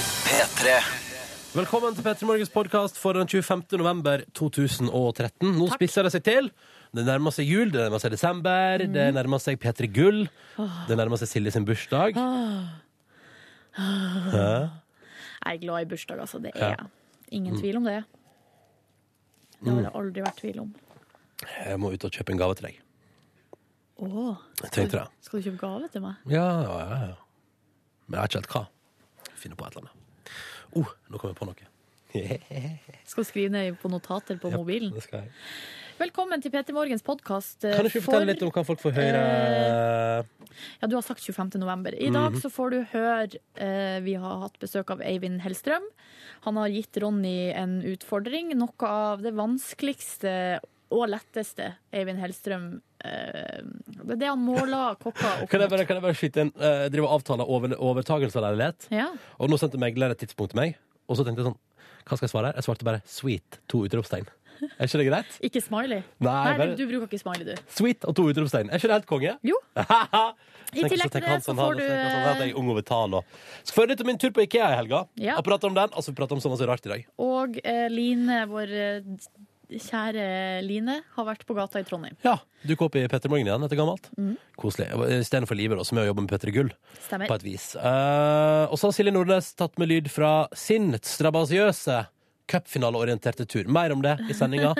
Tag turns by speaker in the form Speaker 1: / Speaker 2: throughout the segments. Speaker 1: P3.
Speaker 2: Velkommen til Petter Morgens podkast for den 25. november 2013. Nå spisser det seg til. Det nærmer seg jul, det nærmer seg desember, det nærmer seg P3 Gull. Det nærmer seg Silje sin bursdag.
Speaker 3: Jeg er glad i bursdag, altså. Det er jeg. Ingen
Speaker 2: Mm.
Speaker 3: tvil om det. Det har det aldri vært tvil om.
Speaker 2: Jeg må ut og kjøpe en gave til deg.
Speaker 3: Åh,
Speaker 2: Jeg tenkte det.
Speaker 3: skal du kjøpe gave til meg?
Speaker 2: Ja, ja, ja, ja. Men jeg vet ikke helt hva. Finne på et eller annet. Oh, nå kom jeg på noe.
Speaker 3: Skal du skrive ned på notater på mobilen?
Speaker 2: Det skal jeg.
Speaker 3: Velkommen til PT Morgens eh, podkast.
Speaker 2: Kan du ikke fortelle litt om hva folk får høre?
Speaker 3: Ja, du har sagt 25. november. I dag
Speaker 2: Mhm.
Speaker 3: så får du høre eh, Vi har hatt besøk av Eivind Hellstrøm. Han har gitt Ronny en utfordring. Noe av det vanskeligste og letteste Eivind Hellstrøm eh, Det er det han måler kokker opp
Speaker 2: Kan jeg
Speaker 3: mot.
Speaker 2: bare, kan jeg bare skyte inn? eh, drive og avtale over, overtagelse av leilighet?
Speaker 3: Ja.
Speaker 2: Og nå sendte megler et tidspunkt til meg, og så tenkte jeg sånn Hva skal jeg svare? Jeg svarte bare 'sweet', to utropstegn. Er ikke det greit?
Speaker 3: Ikke smiley?
Speaker 2: Nei,
Speaker 3: Nei,
Speaker 2: bare-
Speaker 3: du bruker ikke smiley, du.
Speaker 2: Sweet og to utropstegn. Er ikke det helt konge?
Speaker 3: Jo. I
Speaker 2: Tenk,
Speaker 3: tillegg til
Speaker 2: tenker
Speaker 3: det
Speaker 2: han
Speaker 3: så
Speaker 2: sånn, han,
Speaker 3: får du
Speaker 2: tenker han sånn, at jeg er
Speaker 3: eh,
Speaker 2: ung og vital og Så får jeg litt om min tur på Ikea i helga.
Speaker 3: Ja.
Speaker 2: Jeg prater om den, og så prater jeg om sånn masse rart i dag.
Speaker 3: Og eh, Line, vår eh, kjære Line, har vært på gata i Trondheim.
Speaker 2: Ja, Dukker opp i Petter Morgen igjen etter gammelt.
Speaker 3: Mm.
Speaker 2: Koselig. Istedenfor Liver, da, som er å jobbe med Petter Gull.
Speaker 3: Stemmer.
Speaker 2: På et vis. Eh, og så har Silje Nordnes tatt med lyd fra sin strabasiøse cupfinaleorienterte tur. Mer om det i sendinga.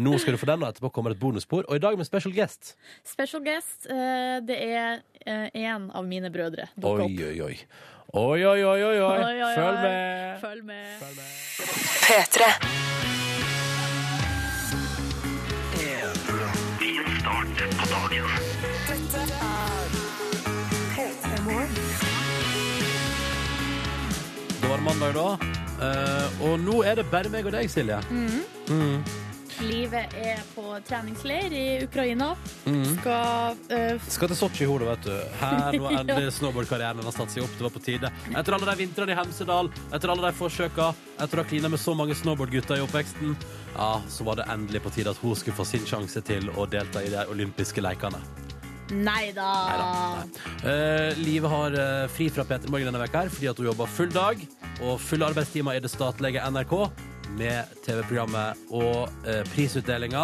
Speaker 2: Nå skal du få den, og etterpå kommer et bonusspor. Og i dag med special guest.
Speaker 3: Special guest, eh, det er én av mine brødre. dukker
Speaker 2: Oi, oi, oi. Oi, oi, oi, oi, oi.
Speaker 3: Oi, oi, oi.
Speaker 2: Følg med.
Speaker 3: Følg med.
Speaker 4: P3.
Speaker 2: Da var det mandag, da. Eh, og nå er det bare meg og deg, Silje.
Speaker 3: Livet er på treningsleir i Ukraina.
Speaker 2: Mhm.
Speaker 3: Skal eh,
Speaker 2: Skal til Sotsji i hodet, vet du. Her nå har endelig snowboardkarrieren hennes tatt seg opp. Det var på tide. Etter alle de vintrene i Hemsedal, etter alle de forsøka, etter å ha klina med så mange snowboardgutter i oppveksten, ja, så var det endelig på tide at hun skulle få sin sjanse til å delta i de olympiske lekene.
Speaker 3: Nei da!
Speaker 2: Neida, nei. Eh, Live har eh, fri fra Peter Morgen denne veka her fordi at hun jobber full dag og fulle arbeidstimer i det statlige NRK med TV-programmet og eh, prisutdelinga,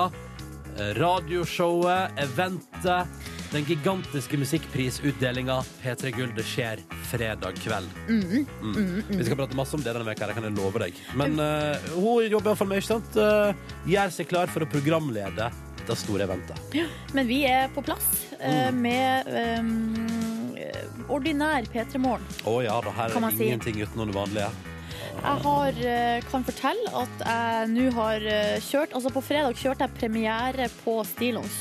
Speaker 2: eh, radioshowet, eventet, den gigantiske musikkprisutdelinga P3 Gull. Det skjer fredag kveld. Mm. Vi skal prate masse om det denne veka, det kan jeg love deg. Men eh, hun jobber iallfall med, ikke sant? Eh, gjør seg klar for å programlede det store eventet.
Speaker 3: Men vi er på plass eh,
Speaker 2: Mm.
Speaker 3: med eh, ordinær P3 Morgen.
Speaker 2: Å ja da, her
Speaker 3: Kan
Speaker 2: er
Speaker 3: man si.
Speaker 2: ingenting utenom det vanlige.
Speaker 3: Jeg har, eh, kan fortelle at jeg nå har eh, kjørt Altså, på fredag kjørte jeg premiere på Stillongs.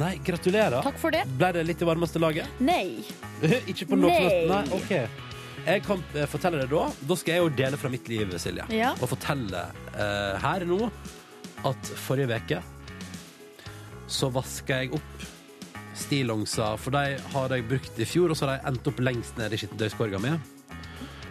Speaker 2: Nei, gratulerer.
Speaker 3: Takk for det.
Speaker 2: Ble det litt i varmeste laget?
Speaker 3: Nei.
Speaker 2: Ikke på noe
Speaker 3: Nei.
Speaker 2: plass- Nei, ok. Jeg kan eh, fortelle deg da. Da skal jeg jo dele fra mitt liv, Silje.
Speaker 3: Ja.
Speaker 2: Og fortelle eh, her nå at forrige veke så vaska jeg opp stillongser, for de har jeg brukt i fjor, og så har de endt opp lengst ned i skittentøyskorga mi.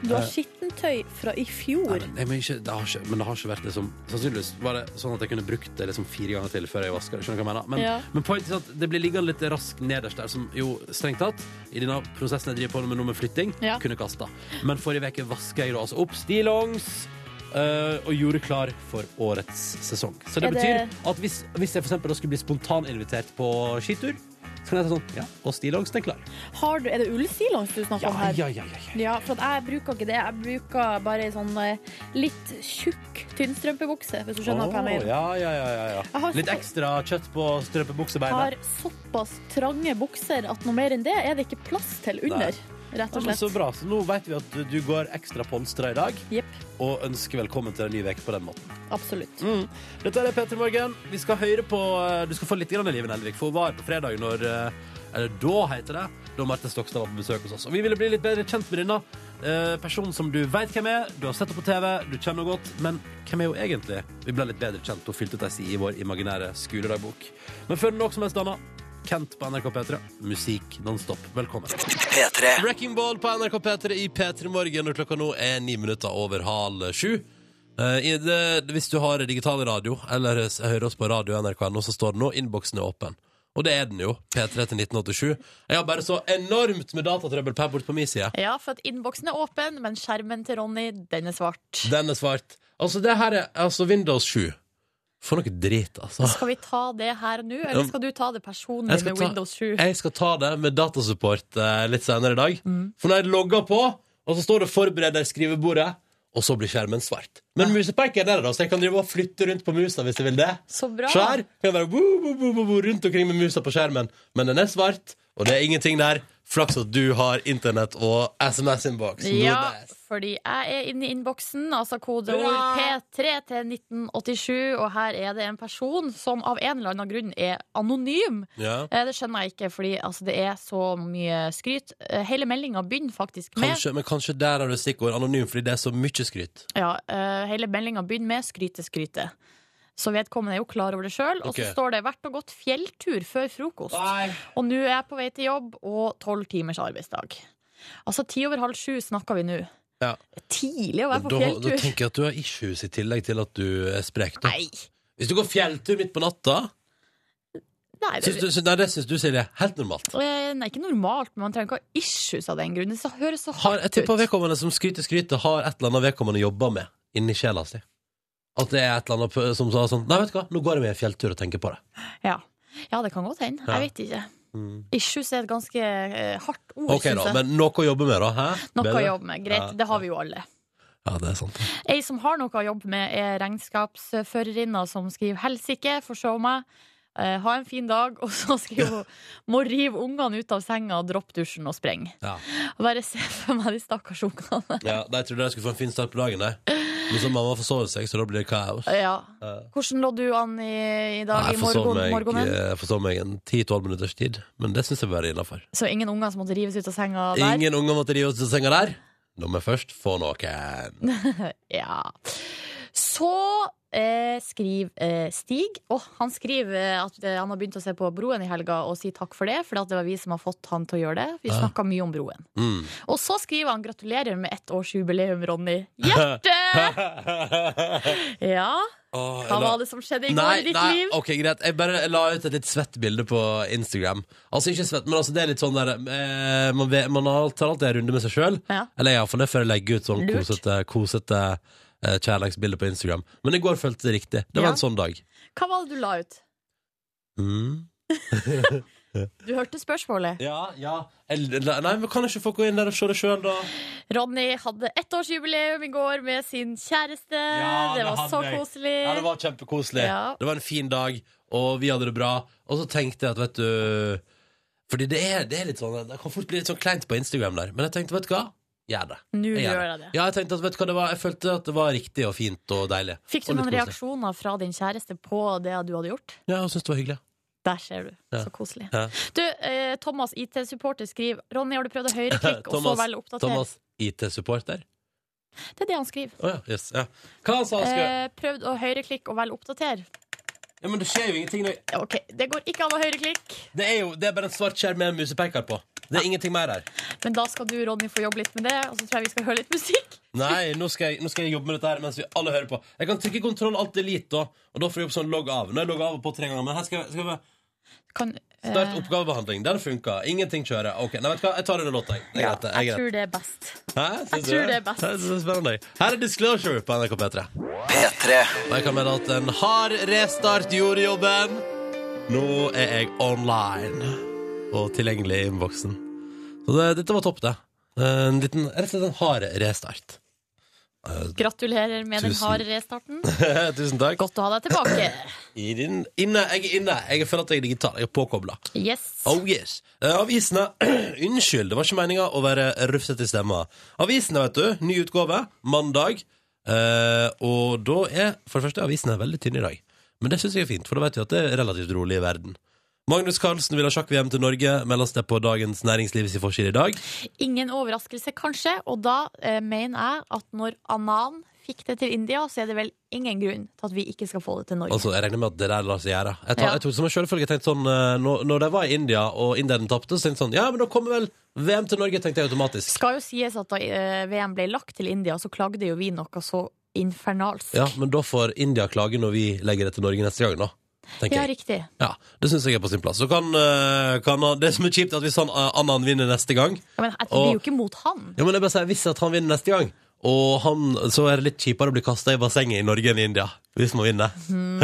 Speaker 3: Du har skittentøy fra i
Speaker 2: Eh. Nei,
Speaker 3: fjor.
Speaker 2: men- nei, men, ikke, det har ikke, men det har ikke vært liksom Sannsynligvis var det sånn at jeg kunne brukt det liksom fire ganger til før jeg vaska det. Skjønner du hva jeg mener? Men,
Speaker 3: Ja.
Speaker 2: men poenget er at det blir liggende litt raskt nederst der, som jo strengt tatt, i denne prosessen jeg driver på med nå med flytting,
Speaker 3: Ja.
Speaker 2: kunne kasta. Men forrige uke vaska jeg da altså opp stillongs. eh, og gjorde klar for årets sesong. Så det,
Speaker 3: Er det-
Speaker 2: betyr at hvis, hvis jeg for eksempel da skulle bli spontaninvitert på skitur, så kan jeg si sånn Ja, og stillongsen er klar.
Speaker 3: Har du, er det ullstillongs du snakker
Speaker 2: Ja,
Speaker 3: om her?
Speaker 2: ja, ja, ja, ja.
Speaker 3: Ja, for at jeg bruker ikke det. Jeg bruker bare ei sånn eh, litt tjukk tynnstrømpebukse, hvis du skjønner hva jeg
Speaker 2: Å,
Speaker 3: mener.
Speaker 2: ja, ja, ja, ja, ja.
Speaker 3: Jeg har
Speaker 2: Litt
Speaker 3: fått-
Speaker 2: ekstra kjøtt på
Speaker 3: Jeg
Speaker 2: strømpebuksebeina.
Speaker 3: har såpass trange bukser at noe mer enn det er det ikke plass til under, rett
Speaker 2: Ja,
Speaker 3: og
Speaker 2: men
Speaker 3: slett.
Speaker 2: så bra. Så nå vet vi at du, du går ekstra polstra i dag,
Speaker 3: Jepp.
Speaker 2: og ønsker velkommen til en ny uke på den måten. Mm.
Speaker 3: Absolutt.
Speaker 2: Dette er Petter Morgen. Vi skal høre på eh, Du skal få litt grann av Liven Elvik, for hun var her på fredag når eh, Eller da, heter det. Da Marte Stokstad var på besøk hos oss. Og vi ville bli litt bedre kjent med denne eh, personen som du veit hvem er. Du har sett henne på TV, du kjenner henne godt, men hvem er hun egentlig? Vi ble litt bedre kjent. Hun fylte ut ei side i vår imaginære skoledagbok. Men før noe som helst annet, Kent på NRK P3. Musikk nonstop. Velkommen.
Speaker 1: P3.
Speaker 2: Wrecking Ball på NRK P3 i P3 Morgen, og klokka nå er ni minutter over halv sju. Eh, i det, hvis du har digital radio, eller s- hører oss på radio NRK nå, så står det nå innboksen er åpen. Og det er den jo. P3 til 1987. Jeg har bare så enormt med datatrøbbel per bort på min side.
Speaker 3: Ja, for at innboksen er åpen, men skjermen til Ronny, den er svart.
Speaker 2: Den er svart. Altså, det her er altså Windows 7. For noe drit, altså.
Speaker 3: Skal vi ta det her nå, eller skal du ta det personlig
Speaker 2: Jeg skal
Speaker 3: med
Speaker 2: ta-
Speaker 3: Windows 7?
Speaker 2: Jeg skal ta det med datasupport eh, litt senere i dag.
Speaker 3: Mm.
Speaker 2: For når jeg logger på, og så står det 'forbereder skrivebordet', og så blir skjermen svart.
Speaker 3: Ah.
Speaker 2: Men musepekeren er der, da, så jeg kan drive og flytte rundt på musa hvis jeg vil det.
Speaker 3: Så bra.
Speaker 2: Så her kan jeg være woo, woo, woo, woo, woo, rundt omkring med musa på skjermen. Men den er svart, og det er ingenting der. Flaks at du har internett og SMS-innboks.
Speaker 3: Ja, fordi jeg er inne i innboksen, altså kodeord
Speaker 2: Hurra!
Speaker 3: P3 til 1987, og her er det en person som av en eller annen grunn er anonym.
Speaker 2: ja.
Speaker 3: Eh, Det skjønner jeg ikke, fordi altså, det er så mye skryt. Eh, Hele meldinga begynner faktisk med
Speaker 2: Kanskje, men kanskje der har du stikkord anonym, fordi det er så mye skryt.
Speaker 3: Ja, eh, hele meldinga begynner med 'skryte, skryte'. Så vedkommende er jo klar over det sjøl. Og
Speaker 2: Ok. Ah,
Speaker 3: så står det 'vært og gått fjelltur før frokost'. Og nå er jeg på vei til jobb og tolv timers arbeidsdag. Altså ti over halv sju snakker vi nå.
Speaker 2: Ja.
Speaker 3: Tidlig å
Speaker 2: Da,
Speaker 3: være på
Speaker 2: da
Speaker 3: fjelltur.
Speaker 2: tenker jeg at du har issues i tillegg til at du er sprek. Da.
Speaker 3: Nei.
Speaker 2: Hvis du går fjelltur midt på natta
Speaker 3: Nei, det,
Speaker 2: Syns du, syns- nei, det syns du, Silje. Helt normalt.
Speaker 3: Eh, nei, ikke normalt, men man trenger ikke ha issues av den grunn. Det så- høres så
Speaker 2: Har
Speaker 3: hardt
Speaker 2: et av
Speaker 3: ut.
Speaker 2: vedkommende som skryter skrytet, har et eller annet vedkommende jobber med inni sjela si. At det er et eller annet p- som sa sånn Nei, vet du hva, nå går jeg med en fjelltur og tenker på det.
Speaker 3: Ja. ja, det kan godt hende.
Speaker 2: Ja.
Speaker 3: Jeg vet ikke.
Speaker 2: Mm.
Speaker 3: Issues er et ganske eh, hardt ord,
Speaker 2: Ok, da.
Speaker 3: synes jeg.
Speaker 2: Men noe å jobbe med, da. Hæ?
Speaker 3: Noe å
Speaker 2: Bedre?
Speaker 3: jobbe med. Greit,
Speaker 2: Ja.
Speaker 3: det har vi jo alle.
Speaker 2: Ja, det er sant.
Speaker 3: Ei som har noe å jobbe med, er regnskapsførerinna som skriver 'helsike, forså meg'. eh, ha en fin dag, og så skriver hun 'må rive ungene ut av senga, dropp dusjen og spreng'.
Speaker 2: Ja.
Speaker 3: Bare se for meg de stakkars ungene.
Speaker 2: Ja, de trodde de skulle få en fin start på dagen, de. Men så mamma forsover seg, så da blir det kaos.
Speaker 3: Ja.
Speaker 2: Ja.
Speaker 3: Hvordan lå du an i, i dag?
Speaker 2: Nei, sånn
Speaker 3: I
Speaker 2: jeg eh, forsov
Speaker 3: morgen,
Speaker 2: meg,
Speaker 3: morgenen?
Speaker 2: jeg forsov meg en 10-12 minutters tid, men det syns jeg bør være innafor.
Speaker 3: Så ingen unger som måtte rives ut av senga der?
Speaker 2: Ingen unger måtte rive oss til senga der. Nå må jeg først få noen.
Speaker 3: Ja. Så eh, skriver eh, Stig Åh, Han skriver eh, at eh, han har begynt å se på Broen i helga og sier takk for det, for at det var vi som har fått han til å gjøre det. Vi
Speaker 2: Ja.
Speaker 3: snakka mye om Broen.
Speaker 2: Mm.
Speaker 3: Og så skriver han 'Gratulerer med ett års jubileum, Ronny'. Hjerte! Ja,
Speaker 2: Åh,
Speaker 3: hva
Speaker 2: jeg la-
Speaker 3: var det som skjedde i går i ditt
Speaker 2: nei,
Speaker 3: liv?
Speaker 2: ok, greit. Jeg bare la ut et litt svett bilde på Instagram. Altså ikke svett, men altså det er litt sånn der eh, Man, vet, man har- tar alltid en runde med seg sjøl.
Speaker 3: Ja.
Speaker 2: Eller iallfall det før jeg legger ut sånn
Speaker 3: Lurt.
Speaker 2: kosete, kosete eh, kjærlighetsbilde på Instagram. Men i går føltes det riktig. Det var
Speaker 3: Ja.
Speaker 2: en sånn dag.
Speaker 3: Hva var det du la ut?
Speaker 2: Mm.
Speaker 3: Du hørte spørsmålet.
Speaker 2: Ja, ja. Jeg, nei, men kan ikke folk gå inn der og se det sjøl, da?
Speaker 3: Ronny hadde ettårsjubileum i går med sin kjæreste.
Speaker 2: Ja,
Speaker 3: det
Speaker 2: det
Speaker 3: var
Speaker 2: hadde
Speaker 3: så
Speaker 2: jeg.
Speaker 3: koselig.
Speaker 2: Ja, det var kjempekoselig.
Speaker 3: Ja.
Speaker 2: Det var en fin dag, og vi hadde det bra. Og så tenkte jeg at, vet du Fordi det er, det er litt sånn Det kan fort bli litt sånn kleint på Instagram der. Men jeg tenkte, vet du hva? Gjør det.
Speaker 3: Nå
Speaker 2: Jeg gjør
Speaker 3: gjør jeg det.
Speaker 2: Ja, jeg tenkte at, vet du hva det var? Jeg følte at det var riktig og fint og deilig.
Speaker 3: Fikk du
Speaker 2: Og litt
Speaker 3: noen
Speaker 2: koselig.
Speaker 3: reaksjoner fra din kjæreste på det du hadde gjort?
Speaker 2: Ja, jeg syntes det var hyggelig.
Speaker 3: Der ser du.
Speaker 2: Ja.
Speaker 3: Så koselig.
Speaker 2: Ja.
Speaker 3: Du, eh, Thomas, IT-supporter, skriver Ronny, har du prøvd å høyreklikke og så
Speaker 2: Thomas,
Speaker 3: velge oppdater?
Speaker 2: Thomas, IT-supporter.
Speaker 3: Det er det han skriver.
Speaker 2: Å ja. Yes, ja. Hva sa han skulle
Speaker 3: Eh, prøvd å høyreklikke og velge oppdater. Eh.
Speaker 2: Ja, Men det skjer jo ingenting. når-
Speaker 3: Ja, OK, det går ikke an å høyreklikke,
Speaker 2: Det er jo det er bare en svart skjerm med en musepeker på. Det er ingenting mer her.
Speaker 3: men da skal du, Ronny, få jobbe litt med det, og så tror jeg vi skal høre litt musikk.
Speaker 2: Nei, nå skal, jeg, nå skal jeg jobbe med dette her mens vi alle hører på. Jeg kan trykke kontroll alt elite, da, og da får jeg opp sånn logg av. Nå har jeg logget av på tre ganger, men her skal jeg, skal jeg bare-
Speaker 3: Kan, eh,
Speaker 2: Start oppgavebehandling. Den funka. Ingenting kjører. Ok, nei, vet du hva, jeg tar under låta, jeg. Det er
Speaker 3: ja,
Speaker 2: greit, det.
Speaker 3: eh, jeg
Speaker 2: Jeg er greit.
Speaker 3: tror det er best.
Speaker 2: Hæ? Syns
Speaker 3: jeg tror det er best.
Speaker 2: Det er så spennende. Her er Disclosure på NRK P3.
Speaker 1: P3
Speaker 2: Og jeg kan melde at en hard restart gjorde jobben. Nå er jeg online og tilgjengelig i innboksen. Så det, dette var topp, det. Eh, En liten, rett og slett en hard restart.
Speaker 3: Gratulerer med den
Speaker 2: Tusen.
Speaker 3: harde restarten.
Speaker 2: Tusen takk.
Speaker 3: Godt å ha deg tilbake.
Speaker 2: I din, inne, jeg er inne. Jeg føler at jeg er digital. Jeg er påkobla.
Speaker 3: Yes.
Speaker 2: Oh yes. Eh, avisene Unnskyld, det var ikke meninga å være rufsete i stemma. Avisene, vet du. Ny utgave. Mandag. Eh, og da er for det første avisene veldig tynne i dag. Men det syns jeg er fint, for da vet vi at det er relativt rolig i verden. Magnus Carlsen vil ha sjakk-VM til Norge, meldes det på Dagens Næringslivs forside i dag.
Speaker 3: Ingen overraskelse, kanskje. Og da eh, mener jeg at når Anan fikk det til India, så er det vel ingen grunn til at vi ikke skal få det til Norge.
Speaker 2: Altså, Jeg regner med at det der lar seg gjøre. Jeg, tar,
Speaker 3: Ja.
Speaker 2: jeg tok som en selvfølge tenkte sånn eh, Når, når de var i India, og indierne tapte, så tenkte jeg sånn Ja, men da kommer vel VM til Norge, tenkte jeg automatisk.
Speaker 3: skal jo sies at da eh, VM ble lagt til India, så klagde jo vi noe så infernalsk.
Speaker 2: Ja, men da får India klage når vi legger det til Norge neste gang, da. tenker
Speaker 5: Ja,
Speaker 2: jeg.
Speaker 5: riktig.
Speaker 2: Ja, Det syns jeg er på sin plass. Så kan, eh, kan han, det som er kjipt, er at hvis han, eh, Annan vinner neste gang
Speaker 3: Ja, men det blir jo ikke mot han.
Speaker 2: Ja, men jeg bare sier, Hvis at han vinner neste gang, og han, så er det litt kjipere å bli kasta i bassenget i Norge enn i India. Hvis man vinner.
Speaker 5: Mhm.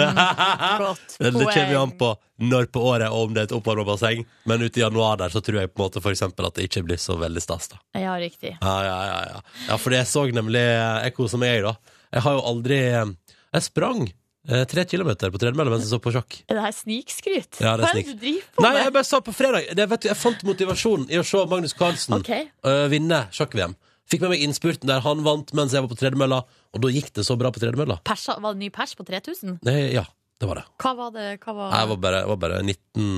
Speaker 3: Godt
Speaker 2: det kommer jo
Speaker 3: poeng.
Speaker 2: an på når på året og om det er et oppvarma basseng, men ute i januar der så tror jeg på en måte for eksempel at det ikke blir så veldig stas. da
Speaker 5: Ja, riktig.
Speaker 2: Ja, ja, ja, ja. ja for jeg så nemlig Jeg koser meg, jeg, da. Jeg har jo aldri Jeg sprang eh, tre kilometer på tredemølle mens jeg så på sjakk.
Speaker 5: Er det her snikskryt? Hva
Speaker 2: Ja, det er
Speaker 5: er det
Speaker 2: snik.
Speaker 5: du driver på
Speaker 2: Nei,
Speaker 5: med?
Speaker 2: jeg bare sa på fredag det, vet du, Jeg fant motivasjon i å se Magnus Carlsen
Speaker 5: Ok.
Speaker 2: øh, vinne sjakk-VM. Fikk med meg innspurten der han vant mens jeg var på tredemølla, og da gikk det så bra på tredemølla.
Speaker 3: Persa, var det ny pers på 3000?
Speaker 2: Nei, ja, det var det.
Speaker 5: Hva var det? Hva var...
Speaker 2: Nei, Jeg var bare, jeg var bare 19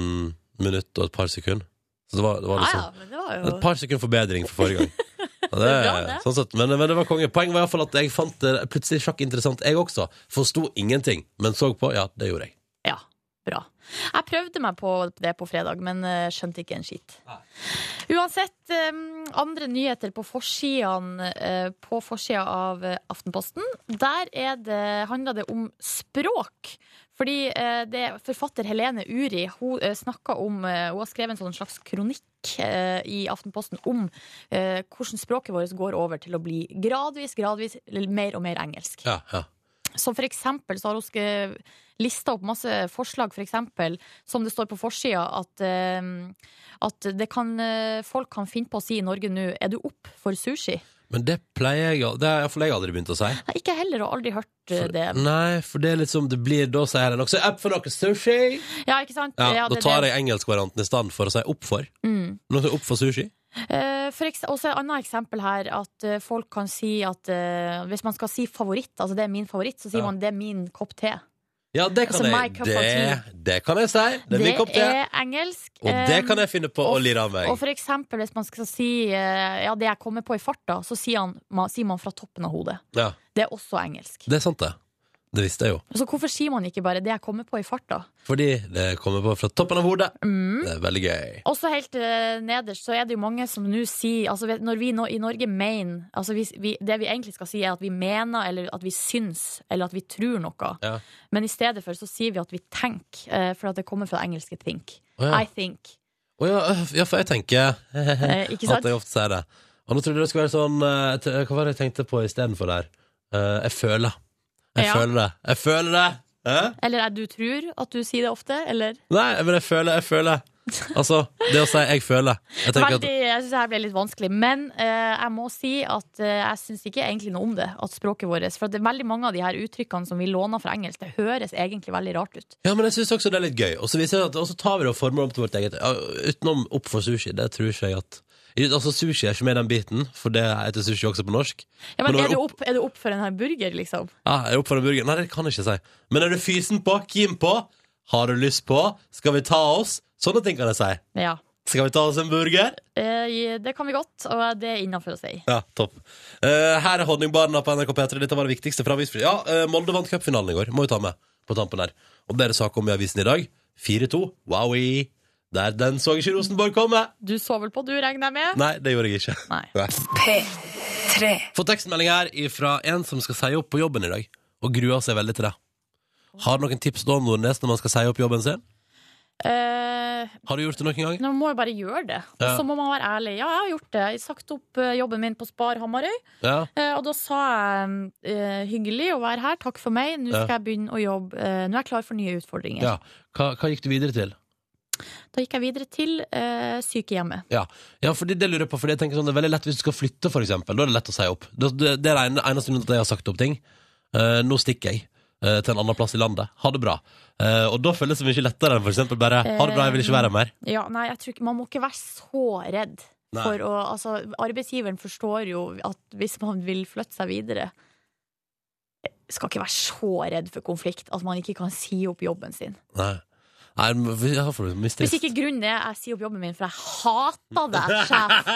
Speaker 2: minutter og et par sekunder. Så det var, det var
Speaker 3: Ja, ja,
Speaker 2: liksom
Speaker 3: men det var jo
Speaker 2: et par sekunder forbedring fra forrige gang. Ja, det,
Speaker 3: er bra, det.
Speaker 2: sånn sett, men, men det var konge. Poenget var i hvert fall at jeg fant det plutselig sjakk interessant, jeg også. Forsto ingenting, men så på. Ja, det gjorde jeg.
Speaker 3: Ja, bra. Jeg prøvde meg på det på fredag, men eh, skjønte ikke en skitt. Uansett, eh, andre nyheter på forsidene eh, på forsida av eh, Aftenposten. Der er det, handler det om språk. Fordi eh, det er forfatter Helene Uri hun, eh, snakket om, eh, hun har skrevet en sånn slags kronikk eh, i Aftenposten om eh, hvordan språket vårt går over til å bli gradvis, gradvis mer og mer engelsk.
Speaker 2: Ja, ja.
Speaker 3: Som for eksempel så har hun skrevet- lista opp masse forslag, for eksempel, som det står på forsida, at, eh, at det kan, eh, folk kan finne på å si i Norge nå Er du opp for sushi?
Speaker 2: Men det pleier jeg al- Det har iallfall jeg aldri begynt å si.
Speaker 3: Nei, ikke heller, og aldri hørt eh, det.
Speaker 2: Nei, for Mm. det er litt som det blir da, sier jeg nok. Så app for noe sushi!
Speaker 3: Ja, ikke sant?
Speaker 2: Ja,
Speaker 3: Ja,
Speaker 2: da
Speaker 3: det er
Speaker 2: tar
Speaker 3: det.
Speaker 2: jeg engelskvarianten i stedet for å si opp for.
Speaker 3: Mm.
Speaker 2: Noe som er opp for sushi.
Speaker 3: Eh, for ekse- også et annet eksempel her, at eh, folk kan si at eh, hvis man skal si favoritt, altså det er min favoritt, så sier
Speaker 2: Ja.
Speaker 3: man det er min kopp te.
Speaker 2: Ja, det kan
Speaker 3: Altså, my cup
Speaker 2: jeg.
Speaker 3: of
Speaker 2: Det, det kan jeg si. Det er min kopp te.
Speaker 3: er engelsk. eh,
Speaker 2: Og det kan jeg finne på å
Speaker 3: og-
Speaker 2: lire av
Speaker 3: Og
Speaker 2: meg.
Speaker 3: for eksempel hvis man skal si eh, ja, det jeg kommer på i farta, så sier, han, man, sier man fra toppen av hodet.
Speaker 2: Ja,
Speaker 3: Det er også engelsk.
Speaker 2: det er sant, det. Det visste jeg jo.
Speaker 3: Så hvorfor sier man ikke bare det jeg kommer på i farta?
Speaker 2: Fordi det kommer på fra toppen av hodet.
Speaker 3: Mm.
Speaker 2: Det er veldig gøy.
Speaker 3: Også helt eh, nederst så er det jo mange som nå sier altså vet- Når vi nå, i Norge mener altså vi, vi, Det vi egentlig skal si, er at vi mener, eller at vi syns, eller at vi tror noe.
Speaker 2: Ja.
Speaker 3: Men i stedet for så sier vi at vi tenker, eh, for at det kommer fra det engelske think.
Speaker 2: Å ja.
Speaker 3: I think.
Speaker 2: Å ja, øh, ja, for jeg tenker
Speaker 3: Eh, ikke sant?
Speaker 2: at jeg ofte sier det. Og nå trodde jeg det skulle være sånn eh, t- Hva var det jeg tenkte på istedenfor der? Eh, jeg føler. Jeg
Speaker 3: Ja.
Speaker 2: føler det. Jeg føler det! Hæ?
Speaker 3: Eller er du tror at du sier det ofte, eller?
Speaker 2: Nei, men jeg føler, jeg føler Altså, det å si 'jeg føler' Jeg tenker at
Speaker 3: Veldig, jeg syns det her ble litt vanskelig. Men eh, jeg må si at eh, jeg syns ikke egentlig noe om det, at språket vårt For at det er veldig mange av de her uttrykkene som vi låner fra engelsk, det høres egentlig veldig rart ut.
Speaker 2: Ja, men jeg synes også det er litt gøy. Og så viser det at- og så tar vi det og former om til vårt eget. Ja, Utenom opp for sushi. Det tror ikke jeg at Altså, Sushi er ikke med i den biten, for det heter sushi også på norsk.
Speaker 3: Ja, men
Speaker 2: Men
Speaker 3: er,
Speaker 2: når
Speaker 3: du opp, er du opp for en hamburger, liksom?
Speaker 2: Ja, jeg er opp for en burger. Nei, det kan jeg ikke si. Men er du fysen på, keen på, har du lyst på, skal vi ta oss? Sånne ting kan jeg si.
Speaker 3: Ja.
Speaker 2: Skal vi ta oss en burger?
Speaker 3: Eh, det kan vi godt, og det er innafor å si.
Speaker 2: Ja, topp. Eh, her er Honningbarna på NRK P3. Dette var det viktigste fra avisfri. Ja, eh, Molde vant cupfinalen i går. Må jo ta med på tampen her. Og det er det sak om i avisen i dag. 4-2. Wowie. Der den så ikke Rosenborg komme.
Speaker 3: Du så vel på, du, regner jeg med?
Speaker 2: Nei, det gjorde jeg ikke.
Speaker 3: Nei.
Speaker 2: Fått tekstmelding her fra en som skal si opp på jobben i dag, og gruer seg veldig til det. Har du noen tips til Don Nordnes når man skal si opp jobben sin?
Speaker 3: Eh,
Speaker 2: Har du gjort det noen gang?
Speaker 3: man må jo bare gjøre det. Og
Speaker 2: Ja.
Speaker 3: så må man være ærlig. Ja, jeg har gjort det. Jeg har sagt opp eh, jobben min på Spar Hamarøy.
Speaker 2: Ja.
Speaker 3: Eh, Og da sa jeg eh, hyggelig å være her, takk for meg, nå
Speaker 2: Ja.
Speaker 3: skal jeg begynne å jobbe. eh, Nå er jeg klar for nye utfordringer.
Speaker 2: ja. Hva, hva gikk du videre til?
Speaker 3: Da gikk jeg videre til eh, sykehjemmet.
Speaker 2: Ja, ja fordi det lurer jeg på Fordi jeg tenker sånn, det er veldig lett hvis du skal flytte for eksempel Da er det lett å si opp Det, det, det er det ene- eneste grunnen til at jeg har sagt opp ting Eh, Nå stikker jeg eh, til en annen plass i landet Ha det bra Eh, Og da føles det mye lettere enn for eksempel bare Ha det bra, jeg vil ikke være her mer
Speaker 3: Ja, nei, jeg tror ikke, Man må ikke være så redd.
Speaker 2: Nei.
Speaker 3: For å, altså, arbeidsgiveren forstår jo at hvis man vil flytte seg videre Skal ikke være så redd for konflikt at man ikke kan si opp jobben sin.
Speaker 2: Nei, Nei men vi- jeg har for mye
Speaker 3: Hvis
Speaker 2: stress
Speaker 3: ikke grunnen er jeg sier opp jobben min, for jeg hater deg, sjef.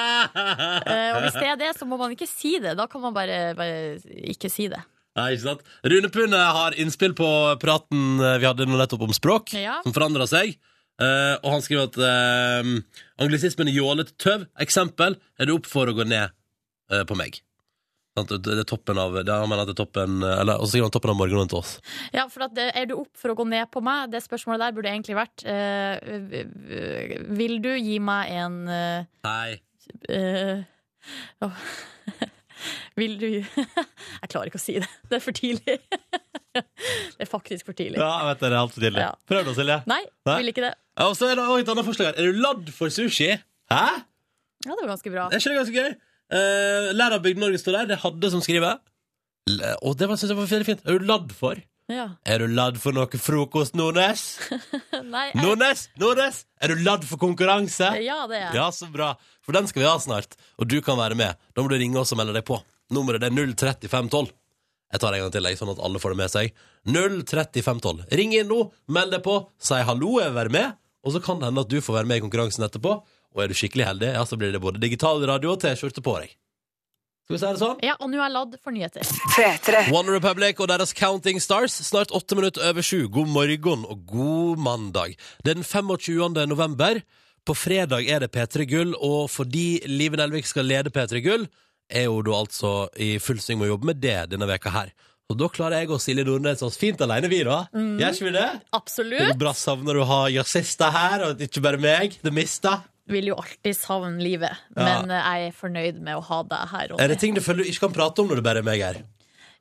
Speaker 3: Eh, og hvis det er det, så må man ikke si det. Da kan man bare, bare ikke si det.
Speaker 2: Nei, ikke sant Rune Pune har innspill på praten eh, vi hadde nå nettopp om språk
Speaker 3: Ja.
Speaker 2: Som forandret seg Eh, Og han skriver at eh, Anglisismen er jålet tøv Eksempel Er det opp for å gå ned eh, på meg Sant? Det er toppen av det har man hatt i toppen, eh, eller, Og så skriver han toppen av morgenen til oss.
Speaker 1: Ja, for at, Er du opp for å gå ned på meg? Det spørsmålet der burde egentlig vært eh, Vil du gi meg en eh,
Speaker 2: Nei.
Speaker 1: eh, åh. Vil du Jeg klarer ikke å si det. Det er for tidlig. Det er faktisk for tidlig.
Speaker 2: Ja, jeg vet det, det er altfor tidlig.
Speaker 1: Ja.
Speaker 2: Prøv da, Silje.
Speaker 1: Nei,
Speaker 2: Nei.
Speaker 1: vil ikke det.
Speaker 2: Ja, Og så er det også et annet forslag her. Er du ladd for sushi? Hæ?
Speaker 1: Ja, det var ganske bra.
Speaker 2: Er ikke det ganske gøy? Uh, Lærerbygd Norge står der. Det hadde som skriver. L- Og det var- synes jeg var veldig fint. Er du ladd for?
Speaker 1: Ja.
Speaker 2: Er du ladd for noe frokost, Nordnes?
Speaker 1: Nei, jeg-
Speaker 2: Nordnes! Nordnes! Er du ladd for konkurranse?
Speaker 1: ja, det er jeg.
Speaker 2: Ja, så bra. For den skal vi ha snart. Og du kan være med. Da må du ringe oss og melde deg på. Nummeret det er 03512. Jeg tar det en gang til, jeg, sånn at alle får det med seg. 03512. Ring inn nå, meld deg på, si hallo, jeg vil være med, og så kan det hende at du får være med i konkurransen etterpå. Og er du skikkelig heldig, ja, så blir det både digital radio og T-skjorte på deg. Skal vi si det sånn?
Speaker 1: Ja, og nå er jeg ladd for nyheter.
Speaker 2: One Republic og deres Counting Stars, snart åtte minutter over sju. God morgen og god mandag. Det er den 25. november. På fredag er det P3 Gull, og fordi Live Nelvik skal lede P3 Gull, er jo da altså i full sving med å jobbe med det denne veka her. Og da klarer jeg og Silje Nordnes oss fint alene, vi, da. Gjør ikke vi det? Det
Speaker 1: Absolutt.
Speaker 2: er bra savner å ha jazzister her, og ikke bare meg. Det mista.
Speaker 1: Vil jo alltid savne livet,
Speaker 2: Ja.
Speaker 1: men eh, jeg er fornøyd med å ha deg her. Ronny.
Speaker 2: Er det ting du føler du ikke kan prate om når det bare er meg her?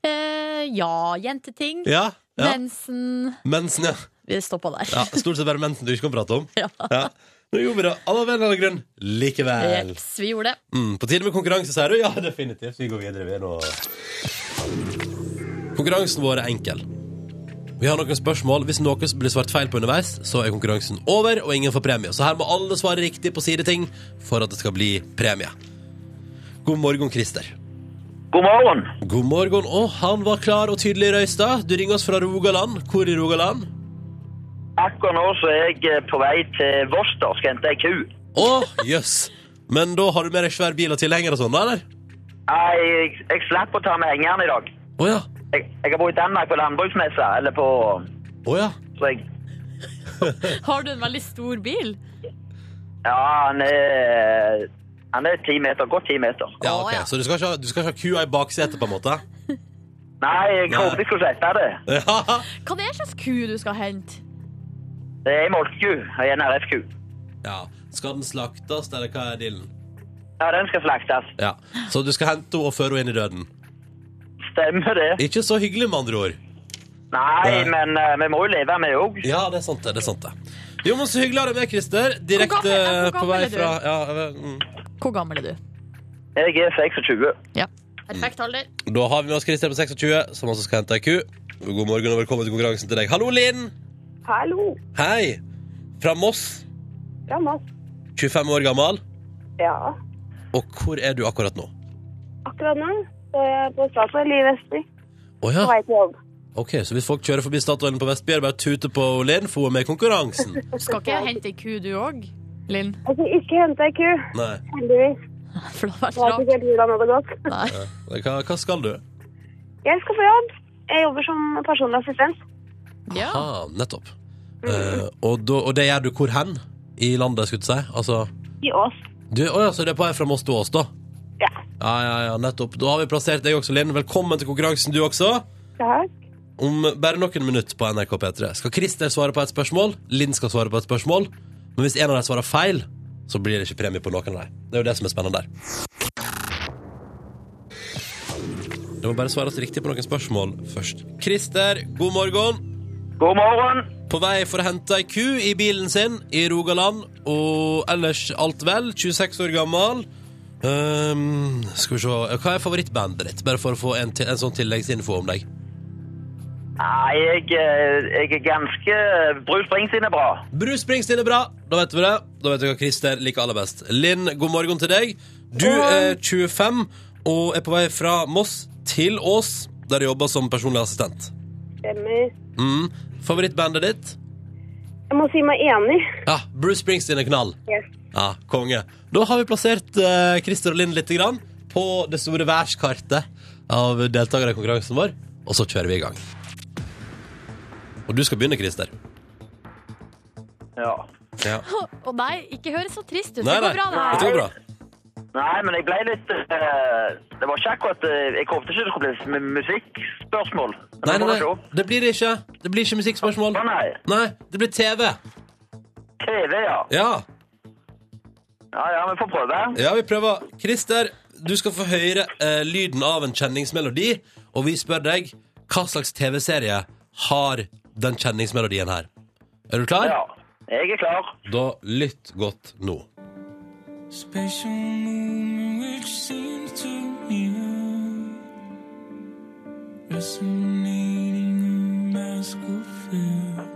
Speaker 1: Eh, ja, jenteting.
Speaker 2: Ja? ja.
Speaker 1: Mensen.
Speaker 2: Mensen, ja.
Speaker 1: Vi stoppa der.
Speaker 2: Ja, Stort sett bare mensen du ikke kan prate om.
Speaker 1: Ja.
Speaker 2: Ja. Nå gjorde vi det av en eller annen grunn likevel.
Speaker 1: Jeps, vi gjorde det.
Speaker 2: Mm, på tide med konkurranse, sier du? Ja, definitivt. Vi går videre. Vi er nå Konkurransen vår er enkel. Vi har noen spørsmål. Hvis noe blir svart feil på underveis, så er konkurransen over, og ingen får premie. Så her må alle svare riktig på sine ting for at det skal bli premie. God morgen, Christer.
Speaker 4: God morgen.
Speaker 2: God morgen. Å, han var klar og tydelig i røysta. Du ringer oss fra Rogaland. Hvor i Rogaland?
Speaker 4: Akkurat nå så er jeg eh, på vei til Voss. Da skal jeg hente ei ku.
Speaker 2: Å, jøss. Men da har du med deg svær bil og tilhenger og sånn, da, eller?
Speaker 4: Nei, jeg, jeg slapp å ta med hengeren i dag.
Speaker 2: Å ja.
Speaker 4: Jeg, jeg har vært i Danmark på landbruksmessa, eller på
Speaker 2: Å ja.
Speaker 4: Så jeg
Speaker 1: Har du en veldig stor bil?
Speaker 4: Ja, han er Han er ti meter. Godt ti meter.
Speaker 2: ja,
Speaker 1: Å,
Speaker 2: ok.
Speaker 1: ja.
Speaker 2: Så du skal, ikke ha, du skal ikke ha kua i baksetet, på en måte?
Speaker 4: Nei, jeg
Speaker 2: Nei.
Speaker 4: håpet jeg skulle slippe det.
Speaker 2: Ja.
Speaker 1: Hva det er slags ku du skal hente?
Speaker 4: Det er ei molkeku og en RFQ.
Speaker 2: ja. Skal den slaktes, eller hva er dealen?
Speaker 4: Ja, den skal slaktes.
Speaker 2: Ja. Så du skal hente henne og føre henne inn i døden?
Speaker 4: Stemmer det.
Speaker 2: Ikke så hyggelig, med andre ord.
Speaker 4: Nei,
Speaker 2: Nei.
Speaker 4: men eh, vi må jo leve med òg.
Speaker 2: Ja, det er sant, det. det er sant det. Jo, men så hyggelig å ha deg med, Christer.
Speaker 1: Hvor
Speaker 2: Direkte
Speaker 1: gammel- ja, hvor
Speaker 2: på
Speaker 1: gammel
Speaker 2: vei
Speaker 1: er du?
Speaker 2: fra ja, jeg vet- mm.
Speaker 1: Hvor gammel er du?
Speaker 4: Jeg er 26.
Speaker 1: Ja. Perfekt alder.
Speaker 2: Da har vi med oss Christer på 26, som også skal hente ei ku. God morgen og velkommen til konkurransen til deg. Hallo, Linn!
Speaker 6: Hallo.
Speaker 2: Hei! Fra Moss,
Speaker 6: Ja, Mads.
Speaker 2: 25 år gammel.
Speaker 6: Ja.
Speaker 2: Og hvor er du akkurat nå?
Speaker 6: Akkurat nå så er jeg på Statoil i Vestby
Speaker 2: Å
Speaker 6: på
Speaker 2: ja.
Speaker 6: vei til jobb.
Speaker 2: Ok, så hvis folk kjører forbi Statoilen på Vestby, er det bare å tute på Linn, for hun er med i konkurransen.
Speaker 1: Du skal ikke hente ei ku, du òg, Linn?
Speaker 6: Jeg skal Altså, ikke hente ei ku,
Speaker 2: Nei.
Speaker 6: heldigvis.
Speaker 1: For det hadde
Speaker 6: Jeg vet
Speaker 1: vært
Speaker 6: ikke helt hvordan det hadde gått.
Speaker 1: rart. Nei.
Speaker 2: Hva, hva skal du?
Speaker 6: Jeg skal på jobb. Jeg jobber som personlig assistent.
Speaker 1: Ja.
Speaker 2: Ah, nettopp. Eh, og, da, og det gjør du hvor hen? I landet, skulle du si? Altså
Speaker 6: I Ås.
Speaker 2: du, Å ja, så det er på vei fra Moss til Ås, da?
Speaker 6: Ja.
Speaker 2: Ja, ja, ja, nettopp. Da har vi plassert deg også, Linn. Velkommen til konkurransen, du også.
Speaker 6: Takk.
Speaker 2: Om bare noen minutter på NRK P3 skal Christer svare på et spørsmål. Linn skal svare på et spørsmål. Men hvis en av dem svarer feil, så blir det ikke premie på noen av dem. Det er jo det som er spennende der. Det må bare svares riktig på noen spørsmål først. Christer, god morgen.
Speaker 4: God morgen.
Speaker 2: På vei for å hente ei ku i bilen sin i Rogaland, og ellers alt vel. 26 år gammel. Ehm, skal vi se Hva er favorittbandet ditt? Bare for å få en, til, en sånn tilleggsinfo om deg.
Speaker 4: Nei, jeg, eh, jeg er ganske eh, Bruce Springsteen er bra.
Speaker 2: Bruce Springsteen er bra. Da vet vi det. Da vet vi hva Christer liker aller best. Linn, god morgen til deg. Du er 25 og er på vei fra Moss til Ås, der du jobber som personlig assistent.
Speaker 6: Stemmer.
Speaker 2: Mm. Favorittbandet ditt?
Speaker 6: Jeg må si meg enig.
Speaker 2: Ja, Bruce Springsteen er knall.
Speaker 6: Yes.
Speaker 2: Ja, konge. Da har vi plassert eh, Christer og Linn litt grann på det store værskartet av deltakere i konkurransen vår, og så kjører vi i gang. Og du skal begynne, Christer.
Speaker 4: Ja.
Speaker 2: Ja.
Speaker 1: Å nei, ikke høres så trist ut.
Speaker 2: Nei,
Speaker 1: Det
Speaker 2: nei,
Speaker 1: går bra, det
Speaker 2: dette
Speaker 1: her.
Speaker 2: går bra.
Speaker 4: Nei, men jeg ble litt eh, Det var ikke akkurat eh, Jeg håpet ikke det skulle bli m- musikkspørsmål. Men
Speaker 2: Nei,
Speaker 4: nå må
Speaker 2: nei,
Speaker 4: dere
Speaker 2: nei,
Speaker 4: opp.
Speaker 2: det blir det ikke. Det blir ikke musikkspørsmål.
Speaker 4: Å, nei.
Speaker 2: Nei, det blir TV.
Speaker 4: TV, ja.
Speaker 2: Ja,
Speaker 4: Ja, ja, vi får prøve.
Speaker 2: ja vi prøver. Christer, du skal få høre eh, lyden av en kjenningsmelodi, og vi spør deg hva slags TV-serie har den kjenningsmelodien her. Er du klar?
Speaker 4: Ja. Jeg er klar.
Speaker 2: Da lytt godt nå.
Speaker 7: Special moment which seems to you resonating a mask of fear.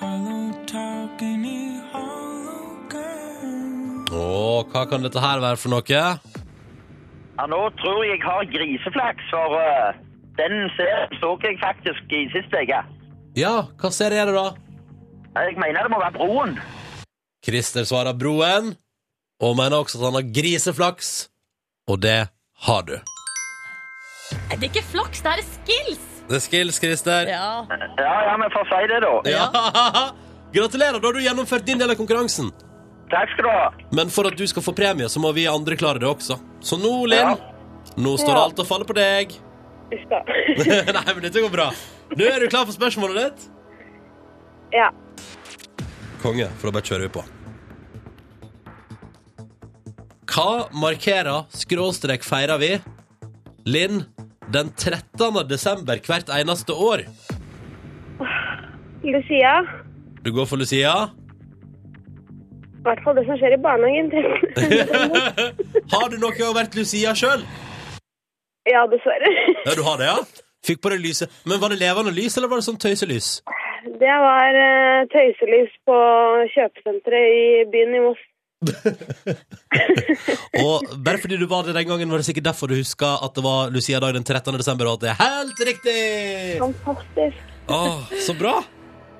Speaker 7: Hollow talk in a hollow girl.
Speaker 2: Åh, hva kan dette her være for noe?
Speaker 4: Ja, nå tror jeg jeg har griseflaks, for eh, den serien så jeg faktisk i siste uke.
Speaker 2: Ja, hva serie er det da?
Speaker 4: Jeg mener det må være Broen.
Speaker 2: Christer svarer Broen, og mener også at han har griseflaks, og det har du.
Speaker 3: Nei, Det er ikke flaks, det her er skills!
Speaker 2: Det er skills, Christer.
Speaker 3: Ja.
Speaker 4: Ja, ja, vi får si det, da.
Speaker 2: Ja. Gratulerer, da har du gjennomført din del av konkurransen.
Speaker 4: Takk skal du ha.
Speaker 2: Men for at du skal få premie, så må vi andre klare det også. Så nå, Linn, nå står alt og faller på deg. Nei, men dette går bra. Du, er du klar for spørsmålet ditt?
Speaker 6: Ja.
Speaker 2: Konge, for da bare kjører vi på. Hva markerer skråstrek feirer vi, Linn, den 13. desember hvert eneste år?
Speaker 6: Lucia.
Speaker 2: Du går for Lucia.
Speaker 6: I hvert fall det som skjer i barnehagen.
Speaker 2: Har du noe vært Lucia sjøl?
Speaker 6: ja, dessverre.
Speaker 2: Ja, du har det, ja? Fikk på det lyset. Men var det levende lys, eller var det sånn tøyselys?
Speaker 6: Det var eh, tøyselys på kjøpesenteret i byen i Moss.
Speaker 2: Og bare fordi du var det den gangen, var det sikkert derfor du huska at det var Lucia-dag den 13. desember, og at det er helt riktig!
Speaker 6: Fantastisk.
Speaker 2: Åh, så bra!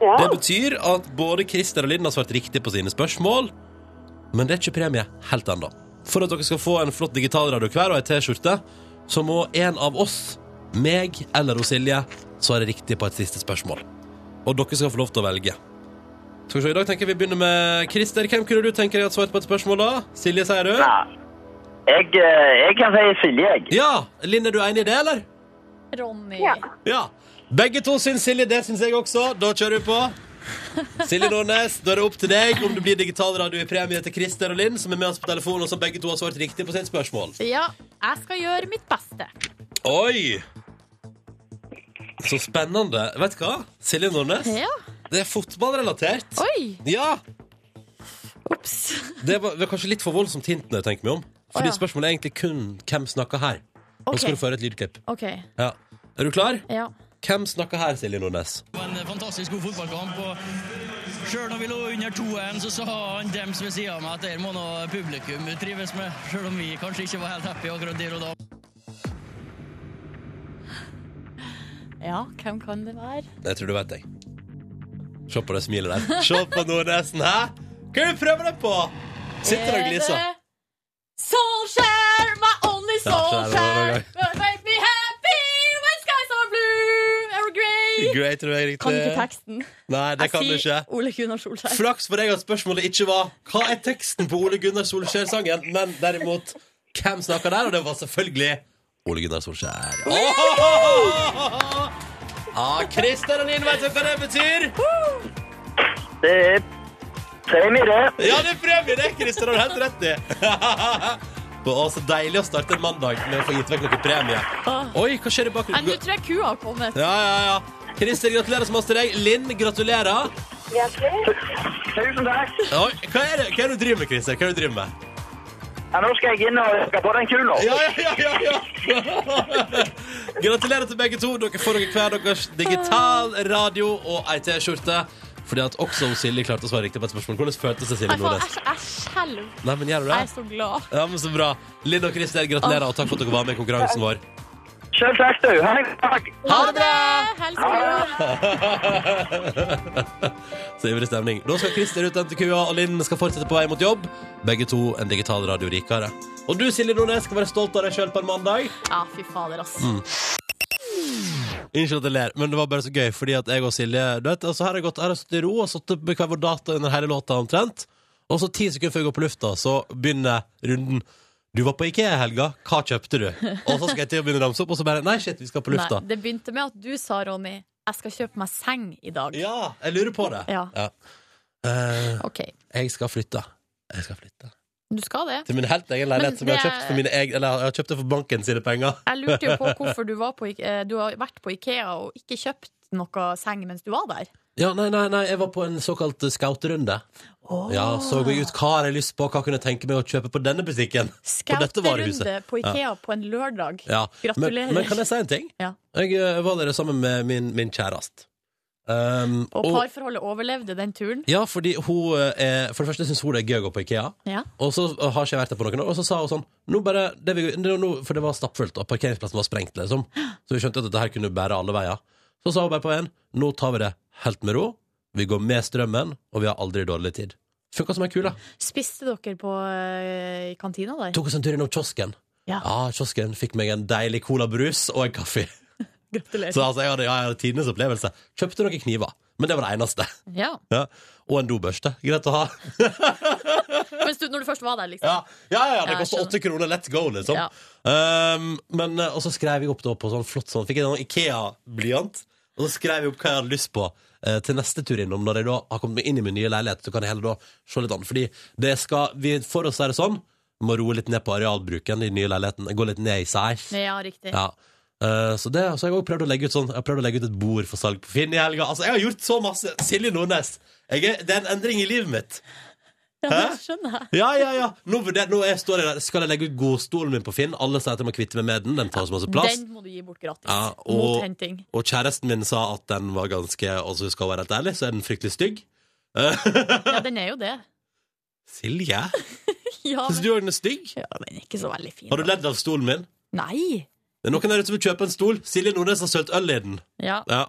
Speaker 6: Ja.
Speaker 2: Det betyr at både Christer og Linn har svart riktig på sine spørsmål, men det er ikke premie helt ennå. For at dere skal få en flott digitalradio hver og ei T-skjorte, så må en av oss, meg eller hos Silje, svare riktig på et siste spørsmål. Og dere skal få lov til å velge. Skal vi se, I dag tenker jeg vi begynner med Christer. Hvem kunne du tenke deg at svarte på et spørsmål, da? Silje, sier du?
Speaker 4: Ja. Jeg, eh, jeg kan si Silje, jeg.
Speaker 2: Ja! Linn, er du enig i det, eller?
Speaker 3: Ronny.
Speaker 6: Ja.
Speaker 2: Ja. Begge to syns Silje, det syns jeg også. Da kjører vi på. Silje Nordnes, da er det opp til deg om det blir digitalradio i premie til Christer og Linn, som er med oss på telefonen, og som begge to har svart riktig på sitt spørsmål.
Speaker 3: Ja, jeg skal gjøre mitt beste.
Speaker 2: Oi! Så spennende. Vet du hva, Silje Nordnes?
Speaker 3: Ja.
Speaker 2: Det er fotballrelatert.
Speaker 3: Oi!
Speaker 2: Ja!
Speaker 3: Ops.
Speaker 2: Det var, det var kanskje litt for voldsomt hint når jeg tenker meg om. Fordi
Speaker 3: Å, ja.
Speaker 2: spørsmålet er egentlig kun hvem snakker her. Nå skal du få høre et lydklipp.
Speaker 3: OK.
Speaker 2: Ja. Er du klar?
Speaker 3: Ja.
Speaker 2: Hvem snakker her, Silje Nordnes?
Speaker 7: Det var en fantastisk god fotballkamp. og Sjøl når vi lå under 2-1, så sa han dems ved sida av meg at det her må nå publikum trives med. Sjøl om vi kanskje ikke var helt happy akkurat der og da.
Speaker 3: ja, hvem kan det være?
Speaker 2: Jeg tror du vet jeg. Se på det smilet der. Se på Nordnesen, hæ? Hva er det du prøver deg på? Sitter og gliser.
Speaker 3: Er det Solskjær, my only
Speaker 2: Ja, skjær,
Speaker 3: solskjær.
Speaker 2: det
Speaker 3: Make me happy when skies are blue and grey.
Speaker 2: Greit, tror jeg riktig.
Speaker 3: Eh, Kan ikke teksten.
Speaker 2: Nei, det kan du
Speaker 3: jeg
Speaker 2: ikke.
Speaker 3: sier Ole Gunnar Solskjær.
Speaker 2: Flaks for deg at spørsmålet ikke var Hva er teksten på Ole Gunnar Solskjær-sangen, men derimot Hvem snakker der? Og det var selvfølgelig Ole Gunnar Solskjær. Åhåhåhå! Ja, Christer og Linn, vet du hva det betyr?
Speaker 4: Det er premie, det.
Speaker 2: Ja, det er premie, det, Christer. Har du helt rett i. Og så deilig å starte en mandag med å få gitt vekk noe premie. Oi, hva skjer i
Speaker 3: Nei, Nå
Speaker 2: bakgrunnen?
Speaker 3: tror jeg kua har kommet.
Speaker 2: Ja, ja, ja. Christer, gratulerer så masse til deg. Linn, gratulerer.
Speaker 4: Tusen takk.
Speaker 2: Oi, hva er det hva er det du driver med, Christer? Hva er det du driver med?
Speaker 4: Ja, nå skal jeg inn og legge på den kula.
Speaker 2: Ja, ja, ja, ja, ja. Gratulerer til begge to. Dere får dere hver deres digital radio og ei T-skjorte. Fordi at også Silje klarte å svare riktig på et spørsmål. Hvordan føltes det, Silje
Speaker 3: Nei, faen,
Speaker 2: Nordnes?
Speaker 3: Jeg jeg skjelver.
Speaker 2: Nei, men gjør du det?
Speaker 3: Jeg er så glad.
Speaker 2: Ja, men så bra. Linn og Christer, gratulerer, og takk for at dere var med i konkurransen vår.
Speaker 4: Selv takk, du. Ha det takk.
Speaker 2: Ha det bra!
Speaker 3: Helse.
Speaker 2: Så ivrig stemning. Da skal Christer ut til kua, og Linn skal fortsette på vei mot jobb. Begge to en digital radio rikere. Og du, Silje Nordnes, skal være stolt av deg sjøl på en mandag.
Speaker 3: Ja, fy fader, ass.
Speaker 2: Mm, Unnskyld at jeg ler, men det var bare så gøy, fordi at jeg og Silje du vet, altså Her har jeg gått, her har jeg stått i ro og satt opp med hver vår data under hele låta omtrent. Og så ti sekunder før jeg går på lufta, så begynner runden. Du var på IKEA i helga, hva kjøpte du? Og så skal jeg til å begynne å ramse opp, og så bare Nei, shit, vi skal på lufta.
Speaker 3: Nei, det begynte med at du sa, Ronny, jeg skal kjøpe meg seng i dag.
Speaker 2: Ja, jeg lurer på det.
Speaker 3: Ja.
Speaker 2: Eh,
Speaker 3: OK.
Speaker 2: jeg skal flytte. Jeg skal flytte.
Speaker 3: Du skal det.
Speaker 2: Til min helt egen leilighet,
Speaker 3: Men
Speaker 2: som jeg har
Speaker 3: det-
Speaker 2: kjøpt for mine egen Eller jeg har kjøpt det for banken sine penger.
Speaker 3: Jeg lurte jo på hvorfor du var på Ike- eh, Du har vært på Ikea og ikke kjøpt noe seng mens du var der.
Speaker 2: Ja, nei, nei, nei, jeg var på en såkalt skauterunde. Ja, så meg ut hva har jeg lyst på, hva kunne jeg tenke meg å kjøpe på denne butikken? På dette
Speaker 3: Skauterunde
Speaker 2: varehuset.
Speaker 3: på Ikea på en lørdag.
Speaker 2: Ja.
Speaker 3: Gratulerer.
Speaker 2: Men, men kan jeg si en ting?
Speaker 3: Ja.
Speaker 2: Jeg eh, var der sammen med min, min kjærest. Um,
Speaker 3: Og parforholdet overlevde den turen.
Speaker 2: ja, fordi hun eh, er, For det første syns hun det er gøy å gå på Ikea.
Speaker 3: Ja.
Speaker 2: Og så har ikke jeg vært der på noen år. Og så sa hun sånn nå bare, det vi, det, nå, For det var stappfullt, og parkeringsplassen var sprengt, liksom. Så vi skjønte at dette her kunne bære alle veier. Så sa hun bare på veien nå tar vi det helt med ro. Vi går med strømmen, og vi har aldri dårlig tid. Funka som ei kule.
Speaker 3: Spiste dere på eh, i kantina der?
Speaker 2: Tok oss en tur innom kiosken.
Speaker 3: Ja.
Speaker 2: kiosken fikk meg en deilig colabrus og en kaffe.
Speaker 3: Gratulerer.
Speaker 2: Så altså, jeg hadde, ja, jeg hadde tidenes opplevelse. Kjøpte noen kniver, men det var det eneste.
Speaker 3: Ja.
Speaker 2: Ja. Og en dobørste. Greit å ha.
Speaker 3: Mens du, når du først var der, liksom.
Speaker 2: Ja, ja, ja det
Speaker 3: Ja, jeg
Speaker 2: koster åtte kroner. Let's go, liksom.
Speaker 3: Ja.
Speaker 2: Um, men, eh, og så skrev jeg opp da på sånn flott sånn. Fikk jeg en Ikea-blyant. Og så skrev jeg opp hva jeg hadde lyst på eh, til neste tur innom. Når jeg da har kommet meg inn i min nye leilighet, så kan jeg heller da se litt an. Fordi det skal, vi, for oss er det sånn, vi må roe litt ned på arealbruken i den nye leiligheten. Gå litt ned i size.
Speaker 3: Ja, riktig.
Speaker 2: Ja. Eh, så det, så jeg har også prøvd å legge ut sånn Jeg har prøvd å legge ut et bord for salg på Finn i helga. Altså, jeg har gjort så masse. Silje Nordnes. Jeg er, det er en endring i livet mitt.
Speaker 3: Ja,
Speaker 2: Hæ?
Speaker 3: det skjønner jeg.
Speaker 2: Ja, ja, ja. Nå, vurder- nå er- står jeg der. Skal jeg legge ut godstolen min på Finn? Alle sier at jeg må kvitte meg med den. Den tar så masse plass.
Speaker 3: Den må du gi bort gratis.
Speaker 2: Ja, og-
Speaker 3: Mot henting.
Speaker 2: Og kjæresten min sa at den var ganske Og så skal jeg være helt ærlig, så er den fryktelig stygg.
Speaker 3: Ja, den er jo det.
Speaker 2: Silje?
Speaker 3: Ja,
Speaker 2: Syns
Speaker 3: men,
Speaker 2: du òg den er stygg?
Speaker 3: ja, den er ikke så veldig fin.
Speaker 2: Har du
Speaker 3: da.
Speaker 2: ledd av stolen min?
Speaker 3: Nei!
Speaker 2: Det er noen der ute som vil kjøpe en stol. Silje Nordnes har sølt øl i den.
Speaker 3: Ja,
Speaker 2: Ja.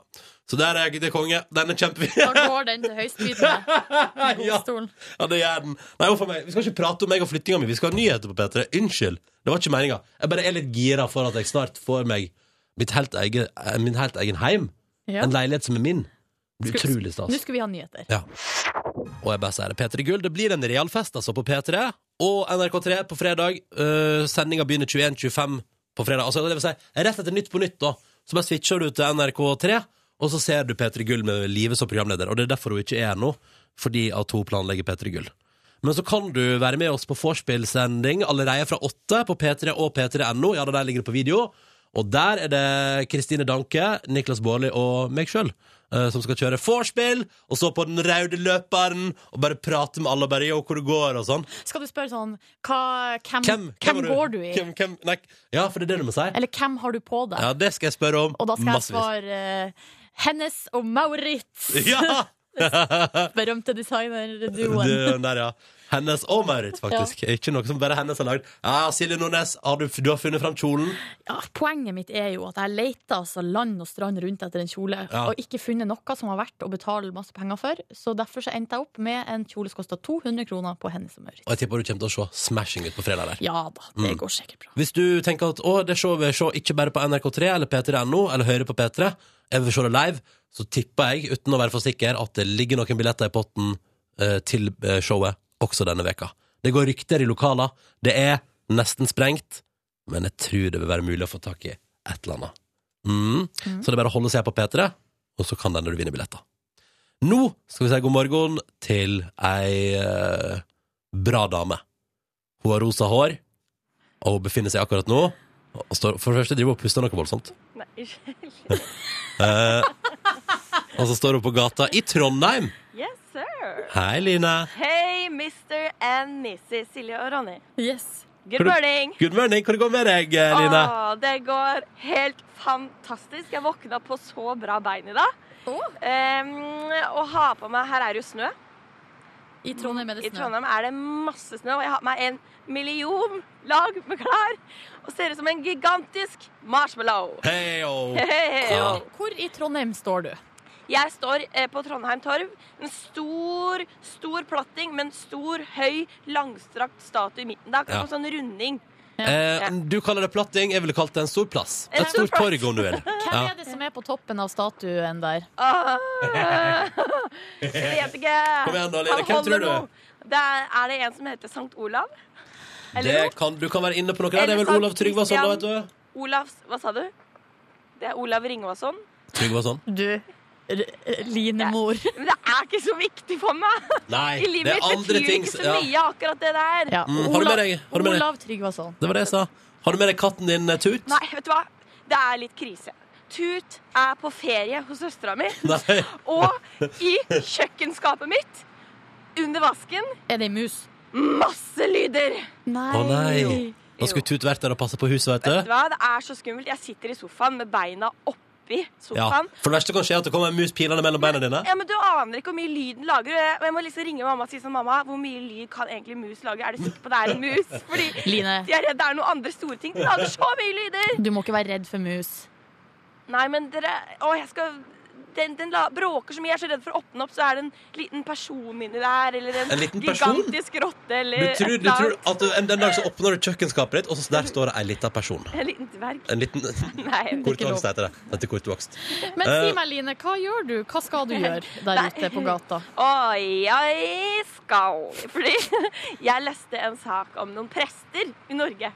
Speaker 2: Så der er jeg til konge. Den er kjempefin.
Speaker 3: da går den til høystbydende.
Speaker 2: Ja.
Speaker 3: Godstolen.
Speaker 2: Ja, det gjør den. Nei, uff a meg. Vi skal ikke prate om meg og flyttinga mi. Vi skal ha nyheter på P3. Unnskyld. Det var ikke meninga. Jeg bare er litt gira for at jeg snart får meg mitt helt egen, eh, min helt egen heim.
Speaker 3: Ja.
Speaker 2: En leilighet som er min. Det blir
Speaker 3: Skulle-
Speaker 2: utrolig
Speaker 3: Nå
Speaker 2: stas.
Speaker 3: skal vi ha nyheter.
Speaker 2: Ja. Og jeg bare sier det. P3 Gull. Det blir en realfest, altså, på P3 og NRK3 på fredag. Uh, Sendinga begynner 21.25 på fredag. Altså, det vil si, rett etter Nytt på Nytt, da. Så bare switcher du til NRK3, og så ser du P3 Gull med Live som programleder. Og det er derfor hun ikke er her nå, fordi at hun planlegger P3 Gull. Men så kan du være med oss på vorspiel-sending allerede fra åtte på P3 og p3.no. Ja, det der ligger det på video. Og der er det Kristine Danke, Niklas Baarli og meg sjøl som skal kjøre vorspiel, og så på den røde løperen og bare prate med alle og bare 'yo, hvor det går', og sånn.
Speaker 3: Skal du spørre sånn hva, hvem,
Speaker 2: Hvem,
Speaker 3: hvem,
Speaker 2: var
Speaker 3: går du i?
Speaker 2: Hvem, hvem, nei, ja, for det er det du må si.
Speaker 3: Eller hvem har du på deg?
Speaker 2: Ja, det skal jeg spørre om.
Speaker 3: Og da skal
Speaker 2: massevis.
Speaker 3: jeg svare eh, Hennes og Maurits,
Speaker 2: Ja!
Speaker 3: berømte designerduoen.
Speaker 2: Det- den der, ja. Hennes og Maurits, faktisk. Ikke noe som bare hennes har lagd. Ja, Silje Nordnes, har du, du har funnet fram kjolen.
Speaker 3: Ja, Ah, poenget mitt er jo at jeg leter altså land og strand rundt etter en kjole,
Speaker 2: Ja.
Speaker 3: og ikke funnet noe som var verdt å betale masse penger for. Så derfor så endte jeg opp med en kjole som kosta 200 kroner på Hennes og Maurits.
Speaker 2: Og jeg tipper du kommer til å se smashing ut på fredag der.
Speaker 3: Ja da, det
Speaker 2: Mm.
Speaker 3: går sikkert bra.
Speaker 2: Hvis du tenker at å, det showet vil jeg se ikke bare på NRK3 eller p3.no, eller høre på P3, jeg vil se det live, så tipper jeg, uten å være for sikker, at det ligger noen billetter i potten eh, til eh, showet også denne veka. Det går rykter i lokaler. Det er nesten sprengt, men jeg tror det vil være mulig å få tak i et eller annet. Mm. Så det er bare å holde seg på P3, og så kan det når du vinner billetter. Nå skal vi si god morgen til ei eh, bra dame. Hun har rosa hår og hun befinner seg akkurat nå og står, For det første driver hun og puster noe voldsomt.
Speaker 8: Nei, unnskyld.
Speaker 2: Eh, og så står hun på gata i Trondheim.
Speaker 8: Yes, sir.
Speaker 2: Hei, Line.
Speaker 8: Hei, Mr. and Mrs. Silje og Ronny.
Speaker 3: Yes.
Speaker 8: Good morning.
Speaker 2: Good morning. Hvordan går det med deg, eh, Line?
Speaker 8: Åh, det går helt fantastisk. Jeg våkna på så bra bein i dag. Em, og har på meg Her er det jo snø.
Speaker 3: I Trondheim er
Speaker 8: I
Speaker 3: det snø.
Speaker 8: Trondheim er det masse snø, og jeg har på meg en million lag med klær. Og ser ut som en gigantisk marshmallow.
Speaker 2: Hei, oh. og-
Speaker 8: Hehehe.
Speaker 3: Hvor i Trondheim står du?
Speaker 8: Jeg står eh, på Trondheim Torv. En stor, stor platting med en stor, høy, langstrakt statue i midten. Det er akkurat som en sånn runding.
Speaker 2: Eh, du kaller det platting, jeg ville kalt det en stor plass.
Speaker 8: En
Speaker 2: Et
Speaker 8: stor
Speaker 2: stort torg, om du vil.
Speaker 3: Hvem
Speaker 2: Ja.
Speaker 3: er det som er på toppen av statuen der?
Speaker 8: Ah, jeg vet ikke.
Speaker 2: Kom igjen da, Lene.
Speaker 8: Han
Speaker 2: Hvem
Speaker 8: holder
Speaker 2: tror du?
Speaker 8: noe. Det er, er det en som heter Sankt Olav? Eller
Speaker 2: Det kan, du kan være inne på noe der. Det er vel
Speaker 8: Eller sånn
Speaker 2: Olav Tryggvason, da, vet du.
Speaker 8: noe? Olavs Hva sa du? Det er Olav Ringvason.
Speaker 2: Tryggvason.
Speaker 3: Du, r- r- Line-mor.
Speaker 8: Men det er ikke så viktig for meg.
Speaker 2: Nei,
Speaker 8: I livet
Speaker 2: det er
Speaker 8: mitt
Speaker 2: andre
Speaker 8: betyr det
Speaker 2: ting
Speaker 8: ikke
Speaker 2: s-
Speaker 8: så
Speaker 2: ja.
Speaker 8: mye, akkurat det der.
Speaker 3: Ja.
Speaker 2: Mm, har du med deg- har du med deg-
Speaker 3: Olav Tryggvason.
Speaker 2: Det var det jeg sa. Har du med deg katten din, eh, Tut?
Speaker 8: Nei, vet du hva? Det er litt krise. Tut er på ferie hos søstera mi,
Speaker 2: Nei.
Speaker 8: og i kjøkkenskapet mitt, under vasken,
Speaker 3: Er det ei mus?
Speaker 8: masse lyder.
Speaker 3: Nei.
Speaker 2: Å nei. Nå skulle Tut vært der og passe på huset, vet
Speaker 8: Vet du
Speaker 2: du.
Speaker 8: hva, det er så skummelt. Jeg sitter i sofaen med beina oppi
Speaker 2: Ja.
Speaker 8: sofaen.
Speaker 2: For det verste kan skje er at det kommer en mus pilende mellom beina dine.
Speaker 8: Ja, men Du aner ikke hvor mye lyden lager. Og jeg, og jeg må liksom ringe mamma og si sånn Mamma, hvor mye lyd kan egentlig mus lage? Er du sikker på det er en mus? Fordi
Speaker 3: Line,
Speaker 8: jeg er redd det er noen andre store ting. Den lager så mye lyder!
Speaker 3: du må ikke være redd for mus.
Speaker 8: Nei, men dere Å, jeg skal den, den la, bråker så mye. Jeg er så redd for å åpne opp, så er det en liten person inni der. Eller en,
Speaker 2: En liten person?
Speaker 8: gigantisk rotte,
Speaker 2: Du
Speaker 8: eller
Speaker 2: tror,
Speaker 8: Eh, et
Speaker 2: du
Speaker 8: eller
Speaker 2: tror
Speaker 8: annet.
Speaker 2: at du, en, en dag så åpner du kjøkkenskapet ditt, og så der står det en liten person.
Speaker 8: En liten dverg.
Speaker 2: En liten
Speaker 8: Nei. jeg vet ikke.
Speaker 2: kortvokst heter det. Dette er kortvokst.
Speaker 3: Men
Speaker 2: Eh.
Speaker 3: si meg, Line, hva gjør du? Hva skal du gjøre der
Speaker 8: Nei.
Speaker 3: ute på gata?
Speaker 8: Oi, oi, skal Fordi jeg leste en sak om noen prester i Norge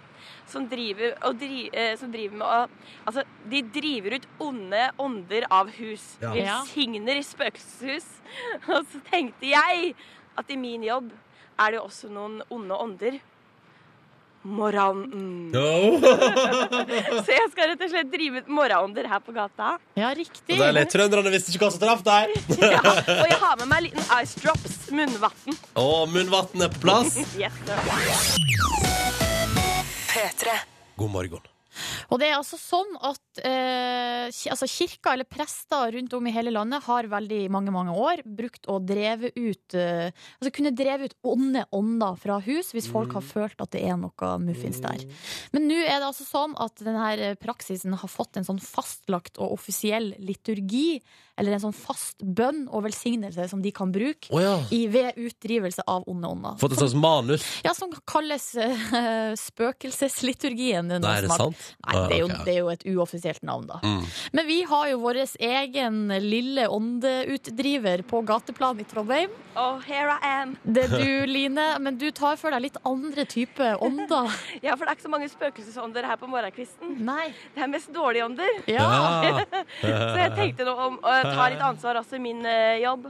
Speaker 8: som driver, og dri, eh, som driver med å Altså, de driver ut onde ånder av hus.
Speaker 2: Ja.
Speaker 8: Velsigner spøkelseshus. Og så tenkte jeg at i min jobb er det jo også noen onde ånder. Morran... Så jeg skal rett og slett drive ut morraånder her på gata.
Speaker 3: Ja, riktig.
Speaker 2: Deilig. Trønderne visste ikke hva som traff deg.
Speaker 8: Ja, og jeg har med meg en liten ice drops, munnvann.
Speaker 2: Og munnvannet er på plass.
Speaker 8: Yes,
Speaker 2: God morgen.
Speaker 3: Og det er altså sånn at eh, ki- altså kirka eller prester rundt om i hele landet har veldig mange mange år brukt å dreve ut eh, Altså kunne dreve ut onde ånder fra hus hvis folk har følt at det er noe muffins der. Men nå er det altså sånn at denne praksisen har fått en sånn fastlagt og offisiell liturgi, eller en sånn fast bønn og velsignelse som de kan bruke.
Speaker 2: Å ja.
Speaker 3: I, ved utdrivelse av onde ånder.
Speaker 2: Fått et slags manus.
Speaker 3: Ja, Som kalles eh, spøkelsesliturgien. Det er noe
Speaker 2: Nei, er det
Speaker 3: som har-
Speaker 2: sant?
Speaker 3: Nei, det er, jo,
Speaker 2: Ah, ok.
Speaker 3: det er jo et uoffisielt navn, da.
Speaker 2: Mm.
Speaker 3: Men vi har jo vår egen lille åndeutdriver på gateplan i Trondheim.
Speaker 8: Oh, here I am.
Speaker 3: Det er du, Line, men du tar for deg litt andre typer ånder.
Speaker 8: Ja, for det er ikke så mange spøkelsesånder her på morgenkvisten.
Speaker 3: Nei.
Speaker 8: Det er mest dårlige ånder.
Speaker 3: Ja.
Speaker 2: Ah, Ja.
Speaker 8: Så jeg tenkte nå om å ta litt ansvar også i min eh, jobb.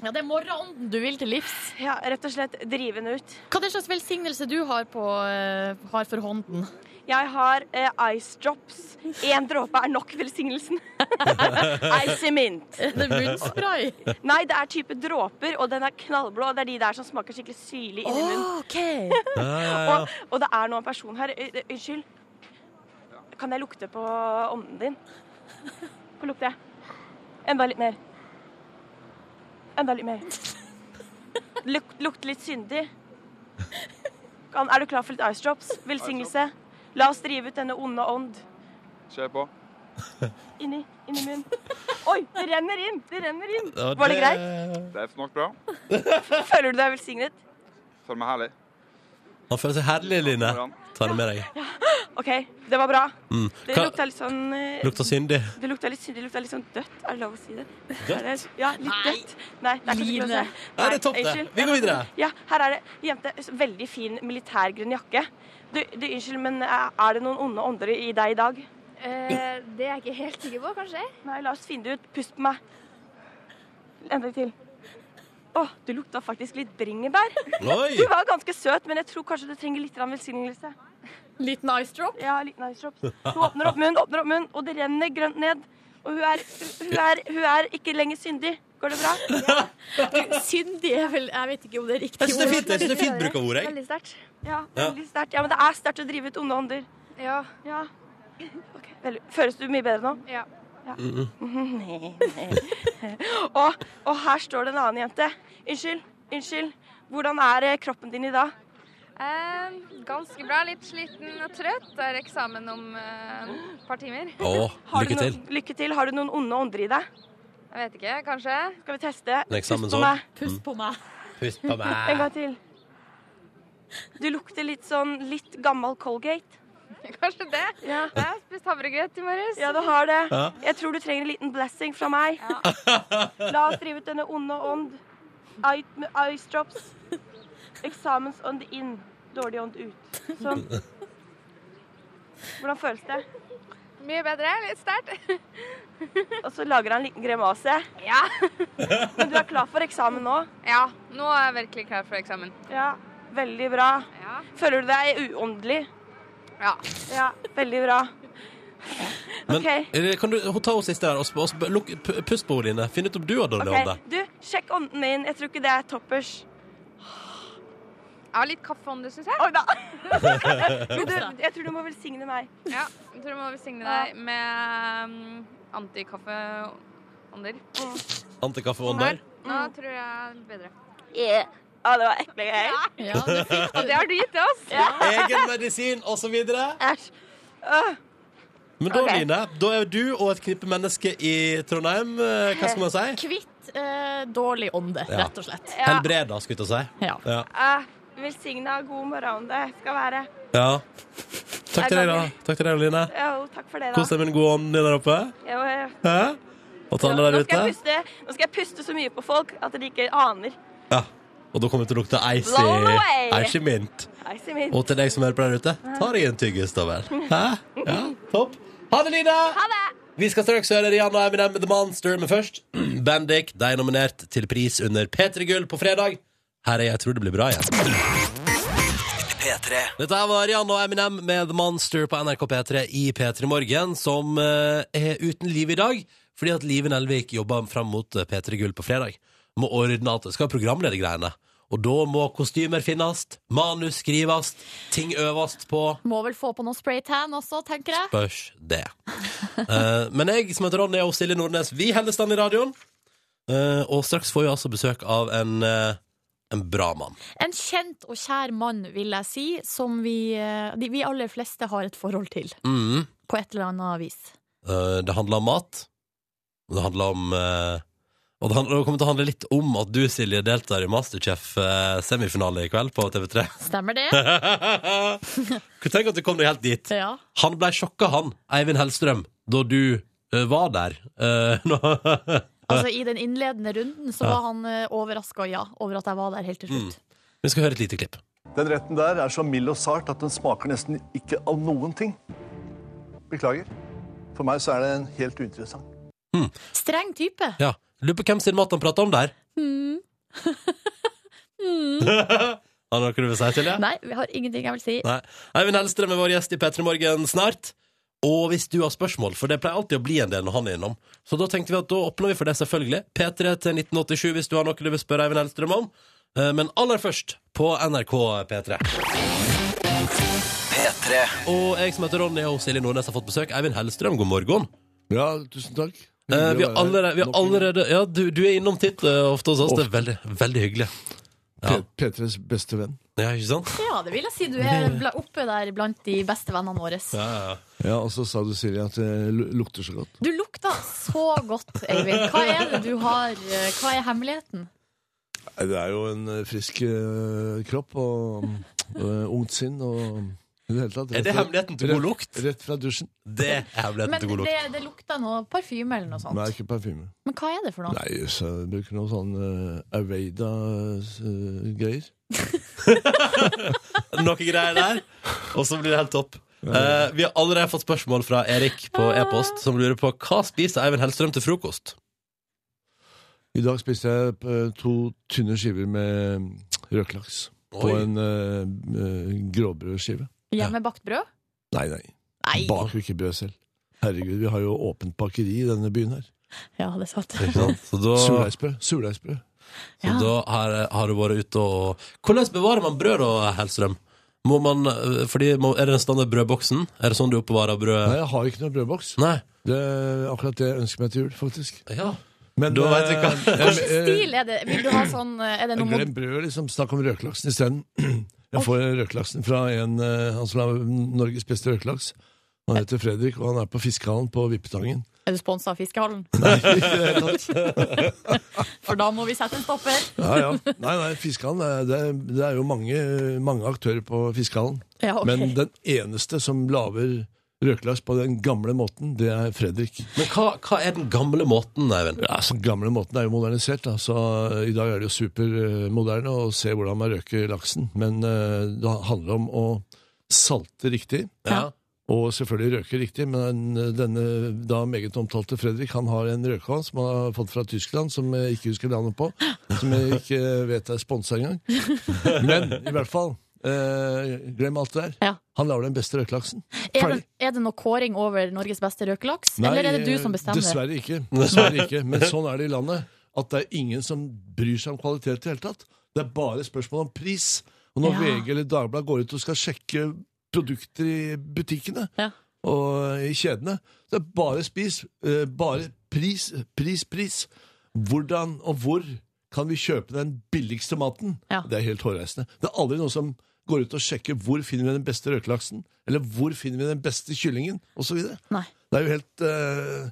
Speaker 3: ja, det er morgenånden du vil til livs.
Speaker 8: Ja, rett og slett drive den ut.
Speaker 3: Hva er det slags velsignelse du har, på, eh, har for hånden?
Speaker 8: Jeg har eh, ice drops. Én dråpe er nok velsignelsen. Icy mint.
Speaker 3: Er det munnspray?
Speaker 8: Nei, det er type dråper, og den er knallblå. Det er de der som smaker skikkelig syrlig inni munnen.
Speaker 3: OK.
Speaker 2: Ja, ja, ja.
Speaker 8: Og, og det er nå en person her. Ø- ø- Unnskyld. Kan jeg lukte på ånden din? Få lukte, jeg. Enda litt mer. Enda litt mer. Luk, lukte litt syndig. Kan, er du klar for litt ice drops? Velsignelse. La oss drive ut denne onde ånd.
Speaker 9: Kjør på.
Speaker 8: Inni, inni munnen. Oi, det renner inn! Det renner inn. Var det greit?
Speaker 9: Det smakte bra.
Speaker 8: Føler du deg velsignet?
Speaker 9: Føler meg herlig.
Speaker 2: Han føler seg herlig, Line.
Speaker 9: Hvordan?
Speaker 2: Ta det med deg.
Speaker 8: OK, det var bra.
Speaker 2: Mm.
Speaker 8: Det
Speaker 2: Hva,
Speaker 8: lukta litt sånn ø,
Speaker 2: lukta syndig.
Speaker 8: Det lukta litt, det lukta litt sånn dødt. Er det lov å si det? Er det- Ja, litt dødt. Nei, det er ikke så
Speaker 3: Line.
Speaker 8: lov å si.
Speaker 2: Nei, det er topp, det.
Speaker 8: unnskyld.
Speaker 2: Vi går videre.
Speaker 8: Ja, her er det jente. Veldig fin militærgrønn jakke. Du, du, unnskyld, men eh, er det noen onde ånder i deg i dag?
Speaker 10: Eh, det er jeg ikke helt sikker på, kanskje.
Speaker 8: Nei, la oss finne det ut. Pust på meg. En dag til. Å, du lukta faktisk litt bringebær.
Speaker 2: Oi!
Speaker 8: Du var ganske søt, men jeg tror kanskje du trenger litt grann velsignelse.
Speaker 3: Liten ice drop?
Speaker 8: Ja, liten ice drops. Hun åpner opp munnen, åpner opp munnen, og det renner grønt ned. Og hun er, hun er, hun er ikke lenger syndig. Går det bra?
Speaker 3: Syndig er vel Jeg vet ikke om det er riktig
Speaker 2: Jeg syns det er fint, jeg synes det er fint bruk av ord, jeg.
Speaker 10: Veldig sterkt.
Speaker 8: Ja,
Speaker 2: Ja.
Speaker 8: veldig sterkt. Ja, men det er sterkt å drive ut onde ånder.
Speaker 10: Ja.
Speaker 8: Ja. Ok, Vel, føles du mye bedre nå?
Speaker 10: Ja.
Speaker 8: Ja. og, og her står det en annen jente. Unnskyld, unnskyld. Hvordan er eh, kroppen din i dag?
Speaker 10: Ehm, ganske bra. Litt sliten og trøtt. Det er eksamen om eh, et par timer.
Speaker 2: Å,
Speaker 8: Har du
Speaker 2: lykke til.
Speaker 8: Noen, lykke til. Har du noen onde ånder i deg?
Speaker 10: Jeg vet ikke, kanskje.
Speaker 8: Skal vi teste?
Speaker 2: Det er eksamen
Speaker 8: Pust på
Speaker 2: sånn.
Speaker 8: meg.
Speaker 3: Pust på meg.
Speaker 2: Pust på
Speaker 8: En
Speaker 2: meg.
Speaker 8: gang til. Du lukter litt sånn litt gammel Colgate.
Speaker 10: Kanskje det.
Speaker 8: Ja.
Speaker 10: Jeg har spist havregrøt i morges.
Speaker 8: Ja, du har det.
Speaker 2: Ja.
Speaker 8: Jeg tror du trenger en liten blessing fra meg. La oss drive ut denne onde ånd. Eye- med Ice drops. Eksamensånd inn, dårlig ånd ut. Sånn. Hvordan føles det?
Speaker 10: Mye bedre. Litt sterkt.
Speaker 8: Og så lager han en liten grimase.
Speaker 10: Ja.
Speaker 8: Men du er klar for eksamen nå?
Speaker 10: ja. Nå er jeg virkelig klar for eksamen.
Speaker 8: Ja. Veldig bra.
Speaker 10: Ja.
Speaker 8: Føler du deg uåndelig?
Speaker 10: Ja.
Speaker 8: Ja, veldig bra.
Speaker 2: Men
Speaker 8: Ok.
Speaker 2: eh, kan du ta henne siste her og sp- og sp- lukk- p- pust på henne, Line. Finn ut om du har dårlig
Speaker 8: Ok,
Speaker 2: ånde.
Speaker 8: Du, sjekk ånden din. Jeg tror ikke det er toppers.
Speaker 10: Jeg har litt kaffeånde, syns jeg.
Speaker 8: Oi da! Men du, jeg tror du må velsigne meg.
Speaker 10: Ja. Jeg tror du må velsigne deg med um, antikaffeånder.
Speaker 2: Antikaffeånder.
Speaker 10: Nå tror jeg det er bedre.
Speaker 8: Å, det var ekle greier.
Speaker 11: Ja, det er fint.
Speaker 10: Og det har du gitt til oss.
Speaker 2: Egen medisin, osv.
Speaker 8: Æsj. Åh,
Speaker 2: Men da,
Speaker 8: Ok.
Speaker 2: Line, da er du og et knippe mennesker i Trondheim, eh, hva skal man si?
Speaker 3: Kvitt eh, dårlig ånde,
Speaker 2: Ja.
Speaker 3: rett og slett.
Speaker 8: ja.
Speaker 2: Helbreda, skulle jeg til å si.
Speaker 3: Ja.
Speaker 2: Ja.
Speaker 8: Ah, velsigna god morgen det skal være.
Speaker 2: ja. Takk til deg, da. Takk til deg, Line.
Speaker 8: Jo, takk for det, da.
Speaker 2: Kos deg med en god ånd der oppe.
Speaker 8: Jo, eh,
Speaker 2: Hæ? Og til alle
Speaker 8: nå,
Speaker 2: der
Speaker 8: skal
Speaker 2: ute.
Speaker 8: jeg puste, nå skal jeg puste så mye på folk at de ikke aner.
Speaker 2: Ja. Og da kommer det til å lukte ice
Speaker 8: Blow away.
Speaker 2: i Icy mint.
Speaker 8: Nei, si min.
Speaker 2: Og til deg som hører på der ute, ta deg en tyggis, da vel. Hæ? Ja, topp. Ha det, Line! Vi skal straks høre Rihanna og Eminem med The Monster, men først Bendik, de er nominert til pris under P3 Gull på fredag. Her er Jeg tror det blir bra igjen. Dette her var Rihanna og Eminem med The Monster på NRK P3 i P3 Morgen, som eh, er uten liv i dag, fordi at Live Nelvik jobber fram mot eh, P3 Gull på fredag. Må ordne at det skal programlede greiene. Og da må kostymer finnes, manus skrives, ting øves på.
Speaker 3: Må vel få på noe spraytan også, tenker jeg.
Speaker 2: Spørs det. Eh, men jeg som heter Ronny og Silje Nordnes, vi holder stand i radioen. Eh, og straks får vi altså besøk av en, eh, en bra mann.
Speaker 3: En kjent og kjær mann, vil jeg si, som vi, eh, de, vi aller fleste har et forhold til.
Speaker 2: Mm.
Speaker 3: På et eller annet vis.
Speaker 2: Eh, det handler om mat. Og det handler om eh, Og det, handler, det kommer til å handle litt om at du, Silje, deltar i Masterchef-semifinale i kveld på TV3.
Speaker 3: Stemmer det?
Speaker 2: Kunne tenke at du kom deg helt dit.
Speaker 3: Ja.
Speaker 2: Han ble sjokka, han, Eivind Hellstrøm, da du eh, var der. Eh, nå-
Speaker 3: Altså, I den innledende runden så var han uh, overraska, ja, over at jeg var der helt til
Speaker 2: Mm.
Speaker 3: slutt.
Speaker 2: Vi skal høre et lite klipp.
Speaker 12: Den retten der er så mild og sart at den smaker nesten ikke av noen ting. Beklager. For meg så er det en helt uinteressant.
Speaker 3: Streng type.
Speaker 2: Ja. Lurer på hvem sin mat han prater om der.
Speaker 3: Mm.
Speaker 2: Har du noe du vil si, Silje?
Speaker 3: Nei, vi har ingenting jeg vil si.
Speaker 2: Nei. Eivind Hellstrøm er vår gjest i P3 Morgen snart. Og hvis du har spørsmål, for det pleier alltid å bli en del når han er innom, så da tenkte vi at da åpner vi for det, selvfølgelig. P3 til 1987 hvis du har noe du vil spørre Eivind Hellstrøm om. Eh, Men aller først på NRK P3. Og jeg som heter Ronny og Silje Nordnes har fått besøk. Eivind Hellstrøm, god morgen.
Speaker 7: Ja, tusen takk.
Speaker 2: Eh, Vi
Speaker 7: Hyggelig å
Speaker 2: har
Speaker 7: være her.
Speaker 2: allerede, vi har
Speaker 7: Nok en gang.
Speaker 2: allerede Ja, du, du er innom titt eh, ofte hos oss. Det er veldig, veldig hyggelig. Ja.
Speaker 7: P- P3s beste venn.
Speaker 2: ja, ikke sant?
Speaker 3: Ja, det vil jeg si. Du er bla- oppe der blant de beste vennene våre.
Speaker 2: Ja, ja, ja.
Speaker 7: Ja, Og så sa du, Silje, at det lu- lukter så godt.
Speaker 3: Du lukta så godt, Eivind. Hva er det du har eh, Hva er hemmeligheten?
Speaker 7: Nei, Det er jo en eh, frisk eh, kropp og eh, ungt sinn og i det hele tatt.
Speaker 2: Er det
Speaker 7: fra-
Speaker 2: hemmeligheten til god lukt?
Speaker 7: Rett, rett fra dusjen.
Speaker 2: Det er hemmeligheten
Speaker 3: Men
Speaker 2: til god
Speaker 3: det,
Speaker 2: lukt.
Speaker 3: det lukta noe parfyme eller noe
Speaker 7: Nei,
Speaker 3: sånt.
Speaker 7: ikke parfyme.
Speaker 3: Men hva er det for noe?
Speaker 7: Nei, så jeg bruker noe sånn uh, Aveida-greier.
Speaker 2: Noe greier der, og så blir det helt topp. Eh, vi har allerede fått spørsmål fra Erik på e-post, som lurer på hva spiser Eivind Hellstrøm til frokost.
Speaker 7: I dag spiste jeg eh, to tynne skiver med mm, røkelaks på
Speaker 2: Oi.
Speaker 7: en eh, eh, gråbrødskive.
Speaker 3: Hjemmebakt brød?
Speaker 7: Nei, nei.
Speaker 3: Nei.
Speaker 7: Baker ikke brød selv. Herregud, vi har jo åpent bakeri i denne byen her.
Speaker 3: Ja, det er sant.
Speaker 2: Ikke sant? Så da,
Speaker 7: Surdeigsbrød. Surdeigsbrød.
Speaker 2: så da har, har du vært ute og Hvordan bevarer man brød, da, Hellstrøm? Må man, eh, fordi, må, er det den standard brødboksen? Er det sånn du oppbevarer brød?
Speaker 7: Nei, jeg har ikke noen brødboks.
Speaker 2: Nei.
Speaker 7: Det er akkurat det jeg ønsker meg til jul, faktisk.
Speaker 2: Ja.
Speaker 7: Men eh,
Speaker 2: Da vet vi hva-
Speaker 3: Hvilken stil er det? Vil du ha sånn eh, Er det noe
Speaker 7: Glem brød, liksom. Snakk om røkelaksen isteden. Jeg får røkelaksen fra en eh, Han som er Norges beste røkelaks. Han heter Fredrik, og han er på Fiskehallen på Vippetangen.
Speaker 3: Er du sponsa av fiskehallen?
Speaker 7: Nei, ikke i det hele tatt.
Speaker 3: For da må vi sette en stopper.
Speaker 7: Ja, ja. Nei, nei, Fiskehallen eh, det, er- det er jo mange, mange aktører på Fiskehallen.
Speaker 3: Ja, ok.
Speaker 7: Men den eneste som lager røkelaks på den gamle måten, det er Fredrik.
Speaker 2: Men hva, er den gamle måten, Eivind?
Speaker 7: Ja, så den gamle måten er jo modernisert. Da. Så eh, I dag er det jo supermoderne å se hvordan man røker laksen. Men eh, det handler om å salte riktig.
Speaker 2: Ja.
Speaker 7: Og selvfølgelig røke riktig, men eh, denne da meget omtalte Fredrik han har en røkevann som han har fått fra Tyskland, som jeg ikke husker navnet på. Som jeg ikke vet er sponsa engang. Men i hvert fall, eh, glem alt det der. Han lager den beste røkelaksen.
Speaker 3: Er det, er det noe kåring over Norges beste røkelaks, eller er det du som bestemmer?
Speaker 7: eh, Dessverre ikke. Dessverre ikke. Men sånn er det i landet. At det er ingen som bryr seg om kvalitet i det hele tatt. Det er bare spørsmål om pris. Og når
Speaker 3: Ja.
Speaker 7: VG eller Dagbladet går ut og skal sjekke produkter i butikkene og i kjedene, det er bare spis. eh, Bare pris, pris, pris. Hvordan og hvor kan vi kjøpe den billigste maten? Det er helt hårreisende. Det er aldri noen som går ut og sjekker hvor finner vi den beste røkelaksen, eller hvor finner vi den beste kyllingen, osv.
Speaker 3: Nei.
Speaker 7: Det er jo helt eh,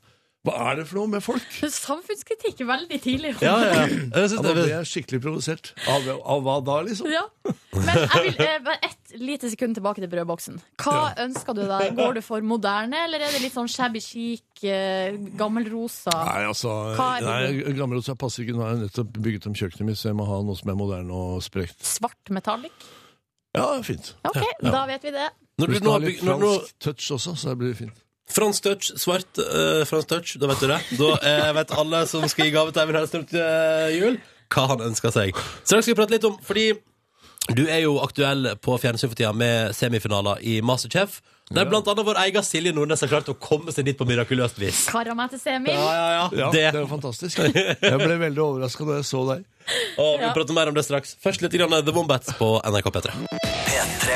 Speaker 7: Hva er det for noe med folk?
Speaker 3: Samfunnskritikk veldig tidlig.
Speaker 7: Ja, nå ble jeg skikkelig provosert. Av, av hva da, liksom?
Speaker 3: Ja. Men jeg vil eh, bare ett lite sekund tilbake til brødboksen. Hva ønsker du deg? Går du for moderne, eller er det litt sånn shabby chic, eh, gammelrosa?
Speaker 7: Nei, altså
Speaker 3: Hva er det
Speaker 7: nei, Gammelrosa passer ikke. Nå har jeg nettopp bygget om kjøkkenet mitt, så jeg må ha noe som er moderne og sprekt.
Speaker 3: Svart metallic?
Speaker 7: Ja, fint.
Speaker 3: Ok,
Speaker 7: Ja.
Speaker 3: da vet vi det.
Speaker 2: Når du nå
Speaker 7: Du skal ha
Speaker 2: har
Speaker 7: litt
Speaker 2: bygd- når du nå-
Speaker 7: fransk touch også, så det blir fint.
Speaker 2: Frans Touch, svart eh, Frans Touch, da vet du det. Da eh, vet alle som skal gi gave til Eivind Hellstrøm til eh, jul, hva han ønsker seg. Straks skal vi prate litt om Fordi du er jo aktuell på fjernsyn for tida med semifinaler i Masterchef. Der blant annet vår egen Silje Nordnes har klart å komme seg dit på mirakuløst vis.
Speaker 3: Kara meg til Semil.
Speaker 7: Ja, det er jo fantastisk. Jeg ble veldig overraska da jeg så deg.
Speaker 2: Og vi
Speaker 3: Ja.
Speaker 2: prater mer om det straks. Først litt grann The Wombats på NRK P3.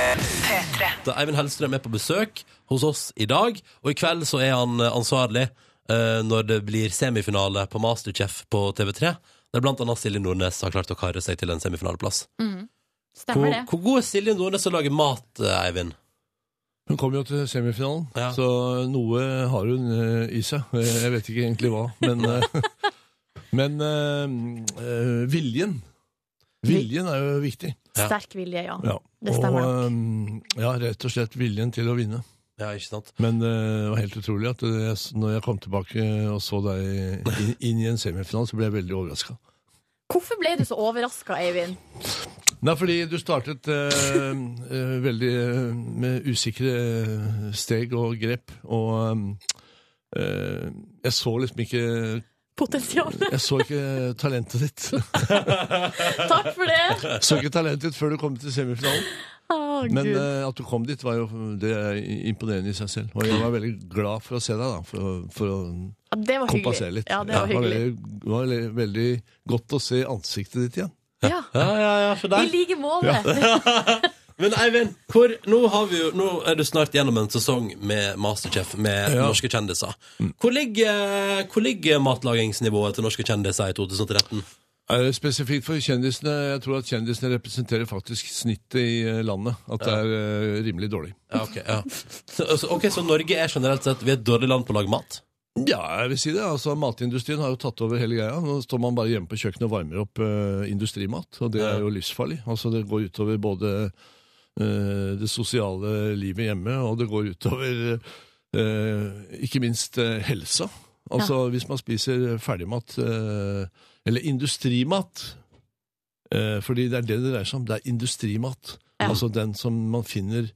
Speaker 2: Da Eivind Hellstrøm er på besøk hos oss i dag, og i kveld så er han eh, ansvarlig eh, når det blir semifinale på Masterchef på TV3, der blant annet Silje Nordnes har klart å karre seg til en semifinaleplass.
Speaker 3: Mm.
Speaker 2: Hvor,
Speaker 3: Stemmer det.
Speaker 2: hvor god er Silje Nordnes til å lage mat, eh, Eivind?
Speaker 7: Hun kom jo til semifinalen, så noe har hun eh, i seg. Eh, Jeg vet ikke egentlig hva, men eh, Men eh, eh, viljen. Viljen er jo viktig.
Speaker 3: Sterk vilje, ja.
Speaker 7: Ja.
Speaker 3: Det stemmer nok.
Speaker 7: Og eh, ja, rett og slett viljen til å vinne.
Speaker 2: Ja, ikke sant?
Speaker 7: Men eh, det var helt utrolig at eh, jeg- når jeg kom tilbake og så deg inn, inn i en semifinale, så ble jeg veldig overraska.
Speaker 3: Hvorfor ble du så overraska, Eivind?
Speaker 7: Nei, fordi du startet eh, eh, veldig eh, med usikre eh, steg og grep, og eh, jeg så liksom ikke
Speaker 3: Potensialet.
Speaker 7: Jeg så ikke talentet ditt.
Speaker 3: Takk for det!
Speaker 7: så ikke talentet ditt før du kom til semifinalen.
Speaker 3: Å,
Speaker 7: Men
Speaker 3: Gud.
Speaker 7: eh, at du kom dit, var jo det er imponerende i seg selv. Og jeg var veldig glad for å se deg, da. For, å- for å
Speaker 3: Ja, det var hyggelig.
Speaker 7: kompensere litt.
Speaker 3: Ja, det var hyggelig.
Speaker 7: veldig, det var veldig, veldig godt å se ansiktet ditt igjen.
Speaker 3: Ja.
Speaker 2: ja, ja, for
Speaker 3: I like måte.
Speaker 2: Men Eivind, hvor, nå, har vi jo, nå er du snart gjennom en sesong med Masterchef med
Speaker 7: Ja.
Speaker 2: norske kjendiser. Hvor ligger, hvor ligger matlagingsnivået til norske kjendiser i 2013?
Speaker 7: Er det Spesifikt for kjendisene. Jeg tror at kjendisene representerer faktisk snittet i eh, landet. At det er eh, rimelig dårlig.
Speaker 2: Ja, ok, ja. Så, altså, ok, så Norge er generelt sett Vi er et dårlig land på å lage mat?
Speaker 7: Ja, jeg vil si det. Altså, matindustrien har jo tatt over hele greia. Nå står man bare hjemme på kjøkkenet og varmer opp eh, industrimat, og det er jo livsfarlig. Altså, det går utover både eh, det sosiale livet hjemme, og det går utover eh, ikke minst eh, helsa. Altså, hvis man spiser ferdigmat, eh, eller industrimat, Eh, fordi det er det det dreier seg om. Det er industrimat. Altså den som man finner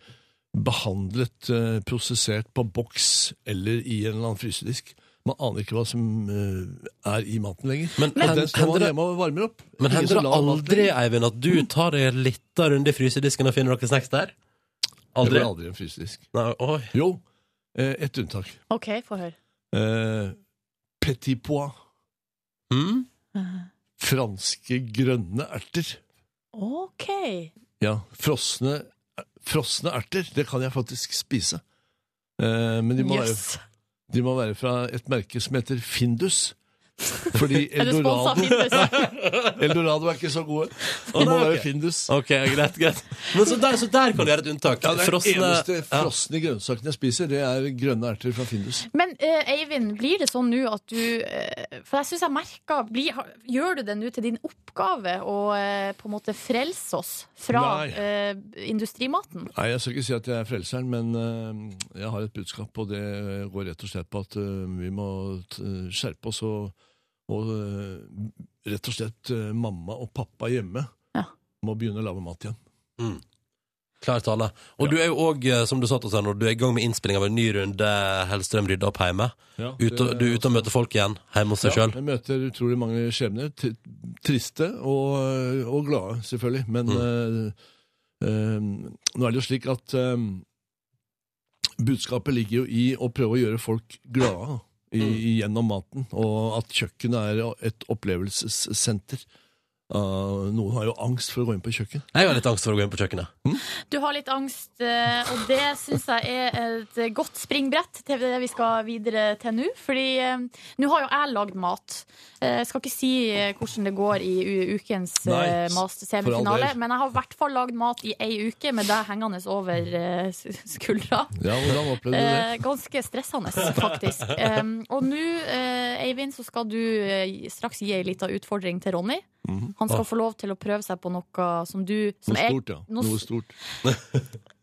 Speaker 7: behandlet, eh, prosessert på boks eller i en eller annen frysedisk. Man aner ikke hva som eh, er i maten lenger.
Speaker 2: Men,
Speaker 7: Og
Speaker 2: hen-
Speaker 7: den står
Speaker 2: hender
Speaker 7: man
Speaker 2: det-
Speaker 7: hjemme og varmer opp.
Speaker 2: Men
Speaker 7: Ingen
Speaker 2: hender
Speaker 7: som
Speaker 2: det
Speaker 7: lar mat
Speaker 2: aldri,
Speaker 7: lenger.
Speaker 2: Eivind, at du tar deg en liten runde i frysedisken og finner noen snacks der?
Speaker 7: Det
Speaker 2: Aldri?
Speaker 7: blir aldri en frysedisk.
Speaker 2: Nei, oi.
Speaker 7: Jo, eh, ett unntak.
Speaker 3: OK, få høre.
Speaker 7: Eh, petit pois.
Speaker 2: Hmm?
Speaker 7: Franske grønne erter.
Speaker 3: OK.
Speaker 7: Ja, frosne, frosne erter, det kan jeg faktisk spise. Eh, men de må,
Speaker 3: Yes.
Speaker 7: være, de må være fra et merke som heter Findus. Fordi
Speaker 3: Er du sponset av
Speaker 7: Eldorado
Speaker 3: Findus?
Speaker 7: Eldorado er ikke så gode. Det må være Findus.
Speaker 2: Ok, greit, greit. Men så der, så der kan du gjøre et unntak.
Speaker 7: Ja, det er
Speaker 2: Frosne-
Speaker 7: Den eneste
Speaker 2: Ja.
Speaker 7: frosne grønnsaken jeg spiser, det er grønne erter fra Findus.
Speaker 3: Men eh, Eivind, blir det sånn nå at du eh, For jeg syns jeg merker blir, har, Gjør du det nå til din oppgave å eh, på en måte frelse oss fra
Speaker 7: Nei.
Speaker 3: eh, industrimaten?
Speaker 7: Nei, Jeg skal ikke si at jeg er frelseren, men eh, jeg har et budskap, og det går rett og slett på at eh, vi må t eh, skjerpe oss og, og eh, rett og slett eh, mamma og pappa hjemme må begynne å lage mat igjen.
Speaker 2: Mm. Klar tale. Og du er jo òg, som du sa til oss her nå, du er i gang med innspilling av en ny runde Hellstrøm rydder opp hjemme.
Speaker 7: Ja,
Speaker 2: Ut og,
Speaker 7: det-
Speaker 2: du er ute og møter folk igjen hjemme hos deg
Speaker 7: Ja,
Speaker 2: sjøl.
Speaker 7: jeg møter utrolig mange skjebner. t- Triste og, og glade, selvfølgelig. Men
Speaker 3: Mm.
Speaker 7: eh, eh, nå er det jo slik at eh, budskapet ligger jo i å prøve å gjøre folk glade i,
Speaker 3: Mm.
Speaker 7: gjennom maten. Og at kjøkkenet er et opplevelsessenter. Ah, noen har jo angst for å gå inn på kjøkken.
Speaker 2: Jeg har litt angst for å gå inn på kjøkkenet.
Speaker 3: Du har litt angst, eh, og det syns jeg er et godt springbrett til det vi skal videre til nå. Fordi eh, nå har jo jeg lagd mat. Eh, Jeg skal ikke si eh, hvordan det går i u- ukens
Speaker 13: Nei,
Speaker 3: eh, master
Speaker 13: for all
Speaker 3: semifinale,
Speaker 13: del.
Speaker 3: men jeg har i hvert fall lagd mat i ei uke med deg hengende over eh, s- skuldra.
Speaker 7: Ja, hvordan opplevde du det?
Speaker 3: Eh, ganske stressende, faktisk. Em, og nå, eh, Eivind, så skal du eh, straks gi ei lita utfordring til Ronny.
Speaker 7: Mhm.
Speaker 3: Han skal få lov til å prøve seg på noe som du som
Speaker 7: Noe
Speaker 3: er-
Speaker 7: stort, ja.
Speaker 3: Noe,
Speaker 7: Noe stort.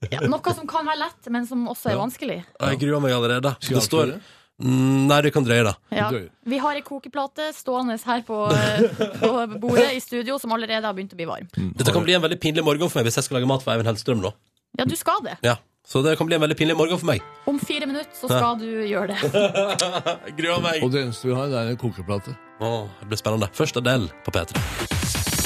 Speaker 3: ja, noe som kan være lett, men som også er vanskelig.
Speaker 2: Jeg gruer meg allerede.
Speaker 7: Skal jeg
Speaker 2: det står
Speaker 7: avsløre?
Speaker 2: Mm, Nei, du kan drøye det.
Speaker 3: Ja. Vi har ei kokeplate stående her på, eh, på bordet i studio som allerede har begynt å bli varm.
Speaker 2: Dette kan bli en veldig pinlig morgen for meg hvis jeg skal lage mat for Eivind Hellstrøm nå.
Speaker 3: Ja, du skal det.
Speaker 2: Ja. Så det kan bli en veldig pinlig morgen for meg.
Speaker 3: Om fire minutter så skal du gjøre det.
Speaker 2: Jeg gruer meg.
Speaker 7: Og det eneste vi har, det er en kokeplate.
Speaker 2: Åh, det blir spennende. Først Adele på P3.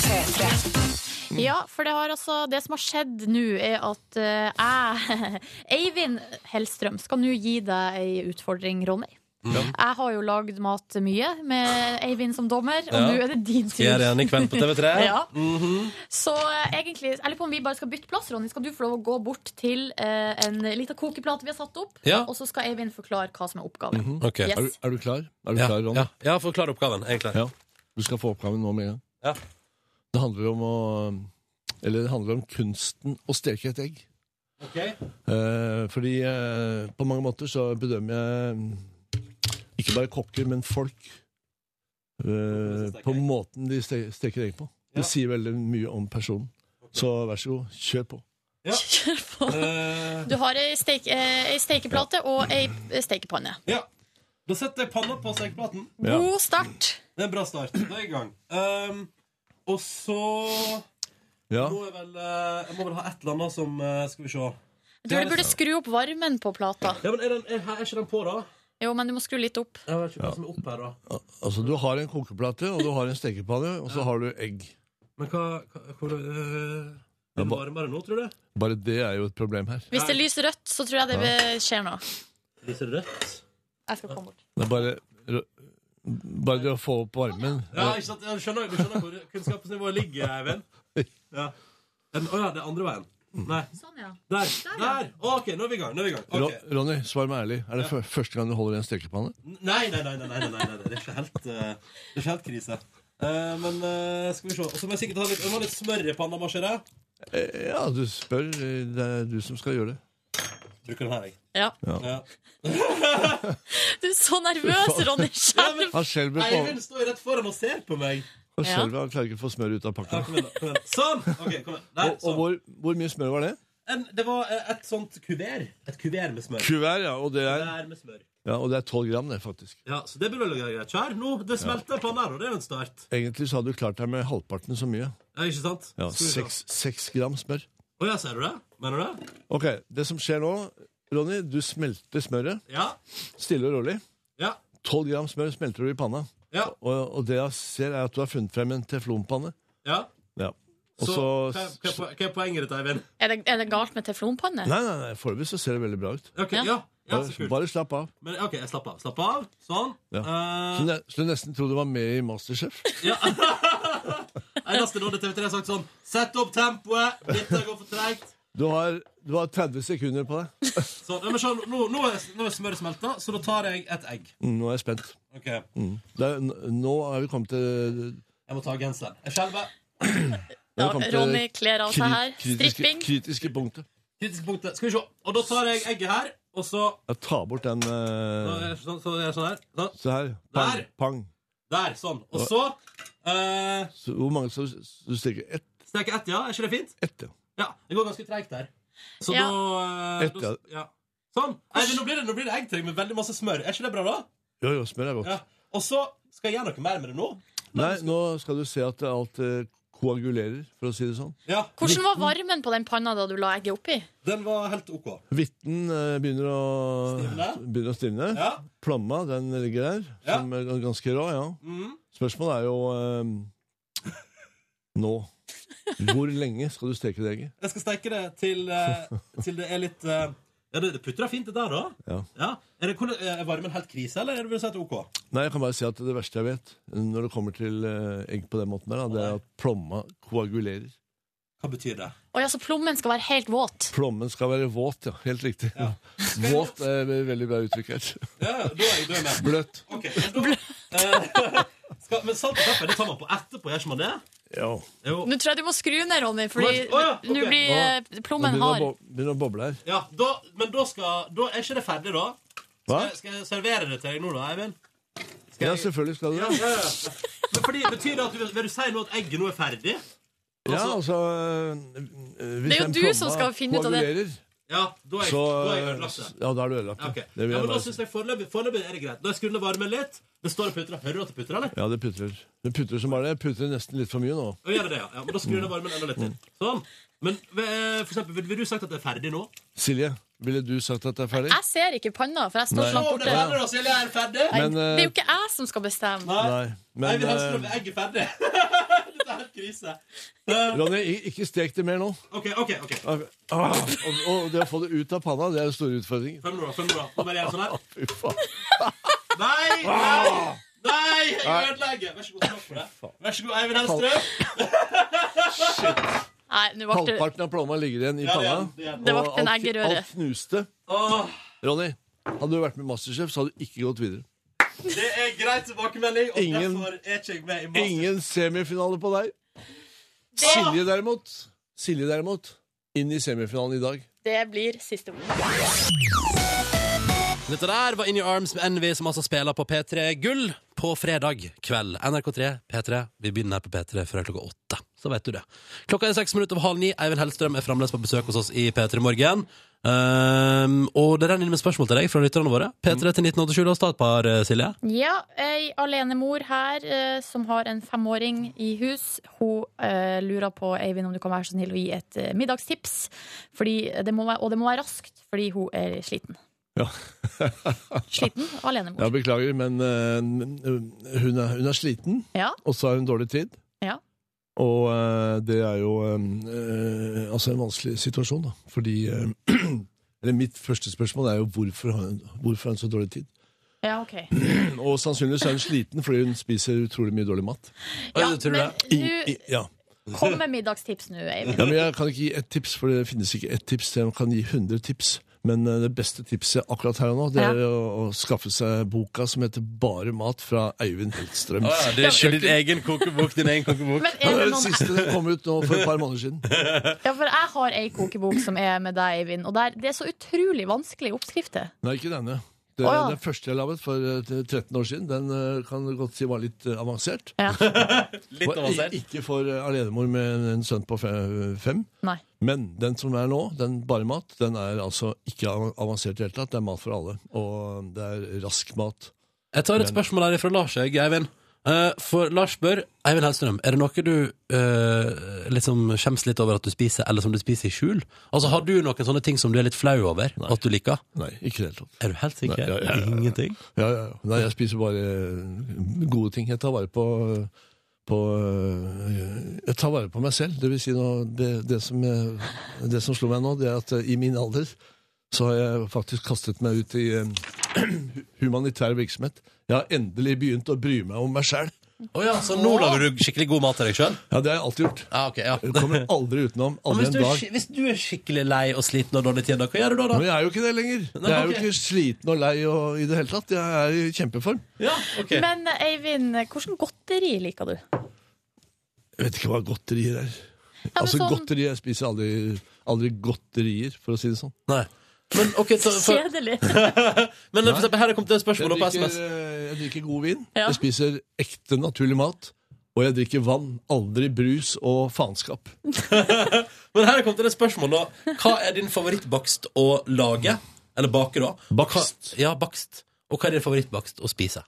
Speaker 2: Mm.
Speaker 3: Ja, for det, har altså, det som har skjedd nå, er at eh, jeg, Eivind Hellstrøm, skal nå gi deg ei utfordring, Ronny. Jeg har jo lagd mat mye med Eivind som dommer, og
Speaker 2: Ja.
Speaker 3: nå er det din tur.
Speaker 2: Skal jeg gjøre igjen i kveld på TV3?
Speaker 3: ja.
Speaker 2: Mhm.
Speaker 3: Så eh, egentlig, jeg lurer på om vi bare skal bytte plass, Ronny. Skal du få lov å gå bort til eh, en lita kokeplate vi har satt opp,
Speaker 2: Ja.
Speaker 3: og så skal Eivind forklare hva som er oppgaven.
Speaker 2: Ok.
Speaker 3: Yes.
Speaker 7: Er, du- er du klar? Er du
Speaker 2: Ja,
Speaker 7: klar, Ronny?
Speaker 2: ja. ja, forklar oppgaven. Jeg er klar.
Speaker 7: Ja. Du skal få oppgaven nå med en gang.
Speaker 2: Ja.
Speaker 7: Det handler om å Eller det handler om kunsten å steke et egg. Eh, fordi eh, på mange måter så bedømmer jeg mm, ikke bare kokker, men folk eh, på måten de ste steker egg på. Det sier veldig mye om personen. Så vær så god, kjør på.
Speaker 3: Kjør på. Du har ei, steik, eh, ei stekeplate og ei eh, stekepanne.
Speaker 2: Ja. Da setter jeg panna på stekeplaten.
Speaker 7: Ja.
Speaker 3: God start.
Speaker 2: Det er en bra start. Da er jeg i gang. Ehm, og så
Speaker 7: Ja.
Speaker 2: må jeg vel eh, Jeg må vel ha et eller annet som eh, Skal vi se.
Speaker 3: Du burde skru opp varmen på plata.
Speaker 2: Ja, men er, den, er, her- er ikke den på, da?
Speaker 3: Jo, men du må skru litt opp.
Speaker 2: Jeg vet ikke hva som er opp her, da.
Speaker 7: Al- Altså, du har en kokeplate, og du har en stekepanne, og så har du egg.
Speaker 2: Men hva, hva hvor, eh, Er det varmere nå, tror du?
Speaker 7: Bare det er jo et problem her.
Speaker 3: Hvis det lyser rødt, så tror jeg det vil- skjer noe.
Speaker 2: Lyser det rødt?
Speaker 3: Jeg skal komme bort.
Speaker 7: Det er bare Bare det å få opp varmen
Speaker 2: Ja, ikke sant? Jeg skjønner, du skjønner hvor kunnskapsnivået ligger, Eivind. Ja. Å ja, det er andre veien. Nei.
Speaker 3: Sånn, ja.
Speaker 2: Der! Der! OK, nå er vi i gang. Nå er vi i gang.
Speaker 7: Ro-
Speaker 2: Ok.
Speaker 7: Ronny, svar meg ærlig. Er det fø- første gang du holder i en stekepanne?
Speaker 2: Nei, nei, nei, nei, nei, nei, nei, nei. Det, er ikke helt, eh, det er ikke helt krise. Eh, men eh, skal vi se. Og så må jeg sikkert ha litt, jeg må ha litt smør i panna. må ikke det?
Speaker 7: Eh, Ja, du spør. eh, Det er du som skal gjøre det.
Speaker 2: Bruker den her, jeg.
Speaker 3: Ja.
Speaker 2: Ja.
Speaker 3: Du er så nervøs, Ronny. Skjelv.
Speaker 7: Han skjelver på
Speaker 2: Eivind står jo rett foran og ser på meg.
Speaker 7: Han
Speaker 3: Ja.
Speaker 7: skjelver, han klarer ikke å få smør ut av pakka.
Speaker 2: Kom igjen, da, kom igjen. Sånn! OK, kom igjen. Der, sånn.
Speaker 7: Og, og hvor, hvor mye smør var det?
Speaker 2: En, det var eh, et sånt kuvert. Et kuvert med smør.
Speaker 7: Kuvert, ja. Og det er,
Speaker 2: Kuvert med smør.
Speaker 7: ja, og det er 12 gram, det, faktisk.
Speaker 2: Ja, Så det burde være greit. Kjær, nå, det smelter i panna, og det er jo en start.
Speaker 7: Egentlig så hadde du klart deg med halvparten så mye.
Speaker 2: Ja, ikke sant?
Speaker 7: Ja,
Speaker 2: Skal vi se.
Speaker 7: 6, 6 gram smør.
Speaker 2: Å ja, ser du det? Mener du det?
Speaker 7: Ok, det som skjer nå, Ronny, du smelter smøret.
Speaker 2: Ja.
Speaker 7: Stille og rolig.
Speaker 2: Ja.
Speaker 7: 12 gram smør smelter du i panna.
Speaker 2: Ja.
Speaker 7: Og, og det jeg ser, er at du har funnet frem en teflonpanne.
Speaker 2: ja.
Speaker 7: Ja. Og
Speaker 2: Så,
Speaker 7: så
Speaker 2: hva, hva, hva er poenget ditt, Eivind?
Speaker 3: Er det, er det galt med teflonpanne?
Speaker 7: Nei, nei, nei, foreløpig så ser det veldig bra ut.
Speaker 2: Ok, ja. ja. så
Speaker 7: Bare,
Speaker 2: kult.
Speaker 7: bare slapp av.
Speaker 2: Men ok, jeg slapp av. Slapp av. Sånn.
Speaker 7: Ja.
Speaker 2: Eh,
Speaker 7: Så du ne- så du nesten trodde du var med i Masterchef?
Speaker 2: eneste rådet TV3 har sagt sånn Sett opp tempoet, dette går for tregt.
Speaker 7: Du har Du har 30 sekunder på deg.
Speaker 2: Så, nei, men sånn, nå, nå, er, nå er smøret smelta, så da tar jeg et egg.
Speaker 7: Mm, Nå er jeg spent.
Speaker 2: Ok.
Speaker 7: Mm. Det er, n- nå er vi kommet til
Speaker 2: Jeg må ta genseren. Jeg skjelver.
Speaker 7: nå er vi kommet til
Speaker 1: Ronny kler av seg
Speaker 7: eh, kri-
Speaker 1: her.
Speaker 7: Kritiske,
Speaker 1: Stripping.
Speaker 7: kritiske punktet.
Speaker 2: Kritiske punktet. Skal vi se. Og da tar jeg egget her, og så
Speaker 7: Jeg tar bort den eh,
Speaker 2: så- så- så er jeg sånn her. Sånn.
Speaker 7: Se her. Pang.
Speaker 2: Der.
Speaker 7: pang.
Speaker 2: Der, sånn. Og så eh,
Speaker 7: Så, hvor mange skal du s- du stikke? Ett?
Speaker 2: steker ett, ja. Er ikke det fint?
Speaker 7: Ett, ja.
Speaker 2: ja. Det går ganske treigt der. Så
Speaker 1: Ja.
Speaker 2: da, eh,
Speaker 7: Ett, ja.
Speaker 2: da ja. Sånn. Nei, men nå blir det, nå blir det eggtøy med veldig masse smør. Er ikke det bra, da?
Speaker 7: Jo, jo, smør er godt.
Speaker 2: Ja. Og så skal jeg gjøre noe mer med det nå.
Speaker 7: Nei, nå skal du se at alt eh, koagulerer, for å si det sånn.
Speaker 2: Ja.
Speaker 1: Hvordan var varmen på den panna da du la egget oppi?
Speaker 2: Den var helt OK.
Speaker 7: Hvitten eh, begynner å
Speaker 2: Stivne.
Speaker 7: Begynner å stivne.
Speaker 2: Ja.
Speaker 7: Plomma den ligger der, som er gans- ganske rå. ja.
Speaker 2: Mhm.
Speaker 7: Spørsmålet er jo eh, nå. Hvor lenge skal du steke det egget?
Speaker 2: Jeg skal steke det til, eh, til det er litt eh, Ja, det det putrer fint, det der, da.
Speaker 7: Ja.
Speaker 2: Er, det, hvordan- er varmen helt krise, eller er det vil du si at det er OK?
Speaker 7: Nei, jeg kan bare si at Det verste jeg vet når det kommer til eh, egg på den måten, der, da, det er at plomma koagulerer.
Speaker 2: Hva betyr det?
Speaker 1: Å ja, så plommen skal være helt våt.
Speaker 7: Plommen skal være våt, ja. Helt riktig. Våt er et veldig bra uttrykk her.
Speaker 2: Ja, da er jeg død med.
Speaker 7: Bløtt.
Speaker 2: Ok, da, eh, skal, men salt og pepper det tar man på etterpå, gjør ikke man det?
Speaker 7: Ja.
Speaker 2: Jo.
Speaker 1: Nå tror jeg du må skru ned, Ronny, Fordi
Speaker 2: Å ja, ok.
Speaker 1: nå blir eh, plommen
Speaker 7: begynner,
Speaker 1: hard.
Speaker 7: å bo- begynner å boble her.
Speaker 2: Ja, da, men da skal Da er ikke det ferdig, da? Eh,
Speaker 7: Hva?
Speaker 2: Skal, jeg- skal jeg servere det til deg nå, da, Eivind?
Speaker 7: Ja, selvfølgelig skal du
Speaker 2: Ja,
Speaker 7: det.
Speaker 2: ja, ja. Men fordi, betyr det at du, vil du si nå at egget nå er ferdig?
Speaker 7: Ja, altså øh, hvis
Speaker 2: Det er jo
Speaker 7: den
Speaker 2: du
Speaker 7: plomma
Speaker 2: som skal finne ut av det.
Speaker 7: koagulerer,
Speaker 2: Ja, da er jeg,
Speaker 7: Så,
Speaker 2: da er jeg ødelagt. det.
Speaker 7: ja, da er du ødelagt.
Speaker 2: Ja,
Speaker 7: ja.
Speaker 2: ok.
Speaker 7: Det
Speaker 2: ja,
Speaker 7: vil jeg
Speaker 2: men da
Speaker 7: bare si.
Speaker 2: synes jeg foreløpig, foreløpig er det greit. Da jeg skulle varme litt Det står og putrer. Hører du at det putrer, eller?
Speaker 7: Ja, det putrer. Det putrer som bare det. Jeg Putrer nesten litt for mye nå.
Speaker 2: Å, gjør det det, ja. ja. Men da skrur jeg varmen enda litt til. Sånn. Men eh, for eksempel, vil, vil du sagt at det er ferdig nå?
Speaker 7: Silje, ville du sagt at det er ferdig?
Speaker 1: Jeg ser ikke panna, for jeg står
Speaker 7: Nei.
Speaker 1: så langt
Speaker 7: Å, det er ferdig
Speaker 1: borte.
Speaker 7: da,
Speaker 2: Silje er ferdig.
Speaker 1: Nei,
Speaker 7: Men, eh,
Speaker 1: det er jo ikke jeg som skal bestemme.
Speaker 7: Nei, men
Speaker 2: Eivind Hellstrøm,
Speaker 7: eh,
Speaker 2: egget er ferdig. Dette er helt krise.
Speaker 7: Ronny, i- ikke stek det mer nå.
Speaker 2: OK, OK. ok
Speaker 7: Ah, og, og det å få det ut av panna, det er en stor utfordring.
Speaker 2: Følg med nå, følg med nå. Nå bare gjør jeg sånn her.
Speaker 7: Fy faen.
Speaker 2: Nei! Nei! Nei! Jeg
Speaker 7: Nei.
Speaker 2: ødelegger. Vær så god, takk for det. Vær så god, Eivind Hellstrøm.
Speaker 1: Nei, nå ble det
Speaker 7: Halvparten av plomma ligger igjen i
Speaker 1: Ja, det er-
Speaker 7: panna.
Speaker 1: det er-
Speaker 7: og
Speaker 1: Det ble en
Speaker 7: alt-
Speaker 1: eggerøre.
Speaker 7: Alt knuste.
Speaker 2: Åh,
Speaker 7: Ronny, hadde du vært med i Masterchef, så hadde du ikke gått videre.
Speaker 2: det er greit tilbakemelding, og
Speaker 7: Ingen-
Speaker 2: derfor er ikke jeg med i Masterchef.
Speaker 7: Ingen semifinale på deg. Silje derimot Silje derimot inn i semifinalen i dag.
Speaker 1: Det blir siste ord.
Speaker 14: Dette der var In Your Arms med Envy, som altså spiller på P3 Gull på fredag kveld. NRK3, P3. Vi begynner her på P3 før klokka åtte. Så vet du det. Klokka er seks minutter over halv ni. Eivind Hellstrøm er fremdeles på besøk hos oss i P3 Morgen. Ehm, og det renner inn med spørsmål til deg fra lytterne våre. P3 til 1987. La oss ta et par, eh, Silje.
Speaker 1: Ja, ei alenemor her eh, som har en femåring i hus. Hun eh, lurer på, Eivind, om du kan være så snill å gi et eh, middagstips. Fordi det må være, og det må være raskt, fordi hun er sliten.
Speaker 7: Ja.
Speaker 1: Sliten alenemor.
Speaker 7: Ja, beklager, men eh, hun, er, hun er sliten,
Speaker 1: Ja.
Speaker 7: og så har hun dårlig tid.
Speaker 1: Ja.
Speaker 7: Og eh, det er jo eh, eh, altså en vanskelig situasjon, da. Fordi eh, Eller mitt første spørsmål er jo hvorfor har hun, hvorfor har hun så dårlig tid?
Speaker 1: Ja, ok.
Speaker 7: Og sannsynligvis er hun sliten fordi hun spiser utrolig mye dårlig mat.
Speaker 1: Ja, Tror du men det?
Speaker 7: I,
Speaker 1: du-
Speaker 7: i, ja.
Speaker 1: Kom med middagstips nå, Eivind.
Speaker 7: Ja, men Jeg kan ikke gi ett tips, for det finnes ikke ett tips. Jeg kan gi 100 tips. Men eh, det beste tipset akkurat her og nå, det er å, å skaffe seg boka som heter Bare mat fra Øyvind Hellstrøm.
Speaker 14: Ah, ja, det er ikke din egen kokebok. Din egen kokebok.
Speaker 1: Men
Speaker 7: Ja,
Speaker 1: er det
Speaker 7: det er den
Speaker 1: noen
Speaker 7: siste den kom ut nå for et par måneder siden.
Speaker 1: Ja, for jeg har ei kokebok som er med deg, Eivind, og der, det er så utrolig vanskelige oppskrifter.
Speaker 7: Nei, ikke denne. Det,
Speaker 1: Å, ja.
Speaker 7: Den første jeg laget for eh, 13 år siden, den eh, kan du godt si var litt eh, avansert.
Speaker 14: Litt
Speaker 7: Var i-
Speaker 14: avansert.
Speaker 7: Ikke for eh, alenemor med en sønn på fe- fem.
Speaker 1: Nei.
Speaker 7: Men den som er nå, den bare mat, den er altså ikke av- avansert i det hele tatt. Det er mat for alle, og det er rask mat.
Speaker 14: Jeg tar et
Speaker 7: Men-
Speaker 14: spørsmål her fra Lars, jeg, Eivind. Eh, for Lars spør Eivind Hellstrøm, er det noe du eh, liksom skjemmes litt over at du spiser, eller som du spiser i skjul? Altså, Har du noen sånne ting som du er litt flau over at du liker?
Speaker 7: Nei, ikke i det hele tatt.
Speaker 14: Er du helt sikker?
Speaker 7: Nei, ja, ja, ja.
Speaker 14: Ingenting?
Speaker 7: Ja, ja. ja. Nei, jeg spiser bare eh, gode ting. Jeg tar vare på, på eh, Jeg tar vare på meg selv. Det vil si, nå, det, det, som, jeg- det som slo meg nå, det er at eh, i min alder så har jeg faktisk kastet meg ut i eh, humanitær virksomhet. Jeg har endelig begynt å bry meg om meg sjæl.
Speaker 2: Å ja, så nå lager du skikkelig god mat til deg sjøl?
Speaker 7: Ja, det har jeg alltid gjort.
Speaker 2: Ja, ok, ja.
Speaker 7: Du kommer aldri utenom.
Speaker 2: Men
Speaker 7: Aldri
Speaker 2: hvis
Speaker 7: en
Speaker 2: du, er,
Speaker 7: dag.
Speaker 2: sk- hvis du er skikkelig lei og sliten og dårlig tid, da, hva gjør du da? da?
Speaker 7: Men jeg er jo ikke det lenger.
Speaker 2: Nei,
Speaker 7: jeg er jo
Speaker 2: ok.
Speaker 7: ikke sliten og lei og, i det hele tatt. Jeg er i kjempeform.
Speaker 3: Men Eivind, hvordan godteri liker du?
Speaker 7: Jeg vet ikke hva godterier er.
Speaker 3: men
Speaker 7: altså
Speaker 3: sånn-
Speaker 7: godteri, Jeg spiser aldri, aldri godterier, for å si det sånn.
Speaker 2: Nei. Men, ok, så, for,
Speaker 3: Kjedelig.
Speaker 2: men for eksempel, her er kommet et spørsmål da
Speaker 7: Jeg
Speaker 2: på
Speaker 7: drikker,
Speaker 2: SMS.
Speaker 7: eh, jeg drikker god vin.
Speaker 3: Ja.
Speaker 7: Jeg spiser ekte, naturlig mat. Og jeg drikker vann. Aldri brus og faenskap.
Speaker 2: Men her er kommet et spørsmål da. Hva er din favorittbakst å lage? Eller bake, da? Bakst. Hva, ja, bakst. Og hva er din favorittbakst å spise?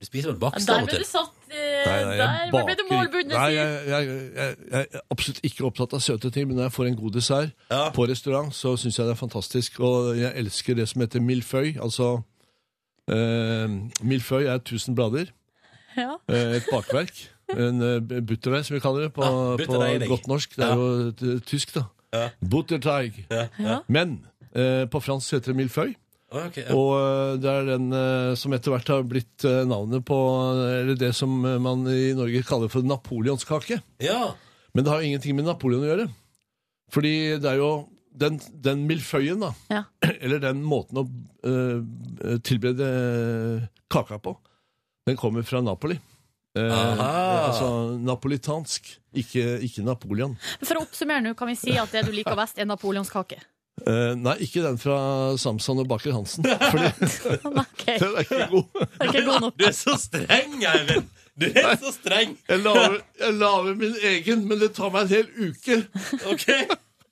Speaker 2: Du spiser vel bakst
Speaker 3: Der
Speaker 2: av og
Speaker 3: ble du
Speaker 2: til?
Speaker 3: satt eh,
Speaker 7: Nei, nei, jeg
Speaker 3: Der ble du
Speaker 7: baker-
Speaker 3: målbundet,
Speaker 7: Nei,
Speaker 3: sier
Speaker 7: jeg, jeg, jeg, jeg er absolutt ikke opptatt av søte ting, men når jeg får en god dessert på restaurant, så syns jeg det er fantastisk. Og jeg elsker det som heter milføy. Altså eh, Milføy er 1000 blader.
Speaker 3: Ja.
Speaker 7: Eh, et bakverk. En eh, butterdeig, som vi kaller det på,
Speaker 2: Ja,
Speaker 7: på
Speaker 2: butterdeig.
Speaker 7: godt norsk. Det er
Speaker 2: Ja.
Speaker 7: jo t- tysk, da. Butterteig.
Speaker 2: Ja.
Speaker 7: Men eh, på fransk heter det milføy.
Speaker 2: Å, ok, ja.
Speaker 7: Og eh, det er den eh, som etter hvert har blitt eh, navnet på eh, Eller det som eh, man i Norge kaller for napoleonskake.
Speaker 2: Ja.
Speaker 7: Men det har jo ingenting med Napoleon å gjøre. Fordi det er jo den, den milføyen, da, eller den måten å eh, tilberede kaka på, den kommer fra Napoli. Eh,
Speaker 2: Aha.
Speaker 7: altså napolitansk, ikke, ikke Napoleon.
Speaker 3: du. For å oppsummere nå, kan vi si at det du liker best, er napoleonskake.
Speaker 7: Eh, nei, ikke den fra Samson og Baker Hansen. Fordi den er ikke
Speaker 3: Sånn,
Speaker 7: god.
Speaker 3: Det er ikke god nok.
Speaker 2: Du er så streng, Eivind! Du er så streng!
Speaker 7: Jeg lager, jeg lager min egen, men det tar meg en hel uke.
Speaker 2: Ok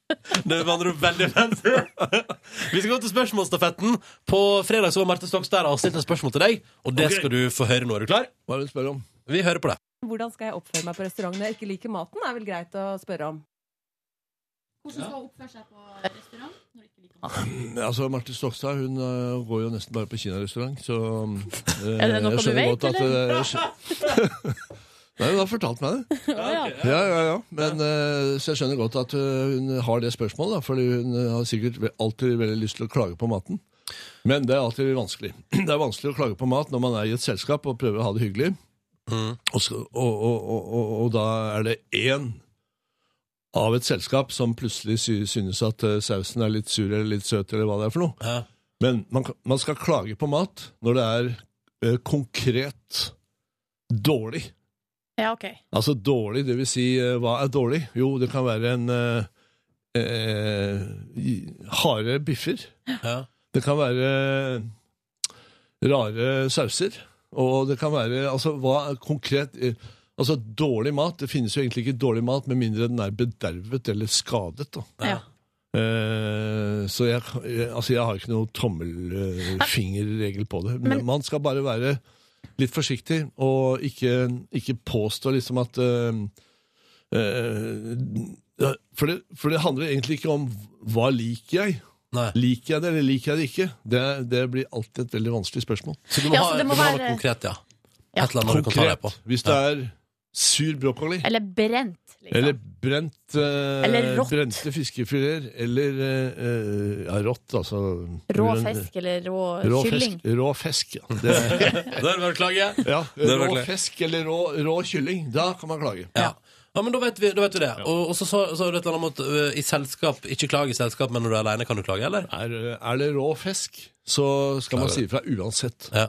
Speaker 2: Det var andre ord veldig fint Vi skal gå til spørsmålstafetten På fredag så var Marte Stokstad og stilte et spørsmål til deg Og det
Speaker 7: Ok.
Speaker 2: skal du få høre nå, er du klar?
Speaker 7: Hva vil du spørre om?
Speaker 2: Vi hører på det
Speaker 15: Hvordan skal jeg oppføre meg på restaurant når jeg ikke liker maten? er vel greit å spørre om.
Speaker 3: Hvordan skal hun oppføre seg på restaurant?
Speaker 7: Altså, Marte Stokstad hun øh, går jo nesten bare på kinarestaurant, så øh,
Speaker 3: Er det noe du
Speaker 7: jeg skjønner
Speaker 3: vet,
Speaker 7: godt at,
Speaker 3: eller?
Speaker 7: øh, jeg skjø- Nei, hun har fortalt meg det.
Speaker 3: ja.
Speaker 7: Ja, ja, ja. Men, øh, så jeg skjønner godt at øh, hun har det spørsmålet, da, fordi hun øh, har sikkert ve- alltid veldig lyst til å klage på maten. Men det er alltid vanskelig. Det er vanskelig å klage på mat når man er i et selskap og prøver å ha det hyggelig. Og, så, og, og, og, og, og da er det én av et selskap som plutselig sy synes at eh, sausen er litt sur eller litt søt, eller hva det er for noe. Men man, kan- man skal klage på mat når det er eh, konkret dårlig.
Speaker 3: Ja, ok.
Speaker 7: Altså dårlig, det vil si eh, hva er dårlig? Jo, det kan være en eh, eh, i- harde biffer. Det kan være eh, rare sauser. Og det kan være altså hva er konkret eh, Altså dårlig mat, det finnes jo egentlig ikke dårlig mat med mindre den er bedervet eller skadet. da. Eh, så jeg, jeg- altså jeg har ikke noe tommelfingerregel på det. Men,
Speaker 3: Men-
Speaker 7: man skal bare være litt forsiktig, og ikke, ikke påstå liksom at eh, eh, for, det, for det handler egentlig ikke om hva liker jeg. Liker jeg det, eller liker jeg det ikke? Det, det blir alltid et veldig vanskelig spørsmål.
Speaker 2: Så
Speaker 3: du må Ja, så ha- det må du må ha noe være-
Speaker 2: konkret, ja.
Speaker 3: Ja.
Speaker 2: Et eller annet du kan ta deg på.
Speaker 7: Hvis det er sur brokkoli,
Speaker 3: Eller brent. liksom.
Speaker 7: eller brent eh,
Speaker 3: Eller rått.
Speaker 7: Brente fiskefileter. Eller eh, ja, rått, altså.
Speaker 3: Rå
Speaker 7: Grønn-
Speaker 3: fisk eller rå,
Speaker 7: Rå
Speaker 3: kylling.
Speaker 7: fisk. Rå fisk ja. det,
Speaker 2: Da er det bare å klage
Speaker 7: ja,
Speaker 2: Da er det bare å
Speaker 7: rå
Speaker 2: klage.
Speaker 7: fisk eller rå, rå kylling. Da kan man klage.
Speaker 2: Ja. Ja, men da vet vi, da vet vi det Og, og så sa så, du et eller annet om at ø, I selskap, ikke klage i selskap Men når du er alene kan du klage, eller?
Speaker 7: Er, det rå fisk, så skal man si ifra uansett.
Speaker 2: Ja.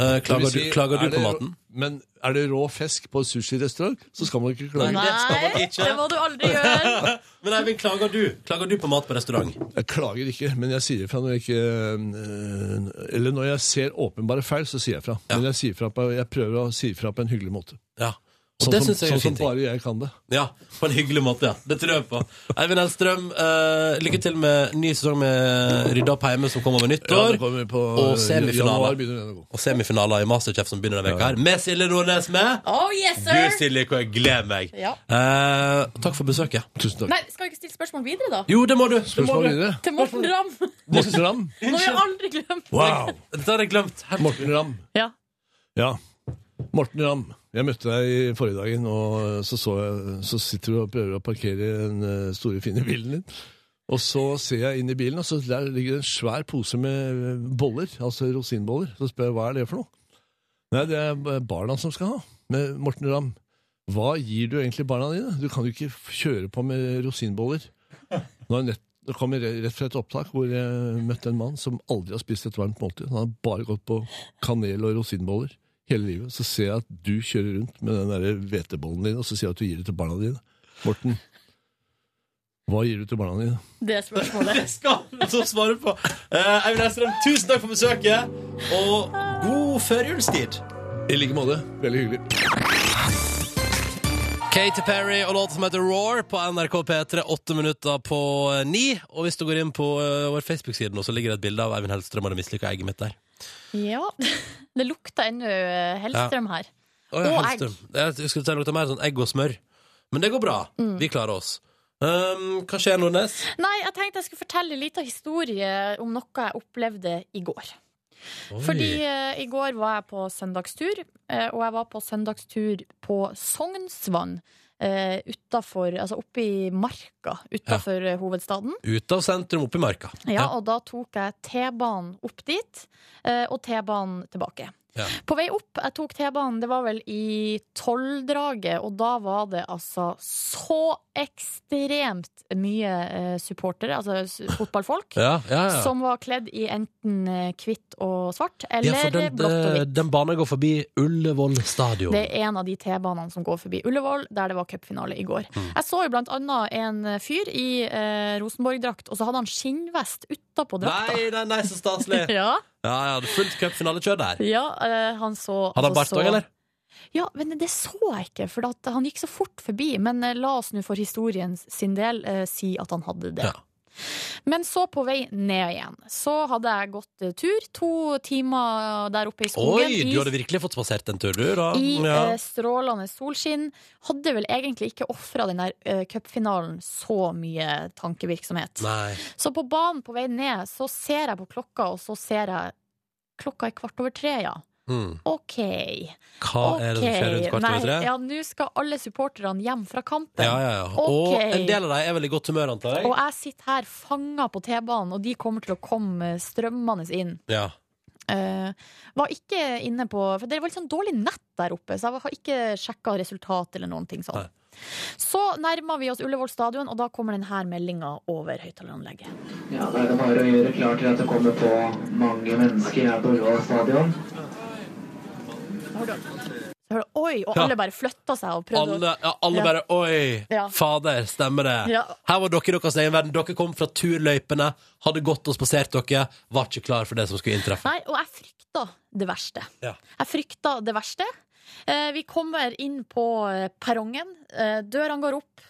Speaker 2: Eh, klager
Speaker 7: Det vil si,
Speaker 2: du, klager
Speaker 7: er
Speaker 2: du på
Speaker 7: det rå-
Speaker 2: maten?
Speaker 7: Men er det rå fisk på sushirestaurant, så skal man ikke klage.
Speaker 2: Nei, det skal man ikke.
Speaker 3: Det må du aldri gjøre.
Speaker 2: Men Eivind, klager du? Klager du på mat på restaurant?
Speaker 7: Jeg klager ikke, men jeg sier fra når jeg ikke øh, Eller når jeg ser åpenbare feil, så sier jeg fra. Men jeg, sier fra på, jeg prøver å si fra på en hyggelig måte.
Speaker 2: Ja. Og
Speaker 7: Sånn
Speaker 2: det
Speaker 7: som,
Speaker 2: synes jeg er
Speaker 7: sånn
Speaker 2: en fin
Speaker 7: som
Speaker 2: ting.
Speaker 7: bare jeg kan det.
Speaker 2: Ja, på en hyggelig måte, ja. Det tror jeg på. Eivind Hellstrøm, eh, lykke til med ny sesong med Rydda opp hjemme, som kommer ved
Speaker 7: Ja,
Speaker 2: nyttår.
Speaker 7: det kommer på,
Speaker 2: og
Speaker 7: januar
Speaker 2: semifinaler.
Speaker 7: begynner den å gå.
Speaker 2: Og semifinaler i Masterchef som begynner denne veka her. Med Silje Nordnes med!
Speaker 3: Oh yes,
Speaker 2: Du,
Speaker 3: sir!
Speaker 2: Silje, hvor jeg gleder meg.
Speaker 3: Ja.
Speaker 2: Eh, takk for besøket.
Speaker 7: Tusen
Speaker 3: Nei, skal vi ikke stille spørsmål videre, da?
Speaker 2: Jo, det må du.
Speaker 7: Spørsmål videre.
Speaker 3: Til Morten Ramm.
Speaker 7: Morten Ramm.
Speaker 3: Må vi aldri glemme.
Speaker 7: Wow!
Speaker 2: Det har jeg glemt.
Speaker 7: Morten Ramm.
Speaker 3: Ja.
Speaker 7: Ja. Morten Ramm, jeg møtte deg i forrige dagen, og så, så, jeg, så sitter du og prøver å parkere den eh, store, fine bilen din. Og så ser jeg inn i bilen, og så eh, der ligger det en svær pose med boller, altså rosinboller. Så spør jeg hva er det for noe? Nei, det er b- barna som skal ha. Med Morten Ramm, hva gir du egentlig barna dine? Du kan jo ikke f- kjøre på med rosinboller. Nå er jeg nett, det kom jeg re- rett fra et opptak hvor jeg møtte en mann som aldri har spist et varmt måltid. Han har bare gått på kanel og rosinboller hele livet. Så ser jeg at du kjører rundt med den der hvetebollen din, og så sier jeg at du gir det til barna dine. Morten, hva gir du til barna dine?
Speaker 16: Det er spørsmålet.
Speaker 2: skal så svare på. Eh, Eivind Hellstrøm, tusen takk for besøket, og god førjulstid.
Speaker 7: I like måte. Veldig hyggelig.
Speaker 2: Katy Perry og låten som heter Roar på NRK P3, åtte minutter på eh, ni. Og hvis du går inn på eh, vår Facebook-side nå, så ligger det et bilde av Eivind Hellstrøm og det mislykka egget mitt der.
Speaker 3: Ja. Det lukter ennå eh, Hellstrøm her.
Speaker 2: Å, ja,
Speaker 3: Og egg.
Speaker 2: Hellstrøm. Jeg skulle si det lukter mer sånn egg og smør. Men det går bra.
Speaker 3: Mm.
Speaker 2: Vi klarer oss. Um, hva skjer, Nordnes?
Speaker 3: Nei, jeg tenkte jeg skulle fortelle en liten historie om noe jeg opplevde i går.
Speaker 2: Oi.
Speaker 3: Fordi eh, i går var jeg på søndagstur, eh, og jeg var på søndagstur på Sognsvann. Uh, utenfor, altså oppe i marka utafor eh, hovedstaden.
Speaker 2: Ut av sentrum, opp i marka.
Speaker 3: Ja, og da tok jeg T-banen opp dit, eh, og T-banen tilbake.
Speaker 2: Ja.
Speaker 3: På vei opp, jeg tok T-banen, det var vel i tolvdraget, og da var det altså så ekstremt mye eh, supportere, altså s- fotballfolk,
Speaker 2: Ja, ja, ja.
Speaker 3: som var kledd i enten eh, hvitt og svart,
Speaker 2: Ja,
Speaker 3: eller
Speaker 2: for den,
Speaker 3: blått og hvitt.
Speaker 2: Eh, den banen går forbi Ullevål stadion.
Speaker 3: Det er en av de T-banene som går forbi Ullevål, der det var cupfinale i går.
Speaker 2: Mm.
Speaker 3: Jeg så jo blant annet en fyr i eh, Rosenborg-drakt, og så hadde han skinnvest utapå drakta.
Speaker 2: Nei, nei, nei, så staselig!
Speaker 3: ja.
Speaker 2: ja, jeg hadde fullt cupfinalekjør der.
Speaker 3: ja, eh, han så
Speaker 2: Hadde han bart
Speaker 3: altså så-
Speaker 2: òg, eller?
Speaker 3: Ja, men det så jeg ikke, for at han gikk så fort forbi. Men eh, la oss nå for historien sin del eh, si at han hadde det. Men så på vei ned igjen, så hadde jeg gått eh, tur to timer eh, der oppe i skogen.
Speaker 2: Oi,
Speaker 3: i
Speaker 2: du hadde virkelig fått spasert en tur, du, da.
Speaker 3: i
Speaker 2: Ja.
Speaker 3: eh, strålende solskinn. Hadde vel egentlig ikke ofra den der eh, cupfinalen så mye tankevirksomhet.
Speaker 2: Nei.
Speaker 3: Så på banen på vei ned så ser jeg på klokka, og så ser jeg Klokka er kvart over tre, ja.
Speaker 2: Mm.
Speaker 3: OK.
Speaker 2: Hva er det som skjer rundt
Speaker 3: Ok.
Speaker 2: kvart over
Speaker 3: Nei,
Speaker 2: tre?
Speaker 3: Ja, nå skal alle supporterne hjem fra kampen.
Speaker 2: Ja, ja, ja.
Speaker 3: Ok.
Speaker 2: Og en del av dem er vel i godt humør, antar jeg.
Speaker 3: Og jeg sitter her fanga på T-banen, og de kommer til å komme strømmende inn.
Speaker 2: Ja.
Speaker 3: Eh, var ikke inne på For det var litt sånn dårlig nett der oppe, så jeg har ikke sjekka resultat eller noen ting sånn. Så nærmer vi oss Ullevål stadion, og da kommer denne meldinga over høyttaleranlegget.
Speaker 17: Ja, da er det bare å gjøre klar til at det kommer på mange mennesker her på Ullevål stadion.
Speaker 3: Hører du? Så hører du, Oi! Og
Speaker 2: Ja.
Speaker 3: alle bare flytta seg og prøvde
Speaker 2: Alle, ja, alle
Speaker 3: Ja.
Speaker 2: bare Oi,
Speaker 3: Ja.
Speaker 2: fader, stemmer det.
Speaker 3: Ja.
Speaker 2: Her var dere i deres egen verden. Dere kom fra turløypene, hadde gått og spasert dere, var ikke klar for det som skulle inntreffe.
Speaker 3: Nei, og jeg frykta det verste.
Speaker 2: Ja.
Speaker 3: Jeg frykta det verste. Eh, vi kommer inn på eh, perrongen. Eh, dørene går opp,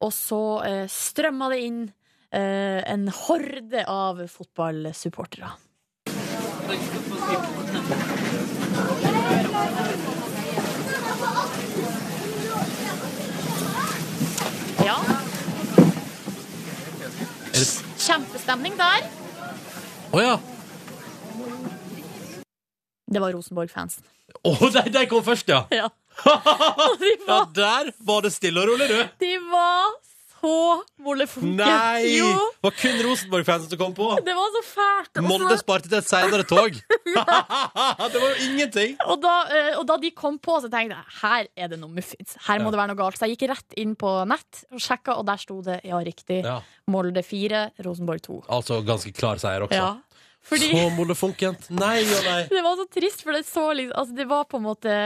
Speaker 3: og så eh, strømmer det inn eh, en horde av fotballsupportere. Ja. Kjempestemning der.
Speaker 2: Å ja!
Speaker 3: Det var Rosenborg-fansen.
Speaker 2: Å, de, de kom først, ja!
Speaker 3: Ja.
Speaker 2: ja! Der var det stille og rolig, du.
Speaker 3: De var så molefonke.
Speaker 2: Nei!
Speaker 3: Jo,
Speaker 2: Det var kun Rosenborg-fansen som kom på.
Speaker 3: det var så fælt. Og så-
Speaker 2: Molde sparte til et seinere tog. det var jo ingenting.
Speaker 3: Og da, eh, og da de kom på, så tenkte jeg her er det noe muffins. Her må
Speaker 2: Ja.
Speaker 3: det være noe galt. Så jeg gikk rett inn på nett og sjekka, og der sto det ja, riktig.
Speaker 2: Ja.
Speaker 3: Molde 4, Rosenborg 2.
Speaker 2: Altså ganske klar seier også.
Speaker 3: Ja, fordi-
Speaker 2: Så molefonkent. Nei og nei.
Speaker 3: Det var så trist, for det så liksom Altså, det var på en måte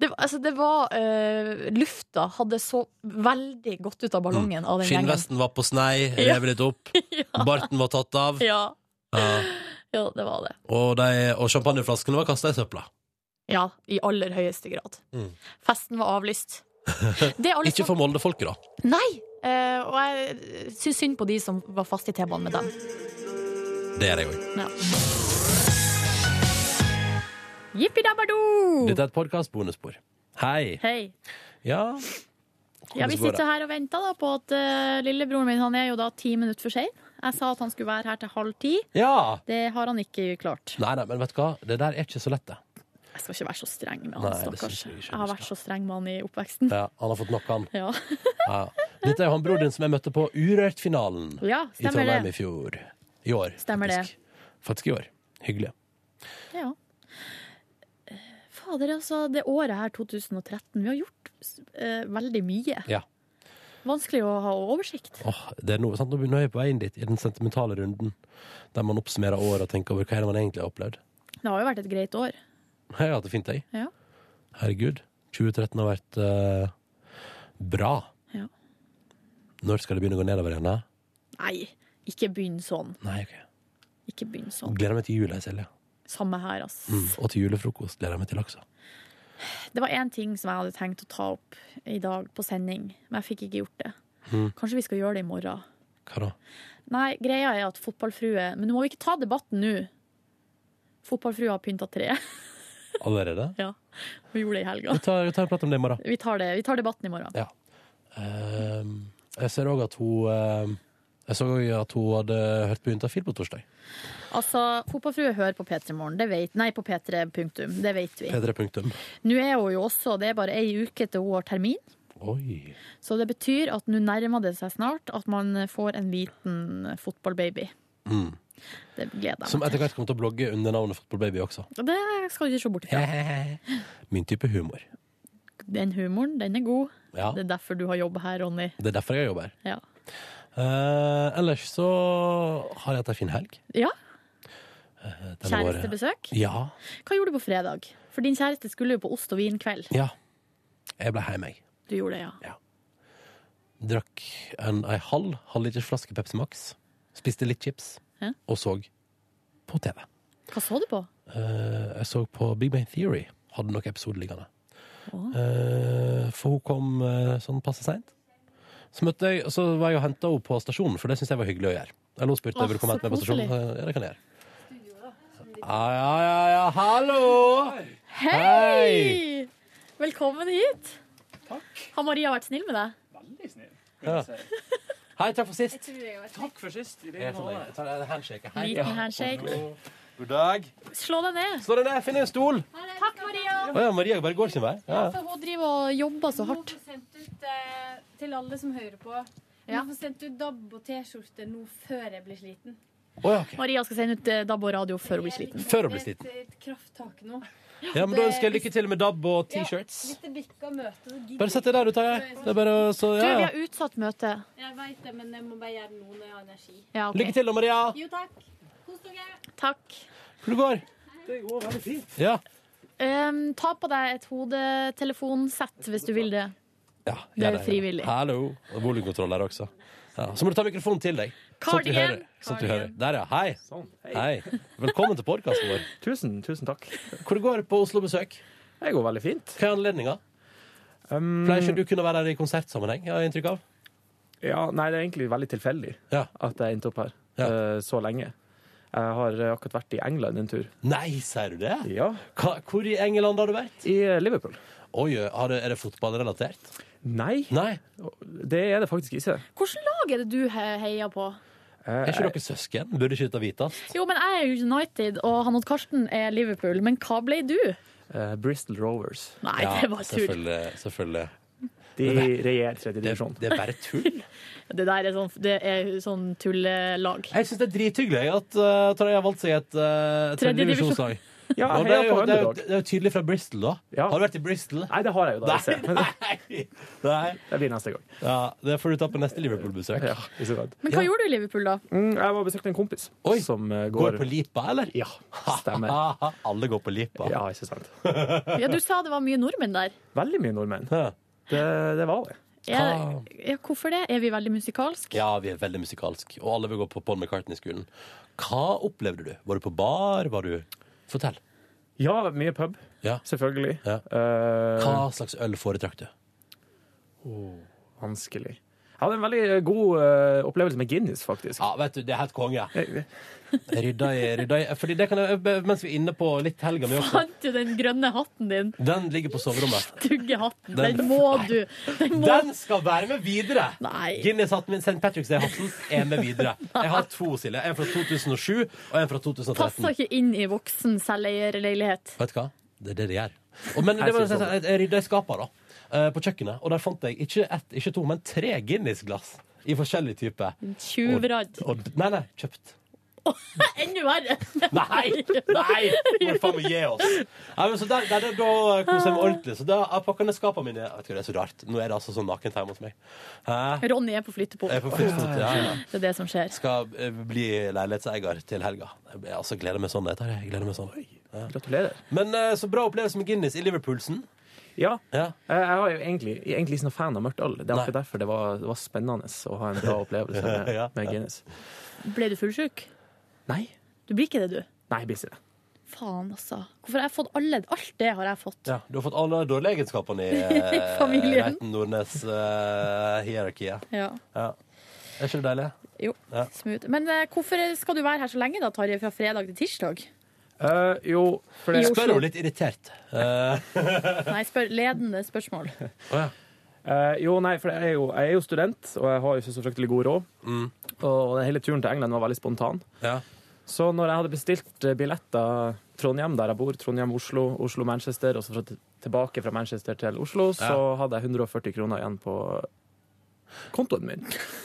Speaker 3: det, altså det var eh, Lufta hadde så veldig godt ut av
Speaker 2: Mm.
Speaker 3: ballongen av den gjengen.
Speaker 2: Skinnvesten var på snei,
Speaker 3: Ja.
Speaker 2: revet litt opp. Barten var tatt av.
Speaker 3: Ja.
Speaker 2: Ja.
Speaker 3: ja, det var det.
Speaker 2: Og, de, og champagneflaskene var kasta i søpla.
Speaker 3: Ja, i aller høyeste grad.
Speaker 2: Mm.
Speaker 3: Festen var avlyst. Det er alle
Speaker 2: Ikke for Molde-folket, da.
Speaker 3: Nei! eh, og jeg syns synd på de som var fast i T-banen med dem.
Speaker 2: Det er jeg òg.
Speaker 3: Ja. Jippi-dabba-do!
Speaker 2: Dette er et podkast-bonusspor. Hei.
Speaker 3: Hei.
Speaker 2: Ja.
Speaker 16: Ja, vi
Speaker 2: Hvordan går det?
Speaker 16: sitter her og venter da på at eh, lillebroren min han er jo da ti minutter for sein. Jeg sa at han skulle være her til halv ti.
Speaker 2: Ja.
Speaker 16: Det har han ikke klart.
Speaker 2: Nei, nei, men vet du hva? Det der er ikke så lett, det.
Speaker 16: Jeg skal ikke være så streng med
Speaker 2: Nei,
Speaker 16: han,
Speaker 2: det
Speaker 16: stakkars.
Speaker 2: synes jeg ikke
Speaker 16: Jeg har vært så streng med han i oppveksten.
Speaker 2: Ja, han har fått nok, han.
Speaker 16: Ja,
Speaker 2: Ja. Dette er jo han broren din som jeg møtte på Urørt-finalen
Speaker 16: Ja,
Speaker 2: i
Speaker 16: stemmer
Speaker 2: Trondheim
Speaker 16: det.
Speaker 2: i fjor. I år.
Speaker 16: stemmer det.
Speaker 2: Faktisk i år. Hyggelig.
Speaker 16: Ja.
Speaker 3: fader, altså. Det året her, 2013, vi har gjort eh, veldig mye.
Speaker 2: Ja.
Speaker 3: Vanskelig å ha oversikt.
Speaker 2: Åh, det er noe, sant? Nå begynner jeg på veien dit, i den sentimentale runden, der man oppsummerer året og tenker over hva er det man egentlig har opplevd.
Speaker 3: Det har jo vært et greit år.
Speaker 2: Jeg har hatt det fint, jeg.
Speaker 3: Ja.
Speaker 2: Herregud. 2013 har vært eh, bra.
Speaker 3: Ja.
Speaker 2: Når skal det begynne å gå nedover igjen? da?
Speaker 3: Nei, ikke begynn sånn.
Speaker 2: Nei, ok.
Speaker 3: Ikke begynn sånn.
Speaker 2: Gleder meg til jula, Silje.
Speaker 3: Samme her, ass.
Speaker 2: Mm. Og til julefrokost gleder jeg meg til også.
Speaker 3: Det var én ting som jeg hadde tenkt å ta opp i dag på sending, men jeg fikk ikke gjort det.
Speaker 2: Mm.
Speaker 3: Kanskje vi skal gjøre det i morgen.
Speaker 2: Hva da?
Speaker 3: Nei, greia er at fotballfrue Men nå må vi ikke ta debatten nå. Fotballfrue har pynta tre.
Speaker 2: Allerede?
Speaker 3: ja. Vi gjorde det i helga.
Speaker 2: Vi tar, vi tar en prat om det i morgen.
Speaker 3: Vi tar, det. vi tar debatten i morgen.
Speaker 2: Ja. Ehm, jeg ser òg at hun ehm, Jeg så også at hun hadde hørt på Juntafil på torsdag.
Speaker 3: Altså, Fotballfrue hører på P3 Morgen. Det vet, nei, på P3 punktum. Det vet vi.
Speaker 2: P3 punktum.
Speaker 3: Nå er hun jo også Det er bare ei uke til hun har termin.
Speaker 2: Oi.
Speaker 3: Så det betyr at nå nærmer det seg snart at man får en liten fotballbaby.
Speaker 2: Mm.
Speaker 3: Det gleder jeg
Speaker 2: Som
Speaker 3: meg
Speaker 2: etter hvert kommer til å blogge under navnet Fotballbaby også.
Speaker 3: til. Det skal du ikke se bort ifra.
Speaker 2: Min type humor.
Speaker 3: Den humoren, den er god.
Speaker 2: Ja.
Speaker 3: Det er derfor du har jobb her, Ronny.
Speaker 2: Det er derfor jeg jobber her.
Speaker 3: Ja.
Speaker 2: Eh, ellers så har jeg hatt ei fin helg.
Speaker 3: ja.
Speaker 2: Eh, denne
Speaker 3: Kjærestebesøk.
Speaker 2: våren- Ja.
Speaker 3: Hva gjorde du på fredag? For din kjæreste skulle jo på ost og vin kveld.
Speaker 2: ja. Jeg ble hjemme, jeg.
Speaker 3: Du gjorde det, ja.
Speaker 2: Drakk en, ei halv halvliters flaske Pepsi Max. Spiste litt chips.
Speaker 3: Ja.
Speaker 2: Og så på TV.
Speaker 3: Hva så du på?
Speaker 2: Eh, jeg så på Big Bang Theory. Hadde noen episoder liggende.
Speaker 3: Å.
Speaker 2: Eh, for hun kom eh, sånn passe seint. Så møtte jeg, så var jeg og henta henne på stasjonen, for det syns jeg var hyggelig å gjøre. Eller hun spurte
Speaker 18: Åh,
Speaker 2: om jeg ville komme
Speaker 18: så
Speaker 2: hente meg på stasjonen.
Speaker 18: koselig.
Speaker 2: Eh, Ja, det kan jeg gjøre. Ja, ja, ja, ja, hallo!
Speaker 3: Hei! Velkommen hit. Takk. Har Maria vært snill med deg?
Speaker 10: Veldig snill.
Speaker 2: Ja. Hei, takk for sist.
Speaker 10: Takk for sist. I
Speaker 2: Jeg er
Speaker 10: like
Speaker 2: sånn,
Speaker 10: måte.
Speaker 2: jeg tar en handshake. Hei.
Speaker 3: Liten handshake.
Speaker 2: God dag.
Speaker 3: Slå deg ned.
Speaker 2: Slå deg ned, finn en stol.
Speaker 3: Takk, Maria.
Speaker 2: Å ja, Maria bare går sin vei. Ja.
Speaker 8: For hun driver og jobber så hardt. Hun får sendt ut eh, til alle som hører på. Hun får sendt ut DAB og T-skjorte nå før jeg blir sliten.
Speaker 3: Maria skal sende ut eh, DAB og radio før hun blir sliten.
Speaker 2: Før hun blir sliten.
Speaker 8: Et, et krafttak nå.
Speaker 2: ja, men da ønsker jeg lykke til med DAB og T-shirts.
Speaker 8: Ja, hvis det bikker møtet, så gidder
Speaker 2: Bare sett deg der ute, jeg. Det er bare å- så,
Speaker 3: Du,
Speaker 2: ja,
Speaker 3: vi
Speaker 2: ja.
Speaker 3: har utsatt møtet.
Speaker 8: Jeg veit det, men jeg må bare gjøre noe når jeg har energi.
Speaker 3: Ja, ok.
Speaker 2: Lykke til da, Maria.
Speaker 8: Jo, takk. Kos dere.
Speaker 3: Takk.
Speaker 2: Hvor det går?
Speaker 10: Det går veldig fint.
Speaker 2: Ja.
Speaker 3: Ehm, ta på deg et hodetelefonsett hvis du vil det. Det er
Speaker 2: Gjør
Speaker 3: frivillig.
Speaker 2: Hallo. Og volumkontroll der også. Ja. Så må du ta mikrofonen til deg. Sånn at vi
Speaker 3: Cardigan.
Speaker 2: hører. Sånn at vi hører. Der, ja. Hei. Hei. Velkommen til podkasten vår.
Speaker 10: Sånn, Tusen, tusen takk.
Speaker 2: Hvor det går på Oslo-besøk?
Speaker 10: Det går veldig fint. Um,
Speaker 2: Hva er anledninga? Pleier ikke du kunne være der i konsertsammenheng? Har jeg inntrykk av?
Speaker 10: Ja, nei, det er egentlig veldig tilfeldig at jeg endte opp her eh, så lenge. Jeg har eh, akkurat vært i England en tur.
Speaker 2: Nei, sier du det?
Speaker 10: Ja.
Speaker 2: hvor i England har du vært?
Speaker 10: I eh, Liverpool.
Speaker 2: Oi, er det fotballrelatert?
Speaker 10: Nei. Det er det faktisk ikke.
Speaker 3: Hvilket lag er det du he- heier på?
Speaker 2: Er
Speaker 10: Eh,
Speaker 2: ikke dere søsken? Burde ikke dette vites?
Speaker 3: Jo, men jeg er United, og han og Karsten er Liverpool. Men hva ble du?
Speaker 10: Eh, Bristol Rovers.
Speaker 3: Nei, det var tull.
Speaker 2: Selvfølgelig. selvfølgelig.
Speaker 10: De regjerer tredje divisjon.
Speaker 2: Det er bare tull.
Speaker 3: Det der er sånn, det er sånn tullelag.
Speaker 2: Jeg syns det er drithyggelig at uh, Tarjei har valgt seg et uh,
Speaker 3: Tredje
Speaker 2: tredjedivisjonslag.
Speaker 3: divisjon. Ja,
Speaker 2: Og det, er
Speaker 10: heia
Speaker 2: jo,
Speaker 10: på
Speaker 2: det, er jo,
Speaker 10: underdog.
Speaker 2: det er jo tydelig fra Bristol, da. Har du vært i Bristol?
Speaker 10: Nei, det har jeg jo da. ikke. Men Det blir neste gang.
Speaker 2: Ja, det får du ta på neste Liverpool-besøk.
Speaker 10: Ja, i så fall.
Speaker 3: Men hva gjorde du i Liverpool, da?
Speaker 10: Mm, jeg var og besøkte en kompis som eh,
Speaker 2: Går
Speaker 10: går
Speaker 2: på Lipa, eller?
Speaker 10: Ja, stemmer.
Speaker 2: Alle går på Lipa.
Speaker 10: Ja, ikke sant.
Speaker 3: Ja, Du sa det var mye nordmenn der.
Speaker 10: Veldig mye nordmenn. Det, det var det.
Speaker 3: Er, ja, hvorfor det? Er vi veldig musikalske?
Speaker 2: Ja, vi er veldig musikalsk, og alle vil gå på Paul McCartney-skolen. Hva opplevde du? Var du på bar? Var du Fortell.
Speaker 10: Ja, mye pub. Selvfølgelig. Eh,
Speaker 2: Hva slags øl foretrakk du?
Speaker 10: Åh, vanskelig. Jeg hadde en veldig god eh, opplevelse med Guinness, faktisk.
Speaker 2: Ja, vet du, det er helt konge. Rydda i, rydda i Fordi det kan jeg, Mens vi er inne på litt helga mi også.
Speaker 3: Fant du den grønne hatten din?
Speaker 2: Den ligger på soverommet.
Speaker 3: Stygge hatten. Den,
Speaker 2: Den-
Speaker 3: må du. Den må
Speaker 2: Den skal være med videre! Guinness-hatten min, St. Patrick's Day-hatten, er med videre. Jeg har to, Silje. En fra 2007 og en fra 2013.
Speaker 3: passer ikke inn i voksen selveierleilighet.
Speaker 2: Vet du hva? Det er det de gjør. Og, men det
Speaker 10: Jeg
Speaker 2: var, sånn
Speaker 10: synes
Speaker 2: jeg, jeg rydda i skapet da, eh, på kjøkkenet, og der fant jeg ikke ett, ikke to, men tre Guinness-glass i forskjellig type.
Speaker 3: Tjuvradd.
Speaker 2: Og, og, nei, nei, kjøpt.
Speaker 3: Enda verre!
Speaker 2: Nei! Nei! Må du faen meg gi oss. Nei, men så der, der, der, da koser jeg meg ordentlig. Så da jeg pakket ned skapene mine Vet du, hva, Det er så rart. Nå er det altså sånn nakent hjemme hos meg. Hæ?
Speaker 3: Ronny er på flyttepot.
Speaker 2: Jeg er på flyttefot, ja, ja.
Speaker 3: Det er det som skjer.
Speaker 2: Skal eh, bli leilighetseier til helga. Jeg altså, gleder meg sånn. Dette. her. Jeg gleder meg sånn.
Speaker 10: Gratulerer.
Speaker 2: Men eh, så bra opplevelse med Guinness i Liverpoolsen.
Speaker 10: Ja. Eh, Jeg var jo egentlig, jeg er egentlig ikke noen fan av mørkt øl. Det er akkurat derfor det var, det var spennende å ha en bra opplevelse med,
Speaker 2: Ja.
Speaker 10: med Guinness.
Speaker 3: Ble du fullsjuk?
Speaker 10: Nei.
Speaker 3: Du blir ikke det, du?
Speaker 10: Nei, jeg blir ikke det.
Speaker 3: Faen, altså. Hvorfor har jeg fått alle Alt det har jeg fått.
Speaker 2: Ja, du har fått alle dårlige egenskapene i eh,
Speaker 3: Familien.
Speaker 2: Reiten Nordnes-hierarkiet.
Speaker 3: Ja.
Speaker 2: Er ikke det deilig?
Speaker 3: Jo.
Speaker 2: Ja.
Speaker 3: Smooth. Men eh, hvorfor skal du være her så lenge, da, Tarjei? Fra fredag til tirsdag?
Speaker 10: Eh, jo, for det
Speaker 3: I Oslo. Spør hun litt
Speaker 2: irritert. Eh,
Speaker 3: Nei, spør, ledende spørsmål.
Speaker 10: Eh, jo, nei, for jeg er jo, jeg er jo student, og jeg har jo ikke så fryktelig god råd. Og den hele turen til England var veldig spontan. Så når jeg hadde bestilt eh, billetter Trondheim, der jeg bor, Trondheim-Oslo, Oslo-Manchester, og så fra, tilbake fra Manchester til Oslo, så hadde jeg 140 kroner igjen på kontoen min.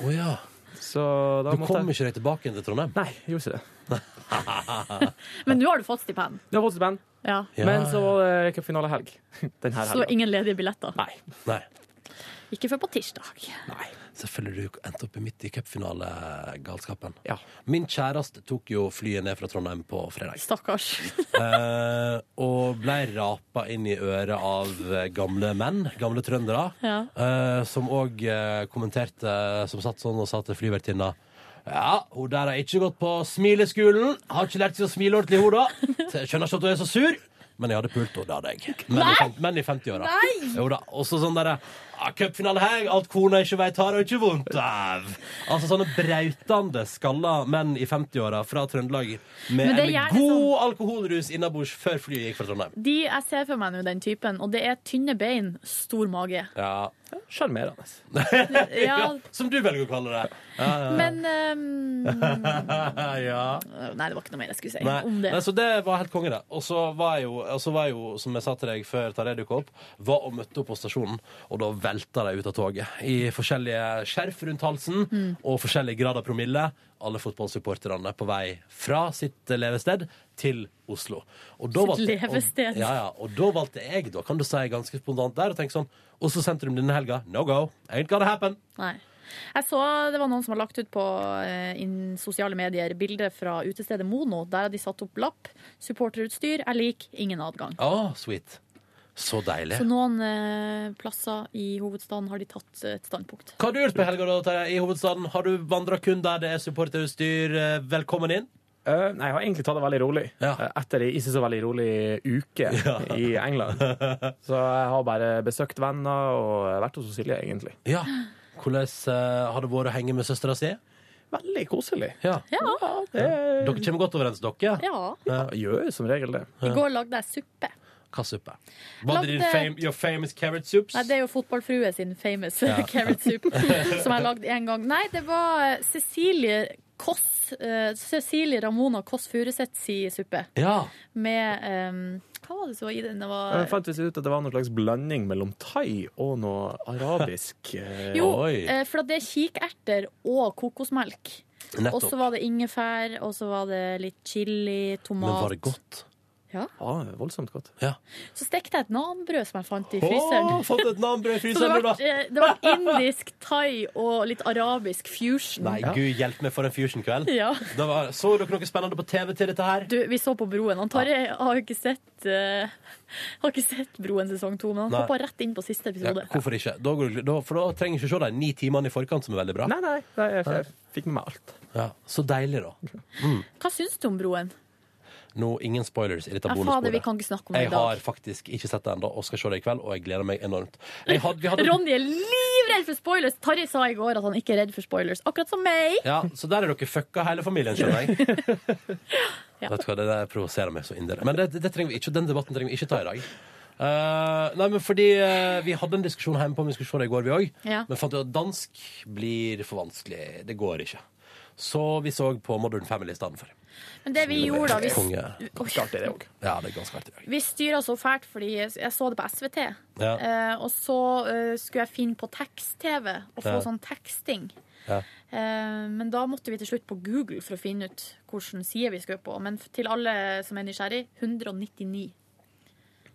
Speaker 2: Å ja.
Speaker 10: Så da
Speaker 2: Du kom
Speaker 10: måtte
Speaker 2: ikke deg tilbake inn til Trondheim?
Speaker 10: Nei, jeg gjorde ikke det.
Speaker 3: Men nå har du fått stipend.
Speaker 10: Det var stipend.
Speaker 3: Ja.
Speaker 10: Men så var det cupfinalehelg denne
Speaker 3: Så
Speaker 10: helga.
Speaker 3: ingen ledige billetter?
Speaker 2: Nei.
Speaker 3: Ikke før på tirsdag.
Speaker 2: Selvfølgelig du endte opp i midt i cupfinalegalskapen.
Speaker 10: Ja.
Speaker 2: Min kjæreste tok jo flyet ned fra Trondheim på fredag.
Speaker 3: Stakkars.
Speaker 2: Eh, og ble rapa inn i øret av eh, gamle menn, gamle trøndere,
Speaker 3: Ja.
Speaker 2: eh, som òg eh, kommenterte, som satt sånn og sa til flyvertinna ja, hun der har ikke gått på smileskolen. Har ikke lært seg å smile ordentlig, hun da. Så jeg Skjønner ikke at hun er så sur. Men jeg hadde pult henne, det hadde jeg. Men i, fem- men i 50-åra.
Speaker 14: Nei!
Speaker 2: Jo da. Også sånn derre ah, Cupfinalehelg, alt kona ikke veit, har hun ikke vondt av. Altså sånne brautende, skalla menn i 50-åra fra Trøndelag med
Speaker 3: Men det er
Speaker 2: en
Speaker 3: gjerne sånn-
Speaker 2: god alkoholrus innabords før flyet gikk fra Trondheim.
Speaker 3: De jeg ser for meg nå, den typen, og det er tynne bein, stor mage.
Speaker 2: Ja.
Speaker 10: Sjarmerende.
Speaker 3: Ja.
Speaker 2: Som du velger å kalle det. Ja, ja, ja.
Speaker 3: Men ehm,
Speaker 2: ja.
Speaker 3: Nei, det var ikke noe mer jeg skulle si
Speaker 2: Nei.
Speaker 3: om det.
Speaker 2: Nei, så det var helt konge, det. Og så var jeg jo, og så var jeg jo som jeg sa til deg før Tarjei dukka opp, var og møtte opp på stasjonen, og da velta de ut av toget. I forskjellige skjerf rundt halsen
Speaker 3: Mm.
Speaker 2: og forskjellig grad av promille. Alle fotballsupporterne på vei fra sitt levested til Oslo. Og
Speaker 3: Sitt
Speaker 2: valgte-
Speaker 3: levested.
Speaker 2: Og, ja, ja, og da valgte jeg, da, kan du si, ganske spontant der, og tenke sånn Oslo sentrum denne helga, no go. Ain't gonna happen.
Speaker 3: Nei. Jeg så det var noen som har lagt ut på eh, inn- sosiale medier bilder fra utestedet Mono. Der har de satt opp lapp. Supporterutstyr er lik ingen adgang.
Speaker 2: Å, sweet. Så deilig.
Speaker 3: Så noen eh, plasser i hovedstaden har de tatt eh, et standpunkt.
Speaker 2: Hva har du gjort på helga da, Terje, i hovedstaden? Har du vandra kun der det er supporterutstyr? Eh, Velkommen inn.
Speaker 10: Eh, nei, jeg har egentlig tatt det veldig rolig. Eh, Etter ei ikke så veldig rolig uke i England. Så jeg har bare besøkt venner og vært hos Silje, egentlig.
Speaker 2: Ja. Hvordan eh, har det vært å henge med søstera si?
Speaker 10: Veldig koselig.
Speaker 2: Ja.
Speaker 10: det...
Speaker 2: Dere kommer godt overens, dere?
Speaker 3: Ja.
Speaker 10: Jeg gjør jo som regel det.
Speaker 3: I går lagde jeg suppe.
Speaker 2: Hva suppe? Var det din
Speaker 3: Lagde-
Speaker 2: fam your famous carrot soups?
Speaker 3: eh, Nei, Det er jo fotballfrue sin famous
Speaker 2: Ja.
Speaker 3: carrot soup som jeg lagde en gang. Nei, det var eh, Cecilie Koss eh, Cecilie Ramona Koss Furuseth si suppe.
Speaker 2: Ja.
Speaker 3: Med eh, Hva var det som var i den? Det var
Speaker 10: Jeg fant visst ut at det var noen slags blanding mellom thai og noe arabisk. eh,
Speaker 3: Jo, eh, for at det er kikerter og kokosmelk.
Speaker 10: Nettopp.
Speaker 3: Og så var det ingefær, og så var det litt chili, tomat.
Speaker 10: Men var det
Speaker 2: godt?
Speaker 3: Ja.
Speaker 10: Ja, ah, voldsomt godt.
Speaker 2: Ja.
Speaker 3: Så stekte jeg et nanbrød som jeg fant i
Speaker 2: Åh,
Speaker 3: fryseren.
Speaker 2: fant et nanbrød i
Speaker 3: Så
Speaker 2: fryseren,
Speaker 3: det
Speaker 2: du, da.
Speaker 3: ble, eh, det ble indisk, thai og litt arabisk fusion.
Speaker 2: Nei, gud hjelp meg for en fusion-kveld.
Speaker 3: Ja.
Speaker 2: Det var- Så dere noe spennende på TV til dette her?
Speaker 3: Du, vi så på Broen. Han Tarjei har jo ikke sett eh, Har ikke sett Broen sesong to, men han
Speaker 2: Nei.
Speaker 3: hoppa rett inn på siste
Speaker 2: Ja,
Speaker 3: episode.
Speaker 2: hvorfor ikke? Da går, du- da, for da trenger jeg ikke se de ni timene i forkant, som er veldig bra.
Speaker 10: Nei, nei, nei jeg, jeg fikk med meg alt.
Speaker 2: Ja, Så deilig, da. Mm.
Speaker 3: Hva syns du om Broen?
Speaker 2: Nå, ingen spoilers i dette
Speaker 3: Ja,
Speaker 2: bonusbordet.
Speaker 3: fader, vi kan ikke snakke om det i
Speaker 2: Jeg
Speaker 3: dag.
Speaker 2: har faktisk ikke sett det ennå, og skal se det i kveld, og jeg gleder meg enormt. Jeg hadde, vi hadde...
Speaker 3: Ronny er livredd for spoilers! Tarjei sa i går at han ikke er redd for spoilers, akkurat som meg.
Speaker 2: Ja, Så der er dere fucka, hele familien, skjønner jeg. Vet du hva, Det der provoserer meg så inderlig. Men det, det trenger vi ikke, den debatten trenger vi ikke ta i dag. Eh, nei, men fordi eh, Vi hadde en diskusjon hjemme på om vi skulle se det i går, vi òg.
Speaker 14: Ja.
Speaker 2: Men fant ut at dansk blir for vanskelig. Det går ikke. Så vi så på Modern Family i stedet for.
Speaker 3: Men det vi gjorde da, vi,
Speaker 2: Konge.
Speaker 3: Ganske
Speaker 2: artig, det òg. Ja, det er ganske artig. det
Speaker 3: vi styra så fælt fordi jeg så det på SVT.
Speaker 2: Ja.
Speaker 3: Eh, og så eh, skulle jeg finne på tekst-TV og få
Speaker 2: Ja.
Speaker 3: sånn teksting.
Speaker 2: også. Ja.
Speaker 3: Eh, Men da måtte vi til slutt på Google for å finne ut hvilken side vi skulle på. Men f- til alle som er nysgjerrig, 199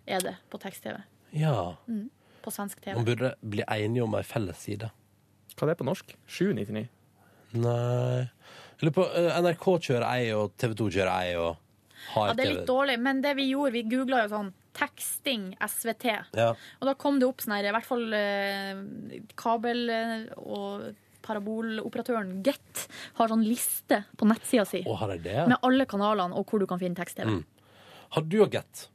Speaker 3: er det på tekst-TV.
Speaker 2: Ja.
Speaker 3: Mm. På svensk TV.
Speaker 2: Man burde bli enige om ei felles side.
Speaker 10: Hva er det på norsk? 799?
Speaker 2: Nei Jeg lurer på eh, NRK kjører ei, og TV 2 kjører ei, og har
Speaker 3: Ja, det er litt dårlig, men det vi gjorde, vi googla jo sånn teksting SVT.
Speaker 2: Ja.
Speaker 3: Og da kom det opp sånn her, i hvert fall eh, kabel- og paraboloperatøren Get har sånn liste på nettsida si
Speaker 2: Å, har de det?
Speaker 3: med alle kanalene og hvor du kan finne tekst-TV.
Speaker 2: Mm. Har du og Get?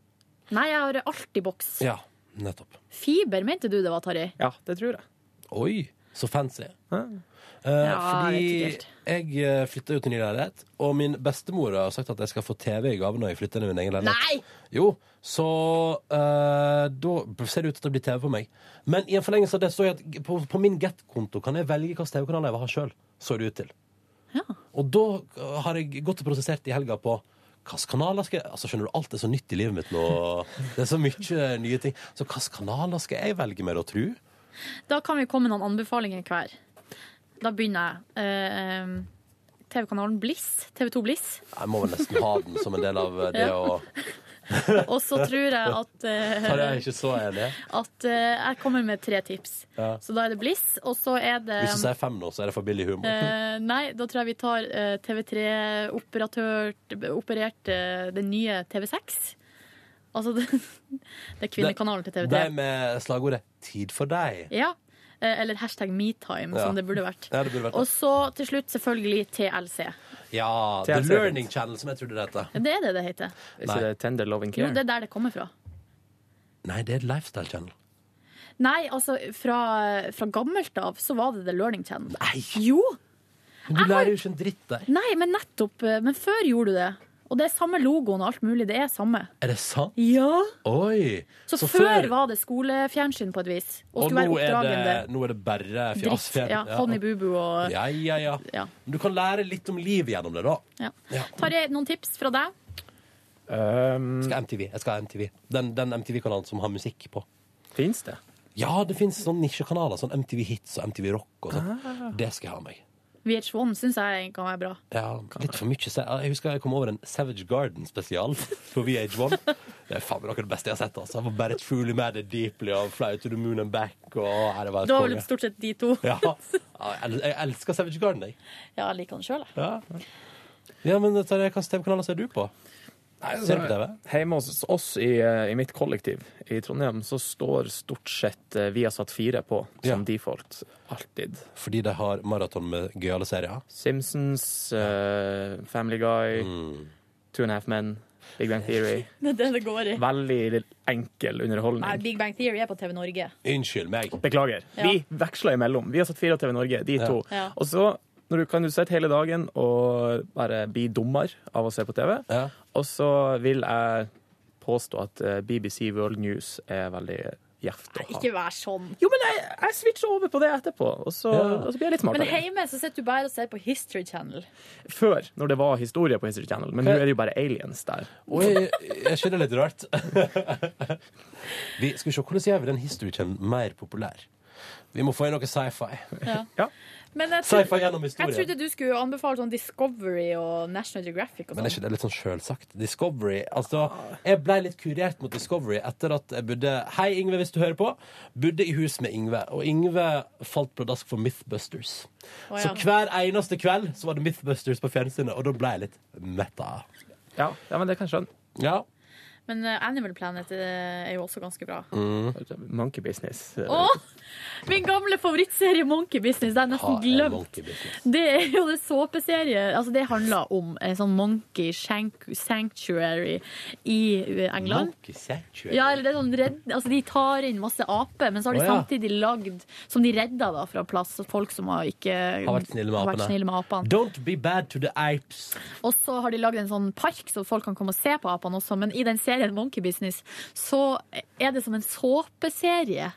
Speaker 3: Nei, jeg har Altibox.
Speaker 2: Ja, nettopp.
Speaker 3: Fiber mente du det var, Tarjei?
Speaker 10: Ja, det tror jeg.
Speaker 2: Oi, så fancy. Eh,
Speaker 3: Ja,
Speaker 2: fordi
Speaker 3: rett
Speaker 2: jeg eh, flytta jo til ny leilighet, og min bestemor har sagt at jeg skal få TV i gave når jeg flytter inn i min egen leilighet. Nei! Jo, så eh, da ser det ut til at det blir TV på meg. Men i en forlengelse av det står jeg at på, på min Get-konto kan jeg velge hvilken TV-kanal jeg vil ha sjøl, så det ut til. Og da eh, har jeg gått og prosessert i helga på hvilke kanaler skal jeg Altså, skjønner du, alt er så nytt i livet mitt nå. Det er så mye eh, nye ting. Så hvilke kanaler skal jeg velge meg, da, tru?
Speaker 3: Da kan vi komme med noen anbefalinger hver. Da begynner jeg. Eh, eh, TV-kanalen Bliss. TV2 Bliss.
Speaker 2: Jeg må vel nesten ha den som en del av eh, det
Speaker 3: Ja.
Speaker 2: å
Speaker 3: Og så tror jeg at eh,
Speaker 2: Har jeg ikke så enig?
Speaker 3: at eh, jeg kommer med tre tips.
Speaker 2: Ja.
Speaker 3: Så da er det Bliss, og så er det
Speaker 2: Hvis du sier fem nå, så er det for billig humor.
Speaker 3: Um, eh, Nei, da tror jeg vi tar eh, TV3-operert eh, den nye TV6. Altså det, det er kvinnekanalen til TV3.
Speaker 2: De med slagordet 'Tid for deg'.
Speaker 3: Ja. Eh, Eller hashtag metime,
Speaker 2: Ja.
Speaker 3: som det burde vært.
Speaker 2: Ja, det burde vært
Speaker 3: Og
Speaker 2: det.
Speaker 3: så til slutt selvfølgelig TLC.
Speaker 2: Ja, The
Speaker 10: TLC.
Speaker 2: Learning Channel, som jeg trodde det het.
Speaker 3: Det er det det heter.
Speaker 10: Er ikke det Tender Loving
Speaker 3: Jo,
Speaker 10: Care?
Speaker 3: det er der det kommer fra.
Speaker 2: Nei, det er Lifestyle Channel.
Speaker 3: Nei, altså fra, fra gammelt av så var det The Learning Channel.
Speaker 2: Nei.
Speaker 3: Jo!
Speaker 2: Men du lærer jo ikke en dritt der.
Speaker 3: Nei, men nettopp. eh, Men før gjorde du det. Og det er samme logoen og alt mulig. Det er samme.
Speaker 2: Er det sant?
Speaker 3: Ja.
Speaker 2: Oi!
Speaker 3: Så, før var det skolefjernsyn på et vis. Og,
Speaker 2: Og
Speaker 3: skulle være
Speaker 2: nå er,
Speaker 3: oppdragende.
Speaker 2: det, nå er det bare
Speaker 3: Dritt.
Speaker 2: fjasfjell.
Speaker 3: Ja, Honey Boo Boo og
Speaker 2: Ja, ja, ja. Men Du kan lære litt om livet gjennom det, da.
Speaker 3: ja. Tarjei, noen tips fra deg?
Speaker 2: skal ha MTV. Jeg skal ha MTV. Den, den MTV-kanalen som har musikk på.
Speaker 10: Fins det?
Speaker 2: Ja, det fins sånne nisjekanaler. Sånn MTV Hits og MTV Rock og sånn.
Speaker 3: Ah.
Speaker 2: Det skal jeg ha med meg.
Speaker 3: VH1 syns jeg kan være bra.
Speaker 2: Ja, litt for mye. se- Jeg husker jeg kom over en Savage Garden spesial på VH1. Det er faen meg noe av det beste jeg har sett. Altså. Det var bare Truly Mad and Deeply og Fly to the Moon and Back. Og her det var
Speaker 3: Det var vel stort sett de to.
Speaker 2: Ja. Ja, Jeg el- jeg elsker Savage Garden, jeg.
Speaker 3: Ja, jeg liker han sjøl, jeg.
Speaker 2: Ja, ja men Tarjei, hvilke TV-kanaler ser du på? Ser du på TV?
Speaker 10: Hjemme hos oss i, eh, i mitt kollektiv i Trondheim så står stort sett eh, Viasat 4 på som default. Alltid.
Speaker 2: Fordi de har maraton med gøyale serier?
Speaker 10: Simpsons, eh, Family Guy, Two and a Half Men, Big Bang Theory.
Speaker 3: Det er det det går i.
Speaker 10: Veldig enkel
Speaker 3: Nei,
Speaker 10: underholdning.
Speaker 3: Big Bang Theory er på TV Norge.
Speaker 2: Unnskyld meg.
Speaker 10: Beklager.
Speaker 3: Ja.
Speaker 10: Vi veksler imellom. Vi har satt fire TV Norge, de to.
Speaker 3: Ja.
Speaker 10: Og så når du kan du sitte hele dagen og bare bli dummer av å se på TV. Og så vil jeg påstå at eh, BBC World News er veldig gjevt å ha.
Speaker 3: Ikke vær sånn.
Speaker 10: Jo, men jeg, switcher over på det etterpå, og så, og så blir jeg litt
Speaker 3: Men
Speaker 10: smartere.
Speaker 3: hjemme så sitter du bare og ser på History Channel.
Speaker 10: Før, når det var historie på History Channel, men nå er det jo bare aliens der.
Speaker 2: Oi, jeg skjønner litt rart. Vi, skal vi se, Hvordan gjør vi den History Channel mer populær? Vi må få inn noe sci-fi.
Speaker 3: Men jeg,
Speaker 2: Sci-fi
Speaker 3: tro-
Speaker 2: gjennom historien.
Speaker 3: jeg trodde du skulle anbefale sånn Discovery og National Geographic og
Speaker 2: Men er
Speaker 3: sånn.
Speaker 2: ikke det litt sånn sjølsagt? Discovery. Altså, jeg ble litt kurert mot Discovery etter at jeg bodde Hei, Yngve, hvis du hører på. Bodde i hus med Yngve, og Yngve falt pladask for Mythbusters.
Speaker 10: Å,
Speaker 2: Så
Speaker 10: ja.
Speaker 2: hver eneste kveld så var det Mythbusters på fjernsynet, og da ble jeg litt metta.
Speaker 10: Ja, ja, men det kan jeg skjønne.
Speaker 2: Ja.
Speaker 3: Men eh, Animal Planet eh, er jo også ganske bra.
Speaker 2: Mm.
Speaker 10: Monkey business.
Speaker 3: Å! Min gamle favorittserie Monkey Business. Det har jeg nesten glemt. Det er jo det såpeserie Altså, det handler om en sånn monkey shank- sanctuary i eh, England.
Speaker 2: Monkey Sanctuary.
Speaker 3: Ja, eller det er sånn redd, altså De tar inn masse aper, men så har de
Speaker 2: Å, ja.
Speaker 3: samtidig lagd Som de redda da fra plass, så folk som har ikke
Speaker 2: Har vært snille med
Speaker 3: har vært
Speaker 2: apene.
Speaker 3: snille med apene.
Speaker 2: Don't be bad to the apes.
Speaker 3: Og så har de lagd en sånn park så folk kan komme og se på apene også, men i den serien Monkey Business så er det som en såpeserie.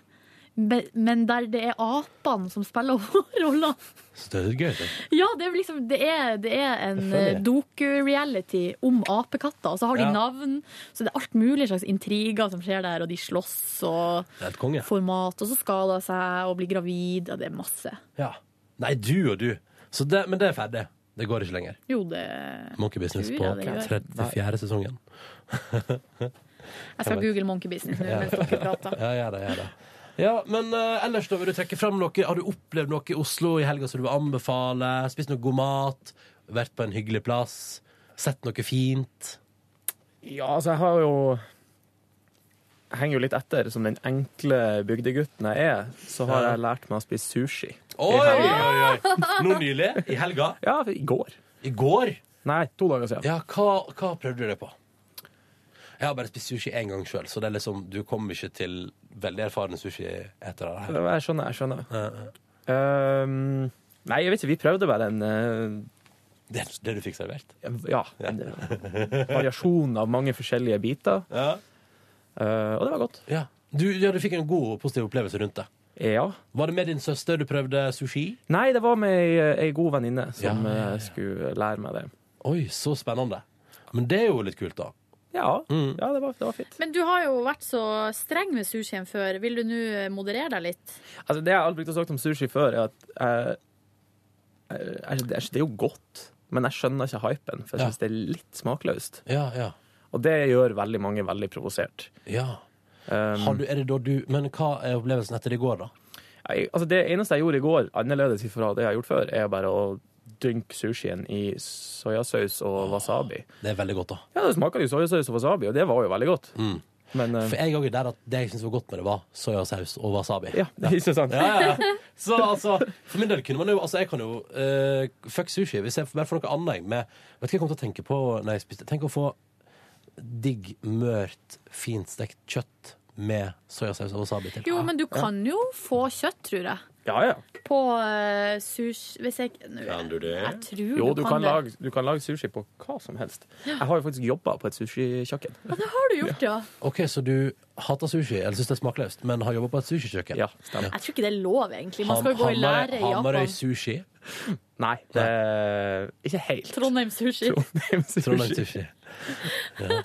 Speaker 3: be- Men der det er apene som spiller roller.
Speaker 2: Større gøy. det.
Speaker 3: Ja, det er, liksom, det er, det er en
Speaker 2: Selvfølgelig.
Speaker 3: eh, doku-reality om apekatter. Og så har de
Speaker 2: Ja.
Speaker 3: navn, så det er alt mulig slags intriger som skjer der, og de slåss og
Speaker 2: Det er et konge.
Speaker 3: får mat, og så skader seg og blir gravid, og det er masse.
Speaker 2: Ja. Nei, du og du. Så det, men det er ferdig. Det går ikke lenger.
Speaker 3: Jo, det
Speaker 2: Monkey Business
Speaker 3: tror
Speaker 2: på
Speaker 3: jeg det gjør.
Speaker 2: 34. sesongen.
Speaker 3: Jeg skal google Monkey Business nå mens dere prater.
Speaker 2: Ja, gjør det, gjør det. Ja, men eh, ellers da vil du trekke fram noe Har du opplevd noe i Oslo i helga som du vil anbefale? Spist noe god mat? Vært på en hyggelig plass? Sett noe fint?
Speaker 10: Ja, altså, jeg har jo jeg henger jo litt etter som den enkle bygdegutten jeg er, så har jeg lært meg å spise sushi.
Speaker 2: Oi, oi, oi. Nå nylig? I helga?
Speaker 10: Ja, i går.
Speaker 2: I går?
Speaker 10: Nei, to dager siden.
Speaker 2: Ja, hva, hva prøvde du det på? Jeg har bare spist sushi én gang sjøl, så det er liksom, du kommer ikke til veldig erfarne sushietere. her.
Speaker 10: Ja, Jeg skjønner, jeg skjønner. Um, nei, jeg vet ikke, vi prøvde bare en
Speaker 2: det, du fikk servert?
Speaker 10: Ja. En eh, variasjon av mange forskjellige biter. Eh, og det var godt.
Speaker 2: Ja. Du, ja, du fikk en god og positiv opplevelse rundt det.
Speaker 10: Ja.
Speaker 2: Var det med din søster du prøvde sushi?
Speaker 10: Nei, det var med ei, ei god venninne som
Speaker 2: Ja, ja, ja.
Speaker 10: eh, skulle lære meg det.
Speaker 2: Oi, så spennende. Men det er jo litt kult, da.
Speaker 10: Ja, ja det, var, det var fint.
Speaker 3: Men du har jo vært så streng med sushien før. Vil du nå moderere deg litt?
Speaker 10: Altså, det jeg aldri har sagt om sushi før, er at eh, eh, det, er, det er jo godt, men jeg skjønner ikke hypen, for jeg syns det er litt smakløst.
Speaker 2: Ja, ja.
Speaker 10: Og det gjør veldig mange veldig provosert.
Speaker 2: Ja.
Speaker 10: Um,
Speaker 2: Har du, er det da du Men hva er opplevelsen etter i går, da?
Speaker 10: jeg, altså det eneste jeg gjorde i går, annerledes fra det jeg har gjort før, er bare å dynke sushien i soyasaus og wasabi.
Speaker 2: Det er veldig godt, da.
Speaker 10: Ja, det smaker jo soyasaus og wasabi, og det var jo veldig godt. Men, eh,
Speaker 2: For jeg òg er der at det jeg syntes var godt med det, var soyasaus og wasabi.
Speaker 10: Ja, ikke sant?
Speaker 2: Ja, ja, ja. Så altså, for min del kunne man jo Altså, jeg kan jo eh, Fuck sushi. Hvis jeg bare får noe annet jeg, med Vet du hva jeg kom til å tenke på når jeg spiste? Tenk å få digg, mørt, finstekt kjøtt med soyasaus og wasabi til.
Speaker 3: Jo, men du kan jo få kjøtt, tror jeg.
Speaker 10: Ja, ja.
Speaker 3: På uh, sushi Hvis jeg nå, Jeg tror
Speaker 10: Jo, du kan,
Speaker 3: det.
Speaker 10: lage, du kan lage sushi på hva som helst. Jeg har jo faktisk jobba på et sushikjøkken.
Speaker 3: Ja, det har du gjort, ja.
Speaker 2: OK, så du hater sushi, eller syns det er smakløst, men har jobba på et sushikjøkken?
Speaker 10: Ja, stemmer.
Speaker 3: Jeg tror ikke det er lov, egentlig. Man skal jo gå i lære i
Speaker 2: Hamarøy
Speaker 3: Japan.
Speaker 2: sushi?
Speaker 10: Nei, det, ikke helt.
Speaker 3: Trondheim sushi.
Speaker 10: Trondheim sushi.
Speaker 2: Trondheim sushi. Ja.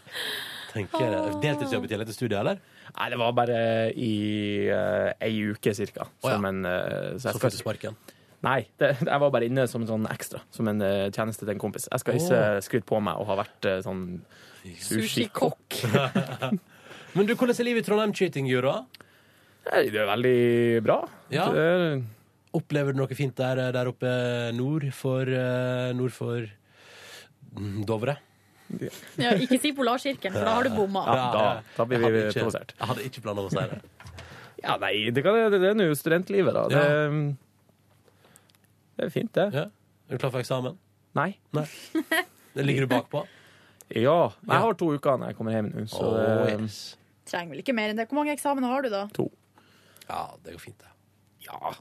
Speaker 2: Tenker, deltidsjobb i tillegg til studiet, eller?
Speaker 10: Nei, det var bare i eh, ei uke cirka. Som en, eh, så
Speaker 2: Så fikk du sparken?
Speaker 10: Nei, det, jeg var bare inne som en sånn ekstra. Som en eh, tjeneste til en kompis. Jeg skal ikke
Speaker 2: Åh.
Speaker 10: skryte på meg og ha vært eh, sånn sushikokk.
Speaker 2: Men du, hvordan er livet i Trondheim cheating, Jura?
Speaker 10: Nei, Det er veldig bra.
Speaker 2: Ja.
Speaker 10: Det er,
Speaker 2: Opplever du noe fint der, der oppe nord for, eh, nord for mm, Dovre?
Speaker 3: Ja, ikke si Polarsirkelen, for da har du bomma.
Speaker 10: Ja, da- da blir
Speaker 2: Jeg
Speaker 10: vi
Speaker 2: hadde ikke-
Speaker 10: provosert.
Speaker 2: Jeg hadde ikke planer om å si det.
Speaker 10: ja, nei, det, kan, det, det er nå studentlivet, da. Det, det er fint, det.
Speaker 2: Er du klar for eksamen?
Speaker 10: Nei.
Speaker 2: Det ligger du bakpå?
Speaker 10: Ja. Jeg har to uker når jeg kommer hjem nå, så eh,
Speaker 2: Åh,
Speaker 10: det-
Speaker 3: Trenger vel ikke mer enn det. Hvor mange eksamener har du, da?
Speaker 2: Ja, det går fint, det. Ja.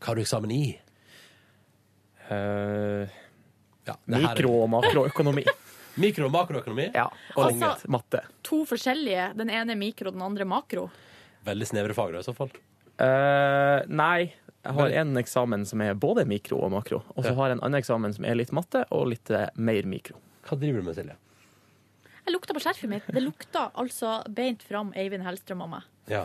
Speaker 2: Hva har du eksamen i?
Speaker 10: Eh,
Speaker 2: det her er-
Speaker 10: Mikro- og makroøkonomi.
Speaker 2: Mikro- og makroøkonomi?
Speaker 10: Ja, og
Speaker 3: Altså-
Speaker 10: matte.
Speaker 3: To forskjellige. Den ene er mikro, den andre makro.
Speaker 2: Veldig snevre fag, da, i så fall.
Speaker 10: Eh, nei, jeg har en eksamen som er både mikro og makro. Og så har jeg en annen eksamen som er litt matte og litt eh, mer mikro.
Speaker 2: Hva driver du med, Silje?
Speaker 3: Jeg lukta på skjerfet mitt. Det lukta altså beint fram Eivind Hellstrøm av meg.
Speaker 2: Ja.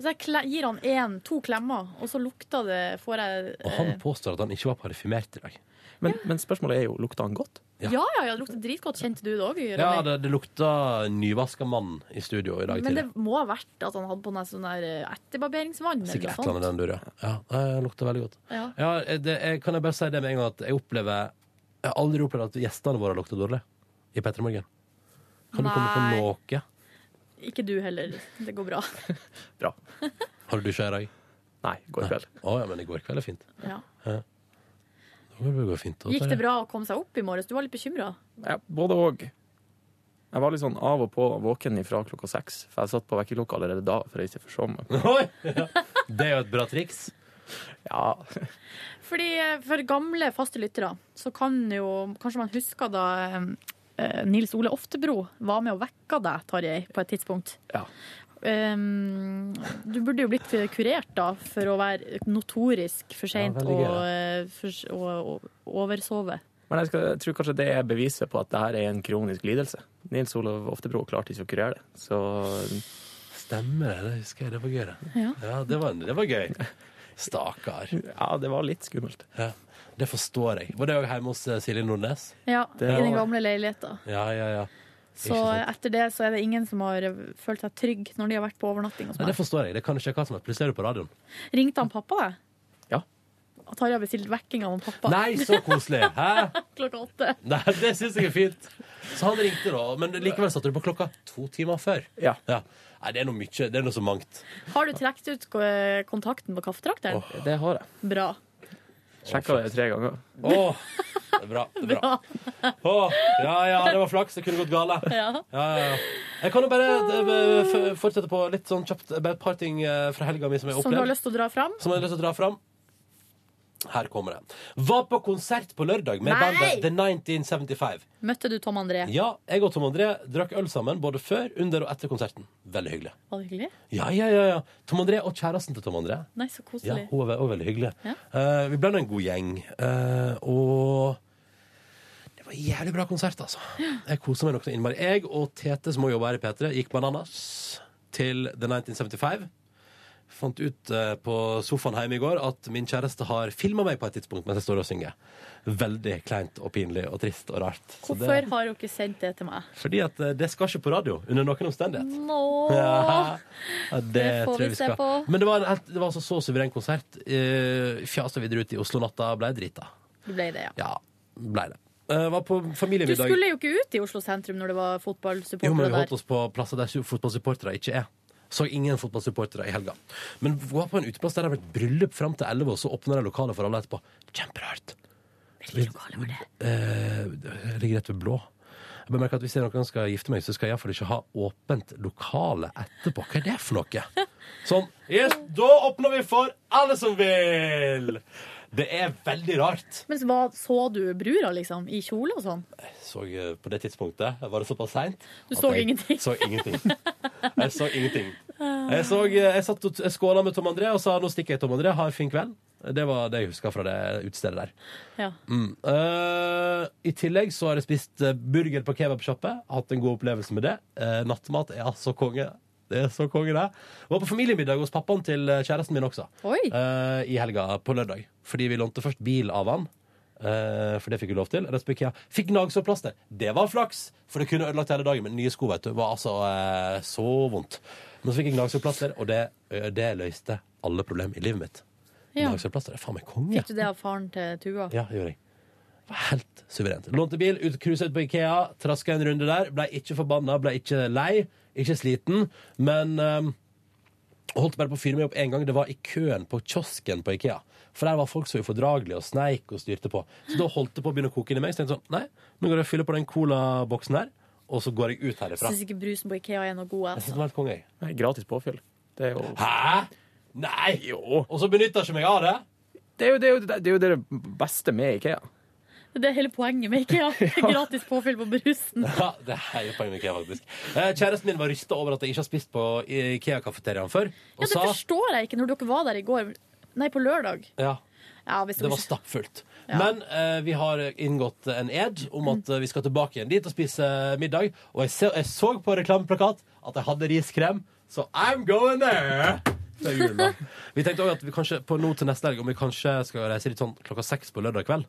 Speaker 3: Så jeg kle- gir han én, to klemmer, og så lukta det Får jeg
Speaker 2: Og han påstår at han ikke var parfymert i dag.
Speaker 10: Men, spørsmålet er jo lukta han godt?
Speaker 3: Ja, ja, ja, det lukta dritgodt. Kjente du det òg, Ronny?
Speaker 2: Ja, det, det lukta nyvaska mann i studio i dag
Speaker 3: Men det
Speaker 2: tidlig.
Speaker 3: må ha vært at han hadde på seg sånn der eh, etterbarberingsvann. eller
Speaker 2: Sikkert
Speaker 3: noe
Speaker 2: et eller annet i
Speaker 3: sånt.
Speaker 2: den dur, ja. ja. nei, Det lukta veldig godt.
Speaker 3: Ja.
Speaker 2: Ja, eh, det, jeg, kan jeg bare si det med en gang at jeg opplever Jeg har aldri opplevd at gjestene våre lukter dårlig i Petter Morgen. Kan du komme
Speaker 3: Nei.
Speaker 2: på noe?
Speaker 3: Ikke du heller. Det går bra.
Speaker 2: Har du dusja i dag?
Speaker 10: Nei, i går kveld.
Speaker 2: Å ja, men i går kveld er fint.
Speaker 3: Ja.
Speaker 2: Ja. Da må det gå fint. da.
Speaker 3: Gikk det bra å komme seg opp i morges? Du var litt bekymra.
Speaker 10: Ja, både og. Jeg var litt sånn av og på våken ifra klokka seks, for jeg satt på vekkerklokka allerede da for jeg ikke forsov meg.
Speaker 2: Det er jo et bra triks.
Speaker 10: Ja.
Speaker 3: Fordi eh, For gamle faste lyttere så kan jo Kanskje man husker da eh, Nils Ole Oftebro var med og vekka deg, Tarjei, på et tidspunkt.
Speaker 10: Ja.
Speaker 3: Um, du burde jo blitt kurert da for å være notorisk for seint
Speaker 10: veldig
Speaker 3: og,
Speaker 10: gøy,
Speaker 3: eh, for- og, og oversove.
Speaker 10: Men jeg, skal, jeg tror kanskje det er beviset på at det her er en kronisk lidelse. Nils Olav Oftebro klarte ikke å kurere det, så
Speaker 2: Stemmer det, det husker jeg. Det var gøy, det.
Speaker 3: Ja.
Speaker 2: det, var, det var gøy. Stakkar.
Speaker 10: Ja, det var litt skummelt.
Speaker 2: Ja. Det forstår jeg. Var det òg hjemme hos eh, Silje Nordnes?
Speaker 3: Ja,
Speaker 2: Det
Speaker 3: i den
Speaker 2: var-
Speaker 3: gamle leiligheta.
Speaker 2: Ja, ja, ja.
Speaker 3: Så
Speaker 2: Ikke sant.
Speaker 3: etter det så er det ingen som har eh, følt seg trygg når de har vært på overnatting hos
Speaker 2: Nei, det
Speaker 3: meg.
Speaker 2: forstår jeg. Det kan ikke hva som helst. Plutselig er du på radioen.
Speaker 3: Ringte han pappa, deg?
Speaker 2: Ja.
Speaker 3: At Tarjei har bestilt vekking av han pappa?
Speaker 2: Nei, så koselig! Hæ?
Speaker 3: Klokka åtte.
Speaker 2: Nei, det syns jeg er fint. Så han ringte, da. Men likevel satte du på klokka to timer før.
Speaker 10: Ja.
Speaker 2: Nei, det er noe mye. Det er noe så mangt.
Speaker 3: Har du trukket ut eh, kontakten på kaffetrakteren?
Speaker 10: Det har jeg.
Speaker 3: Bra.
Speaker 10: Sjekka det tre ganger.
Speaker 2: Åh, det er bra. Det er bra. Åh, ja, ja, det var flaks. Det kunne gått galt.
Speaker 3: Ja.
Speaker 2: Ja, ja, ja. Jeg kan jo bare eh, f- fortsette på litt sånn kjapt bare et par ting eh, fra helga mi som jeg
Speaker 3: Som du har
Speaker 2: opplevde.
Speaker 3: lyst til å dra fram?
Speaker 2: Som jeg har lyst til å dra fram. Her kommer det. Var på konsert på lørdag med
Speaker 3: Nei!
Speaker 2: bandet The 1975.
Speaker 3: Møtte du Tom André?
Speaker 2: Ja, jeg og Tom André drakk øl sammen både før, under og etter konserten. Veldig hyggelig.
Speaker 3: Var det hyggelig?
Speaker 2: Ja, ja, ja, ja. Tom André og kjæresten til Tom André.
Speaker 3: Nei, så
Speaker 2: Ja,
Speaker 3: koselig.
Speaker 2: hun var også veldig hyggelig.
Speaker 3: Ja.
Speaker 2: Eh, vi ble nå en god gjeng. eh, og det var en jævlig bra konsert, altså. Jeg koser meg nok så innmari. Jeg og Tete, som også jobber her i P3, gikk bananas til The 1975. Fant ut eh, på sofaen hjemme i går at min kjæreste har filma meg på et tidspunkt mens jeg står og synger. Veldig kleint og pinlig og trist og rart. Så
Speaker 3: Hvorfor
Speaker 2: det-
Speaker 3: har dere sendt det til meg?
Speaker 2: Fordi at eh, det skal ikke på radio under noen omstendighet.
Speaker 3: Nå!
Speaker 2: Ja, ja, det,
Speaker 3: Det får
Speaker 2: tror jeg
Speaker 3: vi
Speaker 2: vi
Speaker 3: se
Speaker 2: skal.
Speaker 3: på.
Speaker 2: Men det var, en, helt- det var altså så suveren konsert. Uh, Fjasa videre ut i Oslo-natta, blei drita.
Speaker 3: Det ble det, ja.
Speaker 2: Ja, blei det. Eh, var på
Speaker 3: Du
Speaker 2: familiemiddag.
Speaker 3: skulle jo ikke ut i Oslo sentrum når det var
Speaker 2: Jo, men
Speaker 3: fotballsupportere
Speaker 2: vi holdt
Speaker 3: der.
Speaker 2: oss på plasser der su- fotballsupportere ikke er. Så ingen fotballsupportere i helga. Men vi var på en uteplass der det har vært bryllup fram til 11, og så åpner de lokalet for alle etterpå. Kjemperart. Hvilket lokale var det? Eh, det ligger rett ved Blå. Jeg bemerker at Hvis jeg noen skal gifte meg, så skal jeg iallfall ikke ha åpent lokale etterpå. Hva er det for noe? Sånn. Yes, da åpner vi for alle som vil! Det er veldig rart.
Speaker 3: Men hva så du brura, liksom? I kjole og sånn?
Speaker 2: Så eh, på det tidspunktet var det såpass seint.
Speaker 3: Du så ingenting.
Speaker 2: Så ingenting. Jeg så ingenting. Jeg, så, eh, jeg satt og jeg skåla med Tom André og sa nå stikker jeg, Tom André. Ha en fin kveld. Det var det jeg huska fra det utestedet der.
Speaker 3: Ja.
Speaker 2: Mm. Eh, I tillegg så har jeg spist eh, burger på kebabsjappe. Hatt en god opplevelse med det. Eh, nattmat er altså konge. Det er så konge, det. Var på familiemiddag hos pappaen til eh, kjæresten min også.
Speaker 3: Oi.
Speaker 2: Eh, I helga på lørdag. Fordi vi lånte først bil av han. Eh, for det fikk vi lov til. Ellers fikk jeg fikk gnagsårplaster. Det var flaks, for det kunne ødelagt hele dagen. Men nye sko vet du, var altså eh, så vondt. Men så fikk jeg gnagsårplaster, og det, ø, det løste alle problemer i livet mitt.
Speaker 3: Ja.
Speaker 2: Gnagsårplaster er faen meg konge.
Speaker 3: Fikk du det av faren til Tuva?
Speaker 2: Ja, det gjorde jeg. Det var Helt suverent. Lånte bil, ut, cruiset ut på Ikea, traska en runde der. Ble ikke forbanna, ble ikke lei, ikke sliten. Men ehm, holdt bare på å fyre meg opp én gang. Det var i køen på kiosken på Ikea. For der var folk så ufordragelige og sneik og styrte på. Så da holdt det på å begynne å koke inni meg. Så tenkte jeg sånn, nei, nå går jeg og fyller på den colaboksen her, og så går jeg ut herifra.
Speaker 3: Syns ikke brusen på Ikea er noe god,
Speaker 2: Jeg synes
Speaker 3: altså.
Speaker 2: det var helt konge. jeg.
Speaker 10: Nei, Gratis påfyll. Det er jo
Speaker 2: Hæ? Nei! Og så benytter jeg ikke meg av det?
Speaker 10: Det er jo det, er jo, det, er jo det beste med IKEA.
Speaker 3: Det er hele poenget med Ikea. Gratis påfyll på brusen.
Speaker 2: Ja, det er hele poenget med IKEA, faktisk. Eh, Kjæresten min var rysta over at jeg ikke har spist på IKEA-kafeteriaen før. Og
Speaker 3: Ja, det
Speaker 2: sa
Speaker 3: forstår jeg ikke når dere var der i går. Nei, på lørdag.
Speaker 2: ja,
Speaker 3: Ja, hvis
Speaker 2: det var
Speaker 3: ikke-
Speaker 2: stappfullt.
Speaker 3: Ja. Mm.
Speaker 2: Men eh, vi har inngått en ed om at eh, vi skal tilbake igjen dit og spise eh, middag. Og jeg så, jeg så på reklameplakat at jeg hadde riskrem, så I'm going there! Det er jul, da. Vi tenkte også at vi kanskje på nå til neste helg om vi kanskje skal reise litt sånn klokka seks på lørdag kveld.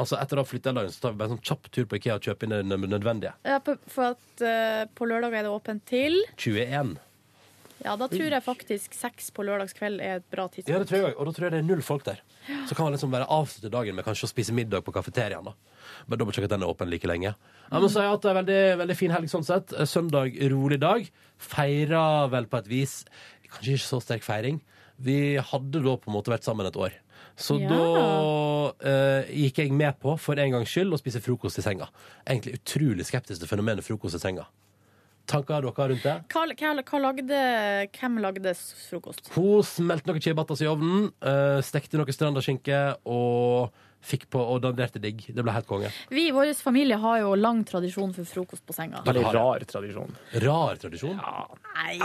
Speaker 2: Altså Etter å ha flyttet dagen, så tar vi bare en sånn kjapp tur på Ikea og kjøper inn det nødvendige.
Speaker 3: Ja, på- for at eh, på lørdag er det åpent til
Speaker 2: 21.
Speaker 3: Ja, da tror jeg faktisk seks på lørdagskveld er et bra tidspunkt.
Speaker 2: Ja, det tror jeg også. Og da tror jeg det er null folk der. Så kan man liksom bare avslutte dagen med kanskje å spise middag på kafeteriaen. da. Men da må jeg sjekke at den er åpen like lenge. Ja, men så har jeg hatt en veldig, veldig fin helg sånn sett. Søndag, rolig dag. Feira vel på et vis. Kanskje ikke så sterk feiring. Vi hadde da på en måte vært sammen et år. Så
Speaker 14: Ja.
Speaker 2: da eh, gikk jeg med på, for en gangs skyld, å spise frokost i senga. Egentlig utrolig skeptisk til fenomenet frokost i senga. Tanker har dere rundt det?
Speaker 3: Hva, hva, hva lagde, hvem lagde s- frokost?
Speaker 2: Hun smelte noen ciabattas i ovnen, eh, stekte noe strandaskinke og fikk på og danderte digg. Det ble helt konge.
Speaker 3: Vi i vår familie har jo lang tradisjon for frokost på senga.
Speaker 2: Veldig rar
Speaker 10: tradisjon.
Speaker 2: Rar tradisjon?
Speaker 3: Nei.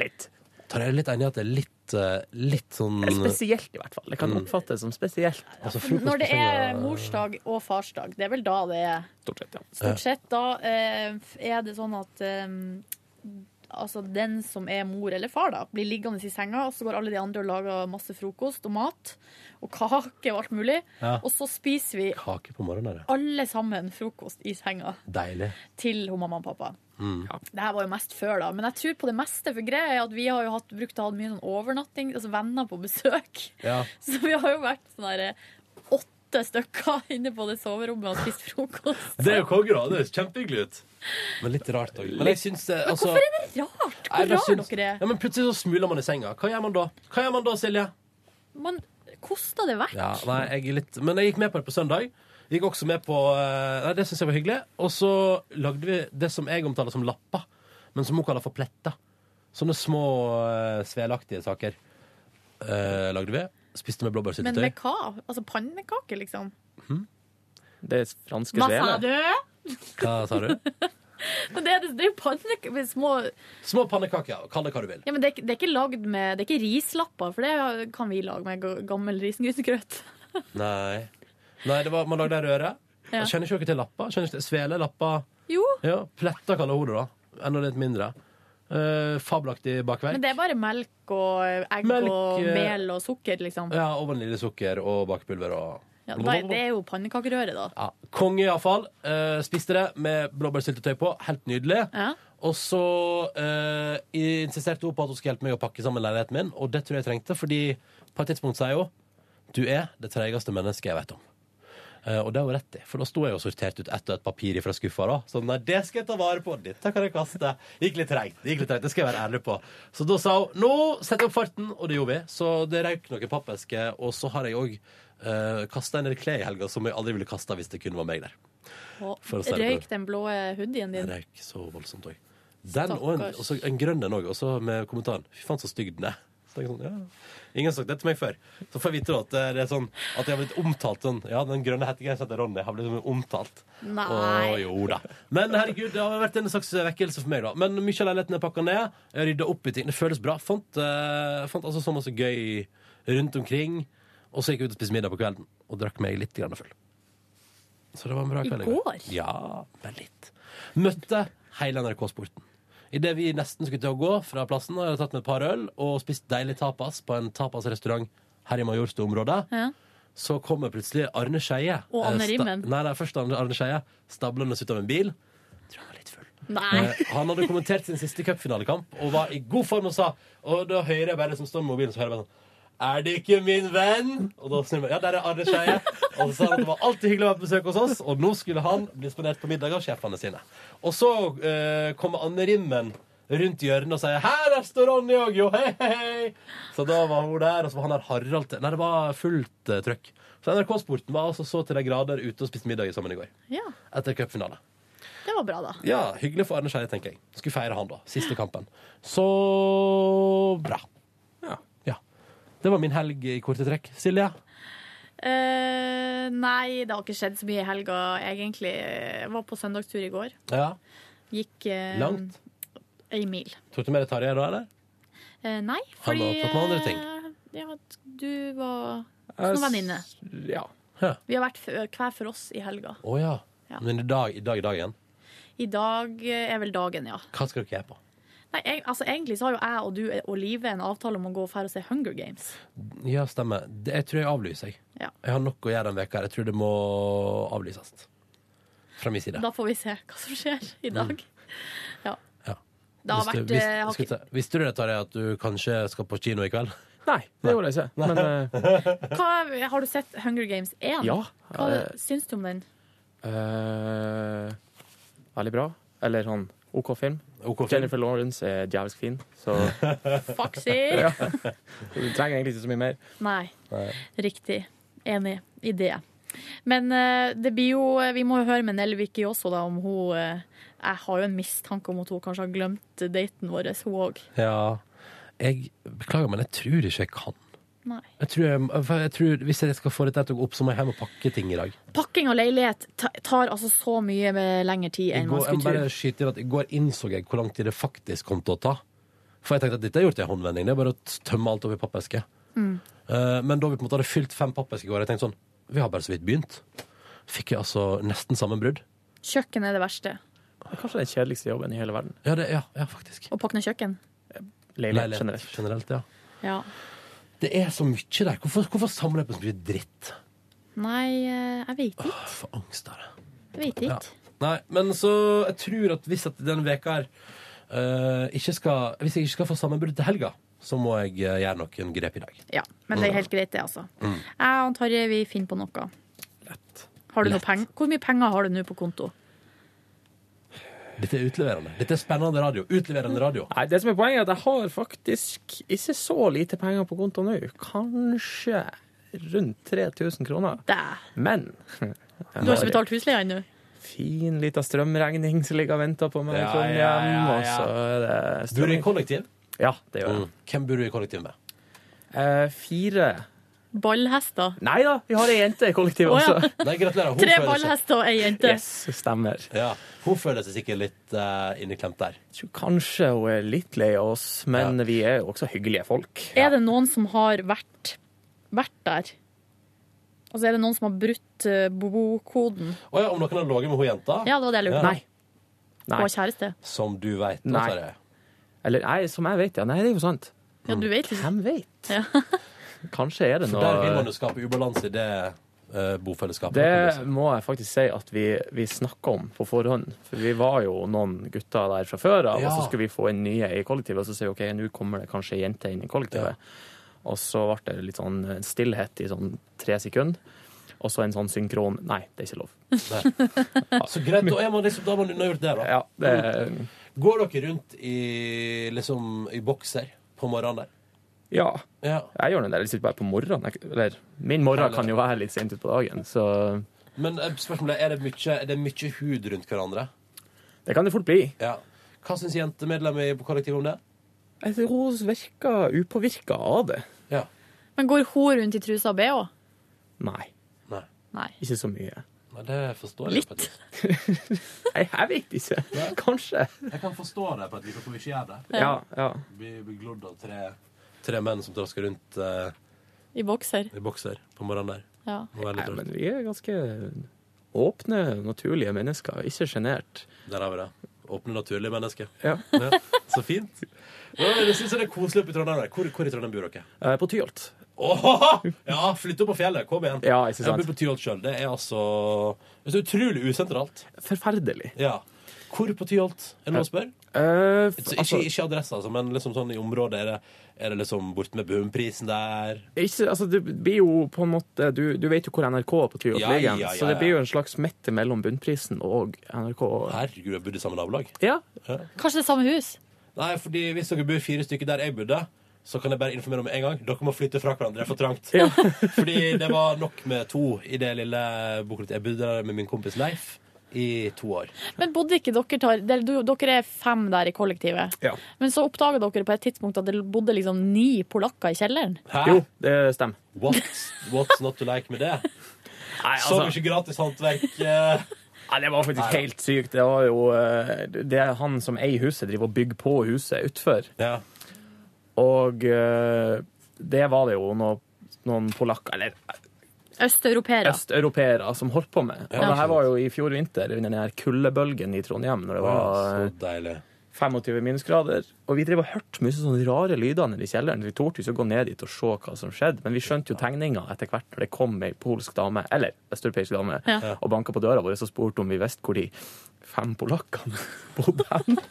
Speaker 10: litt.
Speaker 2: Tar jeg litt enig i at det er litt, eh, litt sånn
Speaker 10: Spesielt, i hvert fall. Det kan oppfattes som spesielt.
Speaker 2: Altså, frokost
Speaker 3: Når det
Speaker 2: på senga-
Speaker 3: er morsdag og farsdag, det er vel da det er
Speaker 10: Stort sett, ja.
Speaker 3: Stort sett da eh, er det sånn at eh, altså den som er mor eller far, da, blir liggende i senga, og så går alle de andre og lager masse frokost og mat og kake og alt mulig.
Speaker 2: Ja.
Speaker 3: Og så spiser vi
Speaker 2: Kake på morgenen, er det.
Speaker 3: alle sammen frokost i senga
Speaker 2: Deilig.
Speaker 3: til hun mamma og pappa.
Speaker 2: Mm.
Speaker 3: Det her var jo mest før, da, men jeg tror på det meste. For greia er at vi har jo hatt, brukt å ha mye sånn overnatting, altså venner på besøk.
Speaker 2: Ja.
Speaker 3: Så vi har jo vært sånn her eh, åtte stykker inne på det soverommet og spist frokost.
Speaker 2: Det er jo konge, da. Det høres kjempehyggelig ut. Men litt rart òg. Men jeg syns eh, altså,
Speaker 3: Hvorfor er det rart?
Speaker 2: Nei,
Speaker 3: Hvor
Speaker 2: jeg
Speaker 3: rar
Speaker 2: syns-
Speaker 3: dere er.
Speaker 2: Ja, men plutselig så smuler man i senga. Hva gjør man da? Hva gjør man da, Silje?
Speaker 3: Man koster det vekk.
Speaker 2: Ja, nei, jeg er litt Men jeg gikk med på det på søndag. Jeg Gikk også med på eh, Nei, det syns jeg var hyggelig. Og så lagde vi det som jeg omtaler som lapper, men som hun kaller for pletter. Sånne små eh, svelaktige saker eh, lagde vi. Spiste med
Speaker 3: Men
Speaker 2: blåbærsyltetøy.
Speaker 3: med hva? Altså pannekake, liksom?
Speaker 2: Det er franske
Speaker 3: Hva sa du?
Speaker 2: Hva sa du?
Speaker 3: Men det, er- det er jo pannekaker med små
Speaker 2: Små pannekaker. Kall det hva du vil.
Speaker 3: Ja, men det, er ikke- det er ikke lagd med Det er ikke rislapper, for det kan vi lage med ga- gammel risengrynsgrøt.
Speaker 2: Nei. Nei, det var, man lagde ei røre.
Speaker 3: Ja.
Speaker 2: Jeg Kjenner ikke dere til lappa? Kjenner ikke, svele, lappa
Speaker 3: Jo,
Speaker 2: ja, Pletter kaller hun det, da. Enda litt mindre. Eh, fabelaktig bakverk.
Speaker 3: men det er bare melk og egg
Speaker 2: Melk,
Speaker 3: og
Speaker 2: eh,
Speaker 3: mel og sukker, liksom.
Speaker 2: Ja, Og vaniljesukker og bakepulver og
Speaker 3: Ja, da, er- det er jo pannekakerøre, da.
Speaker 2: Ja, Konge, iallfall. Uh, spiste det med blåbærsyltetøy på. Helt nydelig. Og så eh, insisterte hun på at hun skulle hjelpe meg å pakke sammen leiligheten min, og det tror jeg jeg trengte, fordi på et tidspunkt sier hun du er det treigeste mennesket jeg vet om. Eh, og det har hun rett i, for da sto jeg og sorterte ut ett og ett papir fra skuffa. da. Så nei, det skal jeg ta vare på. Dette kan jeg kaste. Gikk litt treigt. Det gikk litt treigt, det skal jeg være ærlig på. Så da sa hun nå setter jeg opp farten, og det gjorde vi. Så det røyk noen pappesker, og så har jeg òg uh, kasta en del klær i helga som jeg aldri ville kasta hvis det kun var meg der.
Speaker 3: Og
Speaker 2: For å si det på
Speaker 3: røyk den blå hoodien din.
Speaker 2: Det røyk så voldsomt òg. Den og en,
Speaker 3: Stakkars.
Speaker 2: og så en grønn en òg, og så med kommentaren 'fy faen, så stygg den er'. Så tenker jeg sånn, ja. Ingen har sagt det til meg før. Så får jeg vite da at det er sånn At jeg har blitt omtalt sånn. Ja, den grønne hettegenseren til Ronny har blitt sånn omtalt.
Speaker 14: Nei.
Speaker 2: Å, jo da. Men herregud, det har vært en slags vekkelse for meg, da. Men mye av leiligheten er pakka ned. Jeg har rydda opp i ting. Det føles bra. Fant, eh, fant altså så masse gøy rundt omkring. Og så gikk jeg ut og spiste middag på kvelden og drakk meg litt grann full. Så det var en bra
Speaker 14: I
Speaker 2: kveld.
Speaker 14: går?
Speaker 2: Ja, men litt. Møtte hele NRK-sporten. Idet vi nesten skulle til å gå fra plassen, hadde jeg tatt med et par øl og spist deilig tapas på en tapasrestaurant her i Majorstua-området.
Speaker 3: Ja.
Speaker 2: Så kommer plutselig Arne Skeie.
Speaker 3: Og Anne
Speaker 2: eh, sta-
Speaker 3: Rimmen.
Speaker 2: Nei, nei, først Arne Arne Skeie stablende ut av en bil.
Speaker 3: Nei!
Speaker 2: Eh, Han hadde kommentert sin siste cupfinalekamp og var i god form og sa Og da hører jeg bare det som står med mobilen, så hører jeg bare sånn Er det ikke min venn? Og da snur jeg meg. Ja, der er Arne Skeie. Og så sa han at det var alltid hyggelig å være på besøk hos oss, og nå skulle han bli spandert på middag av sjefene sine. Og så eh, kommer Anne Rimmen rundt hjørnet og sier 'Her der står Ronny òg, jo! Hei, hei, hei!' Så da var hun der, og så var han der Harald til- Nei, det var fullt eh, trøkk. Så NRK-sporten var altså så til de grader ute og spiste middag sammen i går.
Speaker 3: Ja,
Speaker 2: Etter cupfinale.
Speaker 3: det var bra, da.
Speaker 2: Ja, hyggelig for Arne Skeie, tenker jeg. Skulle feire han, da. Siste kampen. Så bra. Ja. Det var min helg i korte trekk. Silje?
Speaker 3: Eh, nei, det har ikke skjedd så mye i helga, egentlig. Jeg var på søndagstur i går.
Speaker 2: Ja.
Speaker 3: Gikk eh,
Speaker 2: Langt?
Speaker 3: Ei mil.
Speaker 2: Tok du med deg Tarjei da, eller?
Speaker 3: Eh, nei,
Speaker 2: Han
Speaker 3: fordi
Speaker 2: var opptatt med andre ting.
Speaker 3: eh, Ja, du var som venninne.
Speaker 2: Ja.
Speaker 3: Vi har vært f- eh, hver for oss i helga.
Speaker 2: Å ja.
Speaker 3: Ja.
Speaker 2: Men i dag, i dag er dagen.
Speaker 3: I dag eh, er vel dagen, ja.
Speaker 2: Hva skal dere gjøre på?
Speaker 3: Nei, jeg, altså, egentlig så har jo jeg og du eh, og Live en avtale om å gå og fære og se Hunger Games.
Speaker 2: Ja, stemmer. Det- Jeg tror jeg avlyser, jeg.
Speaker 3: Ja.
Speaker 2: Jeg har nok å gjøre den veka her. Jeg tror det må avlyses. Fra min side.
Speaker 3: Da får vi se hva som skjer i dag. Ja.
Speaker 2: Mm. Ja.
Speaker 3: Det har
Speaker 2: Visste-
Speaker 3: vært
Speaker 2: vis-
Speaker 3: eh, har
Speaker 2: skulle
Speaker 3: ikke-
Speaker 2: ta- Visste du det, Tarjei, at du kanskje skal på kino i kveld?
Speaker 10: Nei, det gjorde jeg ikke. Men eh,
Speaker 3: hva, Har du sett Hunger Games 1?
Speaker 10: Ja.
Speaker 3: Hva
Speaker 10: Eh.
Speaker 3: syns du om den?
Speaker 10: eh, Veldig bra. Eller sånn OK film. Jennifer Lawrence er djevelsk fin, så
Speaker 3: Foxy!
Speaker 10: ja. Du trenger egentlig ikke så mye mer.
Speaker 3: Nei. Riktig. Enig i det. Men eh, det blir jo Vi må jo høre med Nelvik i også, da, om hun eh, Jeg har jo en mistanke om at hun kanskje har glemt daten vår, hun òg.
Speaker 2: Ja. Jeg beklager, men jeg tror ikke jeg kan.
Speaker 3: Nei.
Speaker 2: Jeg tror, jeg, for jeg tror Hvis jeg skal få dette til å gå opp, så må jeg hjem og pakke ting i dag.
Speaker 3: Pakking av leilighet ta- tar altså så mye med lengre
Speaker 2: I
Speaker 3: tid enn
Speaker 2: går,
Speaker 3: man
Speaker 2: jeg må
Speaker 3: skulle
Speaker 2: bare
Speaker 3: tro.
Speaker 2: skyte inn at I går innså jeg hvor lang tid det faktisk kom til å ta. For jeg tenkte at dette er gjort i en håndvending. Det er bare å tømme alt oppi pappeske.
Speaker 14: Mm.
Speaker 2: Eh, Men da vi på en måte hadde fylt fem pappesker i går, jeg tenkte sånn Vi har bare så vidt begynt. Fikk jeg altså nesten sammenbrudd.
Speaker 3: Kjøkken er det verste.
Speaker 10: Det er kanskje den kjedeligste jobben i hele verden.
Speaker 2: Ja, det, ja, ja faktisk.
Speaker 1: Og pakne kjøkken.
Speaker 10: Leilighet,
Speaker 2: Leilighet,
Speaker 10: generelt.
Speaker 2: ja. Det er så mye der. Hvorfor, hvorfor samler jeg på så mye dritt?
Speaker 1: Nei, eh, jeg vet ikke.
Speaker 2: For angst av det.
Speaker 1: Jeg vet ikke.
Speaker 2: Nei, men så jeg tror at hvis at denne veka her eh, ikke skal, Hvis jeg ikke skal få sammenbrudd til helga, så må jeg eh, gjøre noen grep i dag.
Speaker 1: Ja, men det er helt greit, det, altså.
Speaker 2: Mm.
Speaker 1: Jeg og Tarjei, vi finner på noe. Har du noe peng Hvor mye penger har du nå på konto?
Speaker 2: Dette er utleverende. Dette er spennende radio. Utleverende radio.
Speaker 10: Nei, det som er poenget er at jeg har faktisk ikke så lite penger på konto nå. Kanskje rundt 3000 kroner. Men
Speaker 1: Du har ikke betalt husleia ennå?
Speaker 10: Fin lita strømregning som ligger og venter på meg i
Speaker 2: Ja,
Speaker 10: Trondheim.
Speaker 2: ja, ja, ja.
Speaker 10: Og så er det
Speaker 2: Bor du i kollektiv?
Speaker 10: Ja, det gjør jeg.
Speaker 2: Mm. Hvem bor du i kollektiv med?
Speaker 10: Eh, fire.
Speaker 1: Ballhester.
Speaker 10: Nei da, vi har ei jente i kollektivet
Speaker 1: Å, ja.
Speaker 10: også.
Speaker 2: Nei, gratulerer. Hun
Speaker 1: Tre
Speaker 2: føler seg-
Speaker 1: ballhester og ei jente.
Speaker 10: Stemmer.
Speaker 2: Ja, Hun føler seg sikkert litt eh, inneklemt der.
Speaker 10: Kanskje hun er litt lei av oss, men vi er jo også hyggelige folk.
Speaker 1: Er det noen som har vært, vært der? Altså, er det noen som har brutt eh, bokoden?
Speaker 2: Å ja, om noen har ligget med hun jenta?
Speaker 1: Ja, det var det jeg lurte på.
Speaker 2: Ja.
Speaker 1: Hun har kjæreste.
Speaker 2: Som du veit.
Speaker 10: Nei. Eller nei, som jeg vet, ja. Nei, det er jo sant.
Speaker 1: Ja, du vet
Speaker 10: Hvem vet? Kanskje er det
Speaker 2: For
Speaker 10: noe
Speaker 2: der vil man jo skape ubalanse i det eh, bofellesskapet.
Speaker 10: Det må jeg faktisk si at vi, vi snakka om på forhånd. For vi var jo noen gutter der fra før av, og
Speaker 2: Ja.
Speaker 10: så skulle vi få inn nye i kollektivet. Og så sier vi OK, nå kommer det kanskje ei jente inn i kollektivet. Og så ble det litt sånn stillhet i sånn tre sekunder. Og så en sånn synkron Nei, det er ikke lov.
Speaker 2: Så greit, da er man liksom, da er man unnagjort det, da.
Speaker 10: det-
Speaker 2: Går dere rundt i, liksom, i bokser på morgenen der?
Speaker 10: Ja.
Speaker 2: Ja.
Speaker 10: Jeg gjør det der litt bare på morgenen. jeg- Eller min morgen kan jo være litt sent utpå dagen, så
Speaker 2: Men eh, spørsmålet er, er det mye, er det mye hud rundt hverandre?
Speaker 10: det kan det fort bli.
Speaker 2: Ja. Hva syns jentemedlemmer i kollektivet om det?
Speaker 10: Jeg tror hun virker upåvirka av det.
Speaker 1: Men går hun rundt i trusa og bh?
Speaker 10: Nei.
Speaker 2: Nei.
Speaker 1: Nei.
Speaker 10: Ikke så mye.
Speaker 2: Nei, det forstår jeg
Speaker 10: Litt.
Speaker 2: på et vis.
Speaker 10: Nei, jeg vet ikke. Kanskje.
Speaker 2: Jeg kan forstå det på et vis, hvorfor vi ikke gjør det.
Speaker 10: Ja, ja.
Speaker 2: Vi blir glodd av tre, tre menn som trasker rundt eh,
Speaker 1: I bokser.
Speaker 2: i bokser på morgenen der.
Speaker 1: Ja.
Speaker 2: Må være litt
Speaker 10: Nei,
Speaker 2: rart.
Speaker 10: men vi er ganske åpne, naturlige mennesker. Ikke sjenert.
Speaker 2: Der har vi det. Åpne, naturlige mennesker.
Speaker 10: Ja.
Speaker 2: Så fint. Ja, men jeg synes det er koselig oppe i Trondheim. der. Hvor, hvor i Trondheim bor dere?
Speaker 10: Eh, På Tyholt.
Speaker 2: Åh, ja, flytt opp på fjellet. Kom igjen.
Speaker 10: Ja, ikke
Speaker 2: jeg
Speaker 10: sant.
Speaker 2: bor på Tyholt sjøl. Det er altså det er utrolig usentralt.
Speaker 10: Forferdelig.
Speaker 2: Ja. Hvor på Tyholt? Er det noen som spør?
Speaker 10: Eh, f-
Speaker 2: Ikke,
Speaker 10: altså,
Speaker 2: ikke, ikke adresse, altså, men liksom sånn i området. Er det, er det liksom borte med Bunnprisen der?
Speaker 10: ikke, altså, det blir jo på en måte Du, du vet jo hvor NRK på Tyholt
Speaker 2: Ja,
Speaker 10: ligger,
Speaker 2: ja, ja,
Speaker 10: så det
Speaker 2: ja.
Speaker 10: blir jo en slags midt mellom bunnprisen og NRK.
Speaker 2: Herregud, jeg bodde i samme nabolag.
Speaker 10: Ja.
Speaker 1: Kanskje det er samme hus?
Speaker 2: Nei, fordi hvis dere bor fire stykker der jeg bodde, så kan jeg bare informere om en gang. Dere må flytte fra hverandre. Det er for trangt. fordi det var nok med to i det lille bokklubbet. Jeg bodde der med min kompis Leif i to år.
Speaker 1: Men bodde ikke dere tar, del- du- Dere er fem der i kollektivet.
Speaker 10: Ja.
Speaker 1: Men så oppdaga dere på et tidspunkt at det bodde liksom ni polakker i kjelleren.
Speaker 2: Hæ?
Speaker 10: Jo, det stemmer.
Speaker 2: What? What's not to like med det?
Speaker 10: Nei,
Speaker 2: Så mye gratis håndverk. eh.
Speaker 10: Ja, det var faktisk
Speaker 2: Nei da.
Speaker 10: helt sykt. Det var jo eh, Det er han som eier huset, driver og bygger på huset utfor. Og eh, det var det jo noe, noen polakker, eller
Speaker 1: Østeuropeere.
Speaker 10: østeuropeere, som holdt på med. Og
Speaker 1: Ja,
Speaker 10: det her var jo i fjor vinter, under den her kuldebølgen i Trondheim, når det var
Speaker 2: så deilig.
Speaker 10: 25 minusgrader. Og vi drev og hørte mye sånne rare lyder nede i kjelleren. Vi torde ikke å gå ned dit og se hva som skjedde, men vi skjønte jo tegninga etter hvert når det kom ei polsk dame, eller østeuropeisk dame,
Speaker 1: Ja.
Speaker 10: og banka på døra vår og spurte om vi visste hvor de fem polakkene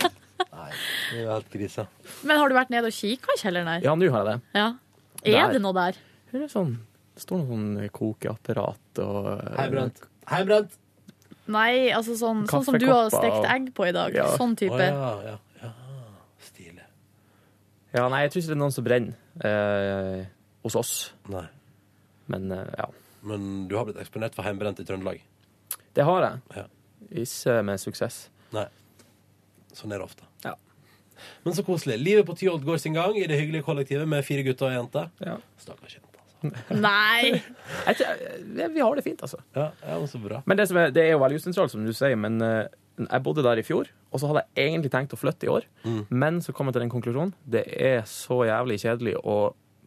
Speaker 2: Det er jo helt krise.
Speaker 1: Men har du vært nede og kikka i kjelleren her?
Speaker 10: Ja, nå har jeg det.
Speaker 1: Ja. Er
Speaker 10: Der.
Speaker 1: det noe der?
Speaker 10: Det er sånn, det står noe sånn kokeapparat og
Speaker 2: Heibrent. Heibrent!
Speaker 1: Nei, altså sånn, sånn som du har
Speaker 10: Kaffekopper
Speaker 1: stekt
Speaker 10: og-
Speaker 1: egg på i dag.
Speaker 10: Ja.
Speaker 1: Sånn type.
Speaker 10: Å, ja, ja. Ja, nei, jeg tror ikke det er noen som brenner eh, hos oss.
Speaker 2: Nei.
Speaker 10: Men eh, ja.
Speaker 2: Men du har blitt eksponert for hjemmebrent i Trøndelag.
Speaker 10: Det har jeg. Ikke med suksess.
Speaker 2: Nei. Sånn er det ofte. Men så koselig. Livet på Tyholt går sin gang i det hyggelige kollektivet med fire gutter og ei jente. Stakkars jente. altså.
Speaker 1: Nei!
Speaker 10: jeg, tror- jeg- vi har det fint, altså.
Speaker 2: Ja, ja, men så bra.
Speaker 10: Men det, som er, det er jo veldig usentralt, som du sier, men eh, jeg bodde der i fjor, og så hadde jeg egentlig tenkt å flytte i år,
Speaker 2: Mm.
Speaker 10: men så kom jeg til den konklusjonen. Det er så jævlig kjedelig å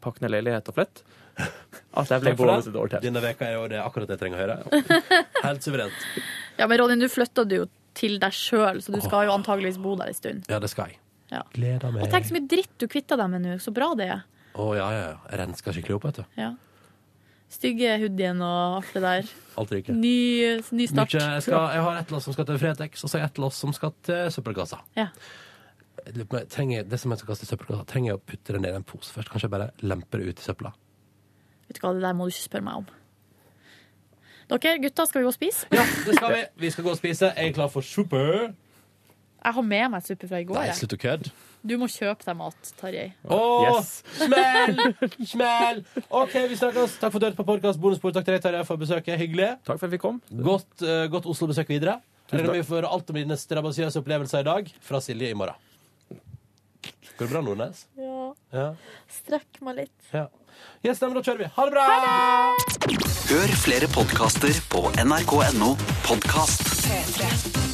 Speaker 10: pakke ned leilighet og flytte. At jeg ble
Speaker 2: Takk for
Speaker 10: boende
Speaker 2: det.
Speaker 10: et år til.
Speaker 2: Denne veka er jo det akkurat det jeg trenger å høre. Helt suverent.
Speaker 1: Ja, men Ronny, nå flytta du jo
Speaker 3: til deg sjøl, så du skal jo antageligvis bo der en stund.
Speaker 2: Ja, det skal jeg.
Speaker 3: Ja.
Speaker 2: Gleder meg.
Speaker 3: Og tenk så mye dritt du kvitter deg med nå. Så bra det er.
Speaker 2: Å ja, ja, ja. Jeg rensker skikkelig opp, vet du.
Speaker 3: Ja. Stygge hoodien og alt det der.
Speaker 2: Alt ryker.
Speaker 3: Ny, ny
Speaker 2: Mye-
Speaker 3: start.
Speaker 2: jeg, skal, jeg har et lass som skal til Fretex, og så har jeg et lass som skal til søppelkassa.
Speaker 3: Ja.
Speaker 2: Jeg lurer på om jeg Trenger, det som jeg skal kaste i søppelkassa, trenger jeg å putte det ned i en pose først? Kanskje jeg bare lemper det ut i søpla?
Speaker 3: Vet du hva, det der må du ikke spørre meg om. Dere gutter, skal vi gå og spise?
Speaker 2: Det skal vi. Vi skal gå og spise. Jeg er klar for suppe.
Speaker 3: Jeg har med meg suppe fra i går.
Speaker 2: Nei,
Speaker 3: jeg.
Speaker 2: slutt å kødde.
Speaker 3: Du må kjøpe deg mat, Tarjei.
Speaker 2: Å, smell! Smell! OK, vi snakkes. Takk for at du hørte på podkast Bonusbord. Takk til deg, Tarjei, for besøket. Hyggelig.
Speaker 10: Takk for at vi kom.
Speaker 2: Godt, eh, godt Oslo-besøk videre.
Speaker 10: Tusen
Speaker 2: Regner
Speaker 10: takk.
Speaker 2: med vi får høre alt om dine strabasiøse opplevelser i dag fra Silje i morgen. Går det bra, Nordnes?
Speaker 3: Ja.
Speaker 2: Ja.
Speaker 3: Strekk meg litt.
Speaker 2: ja. Yes, nei, men da kjører vi. Ha det bra!
Speaker 15: Hør flere podkaster på nrk.no podkast.
Speaker 19: P3.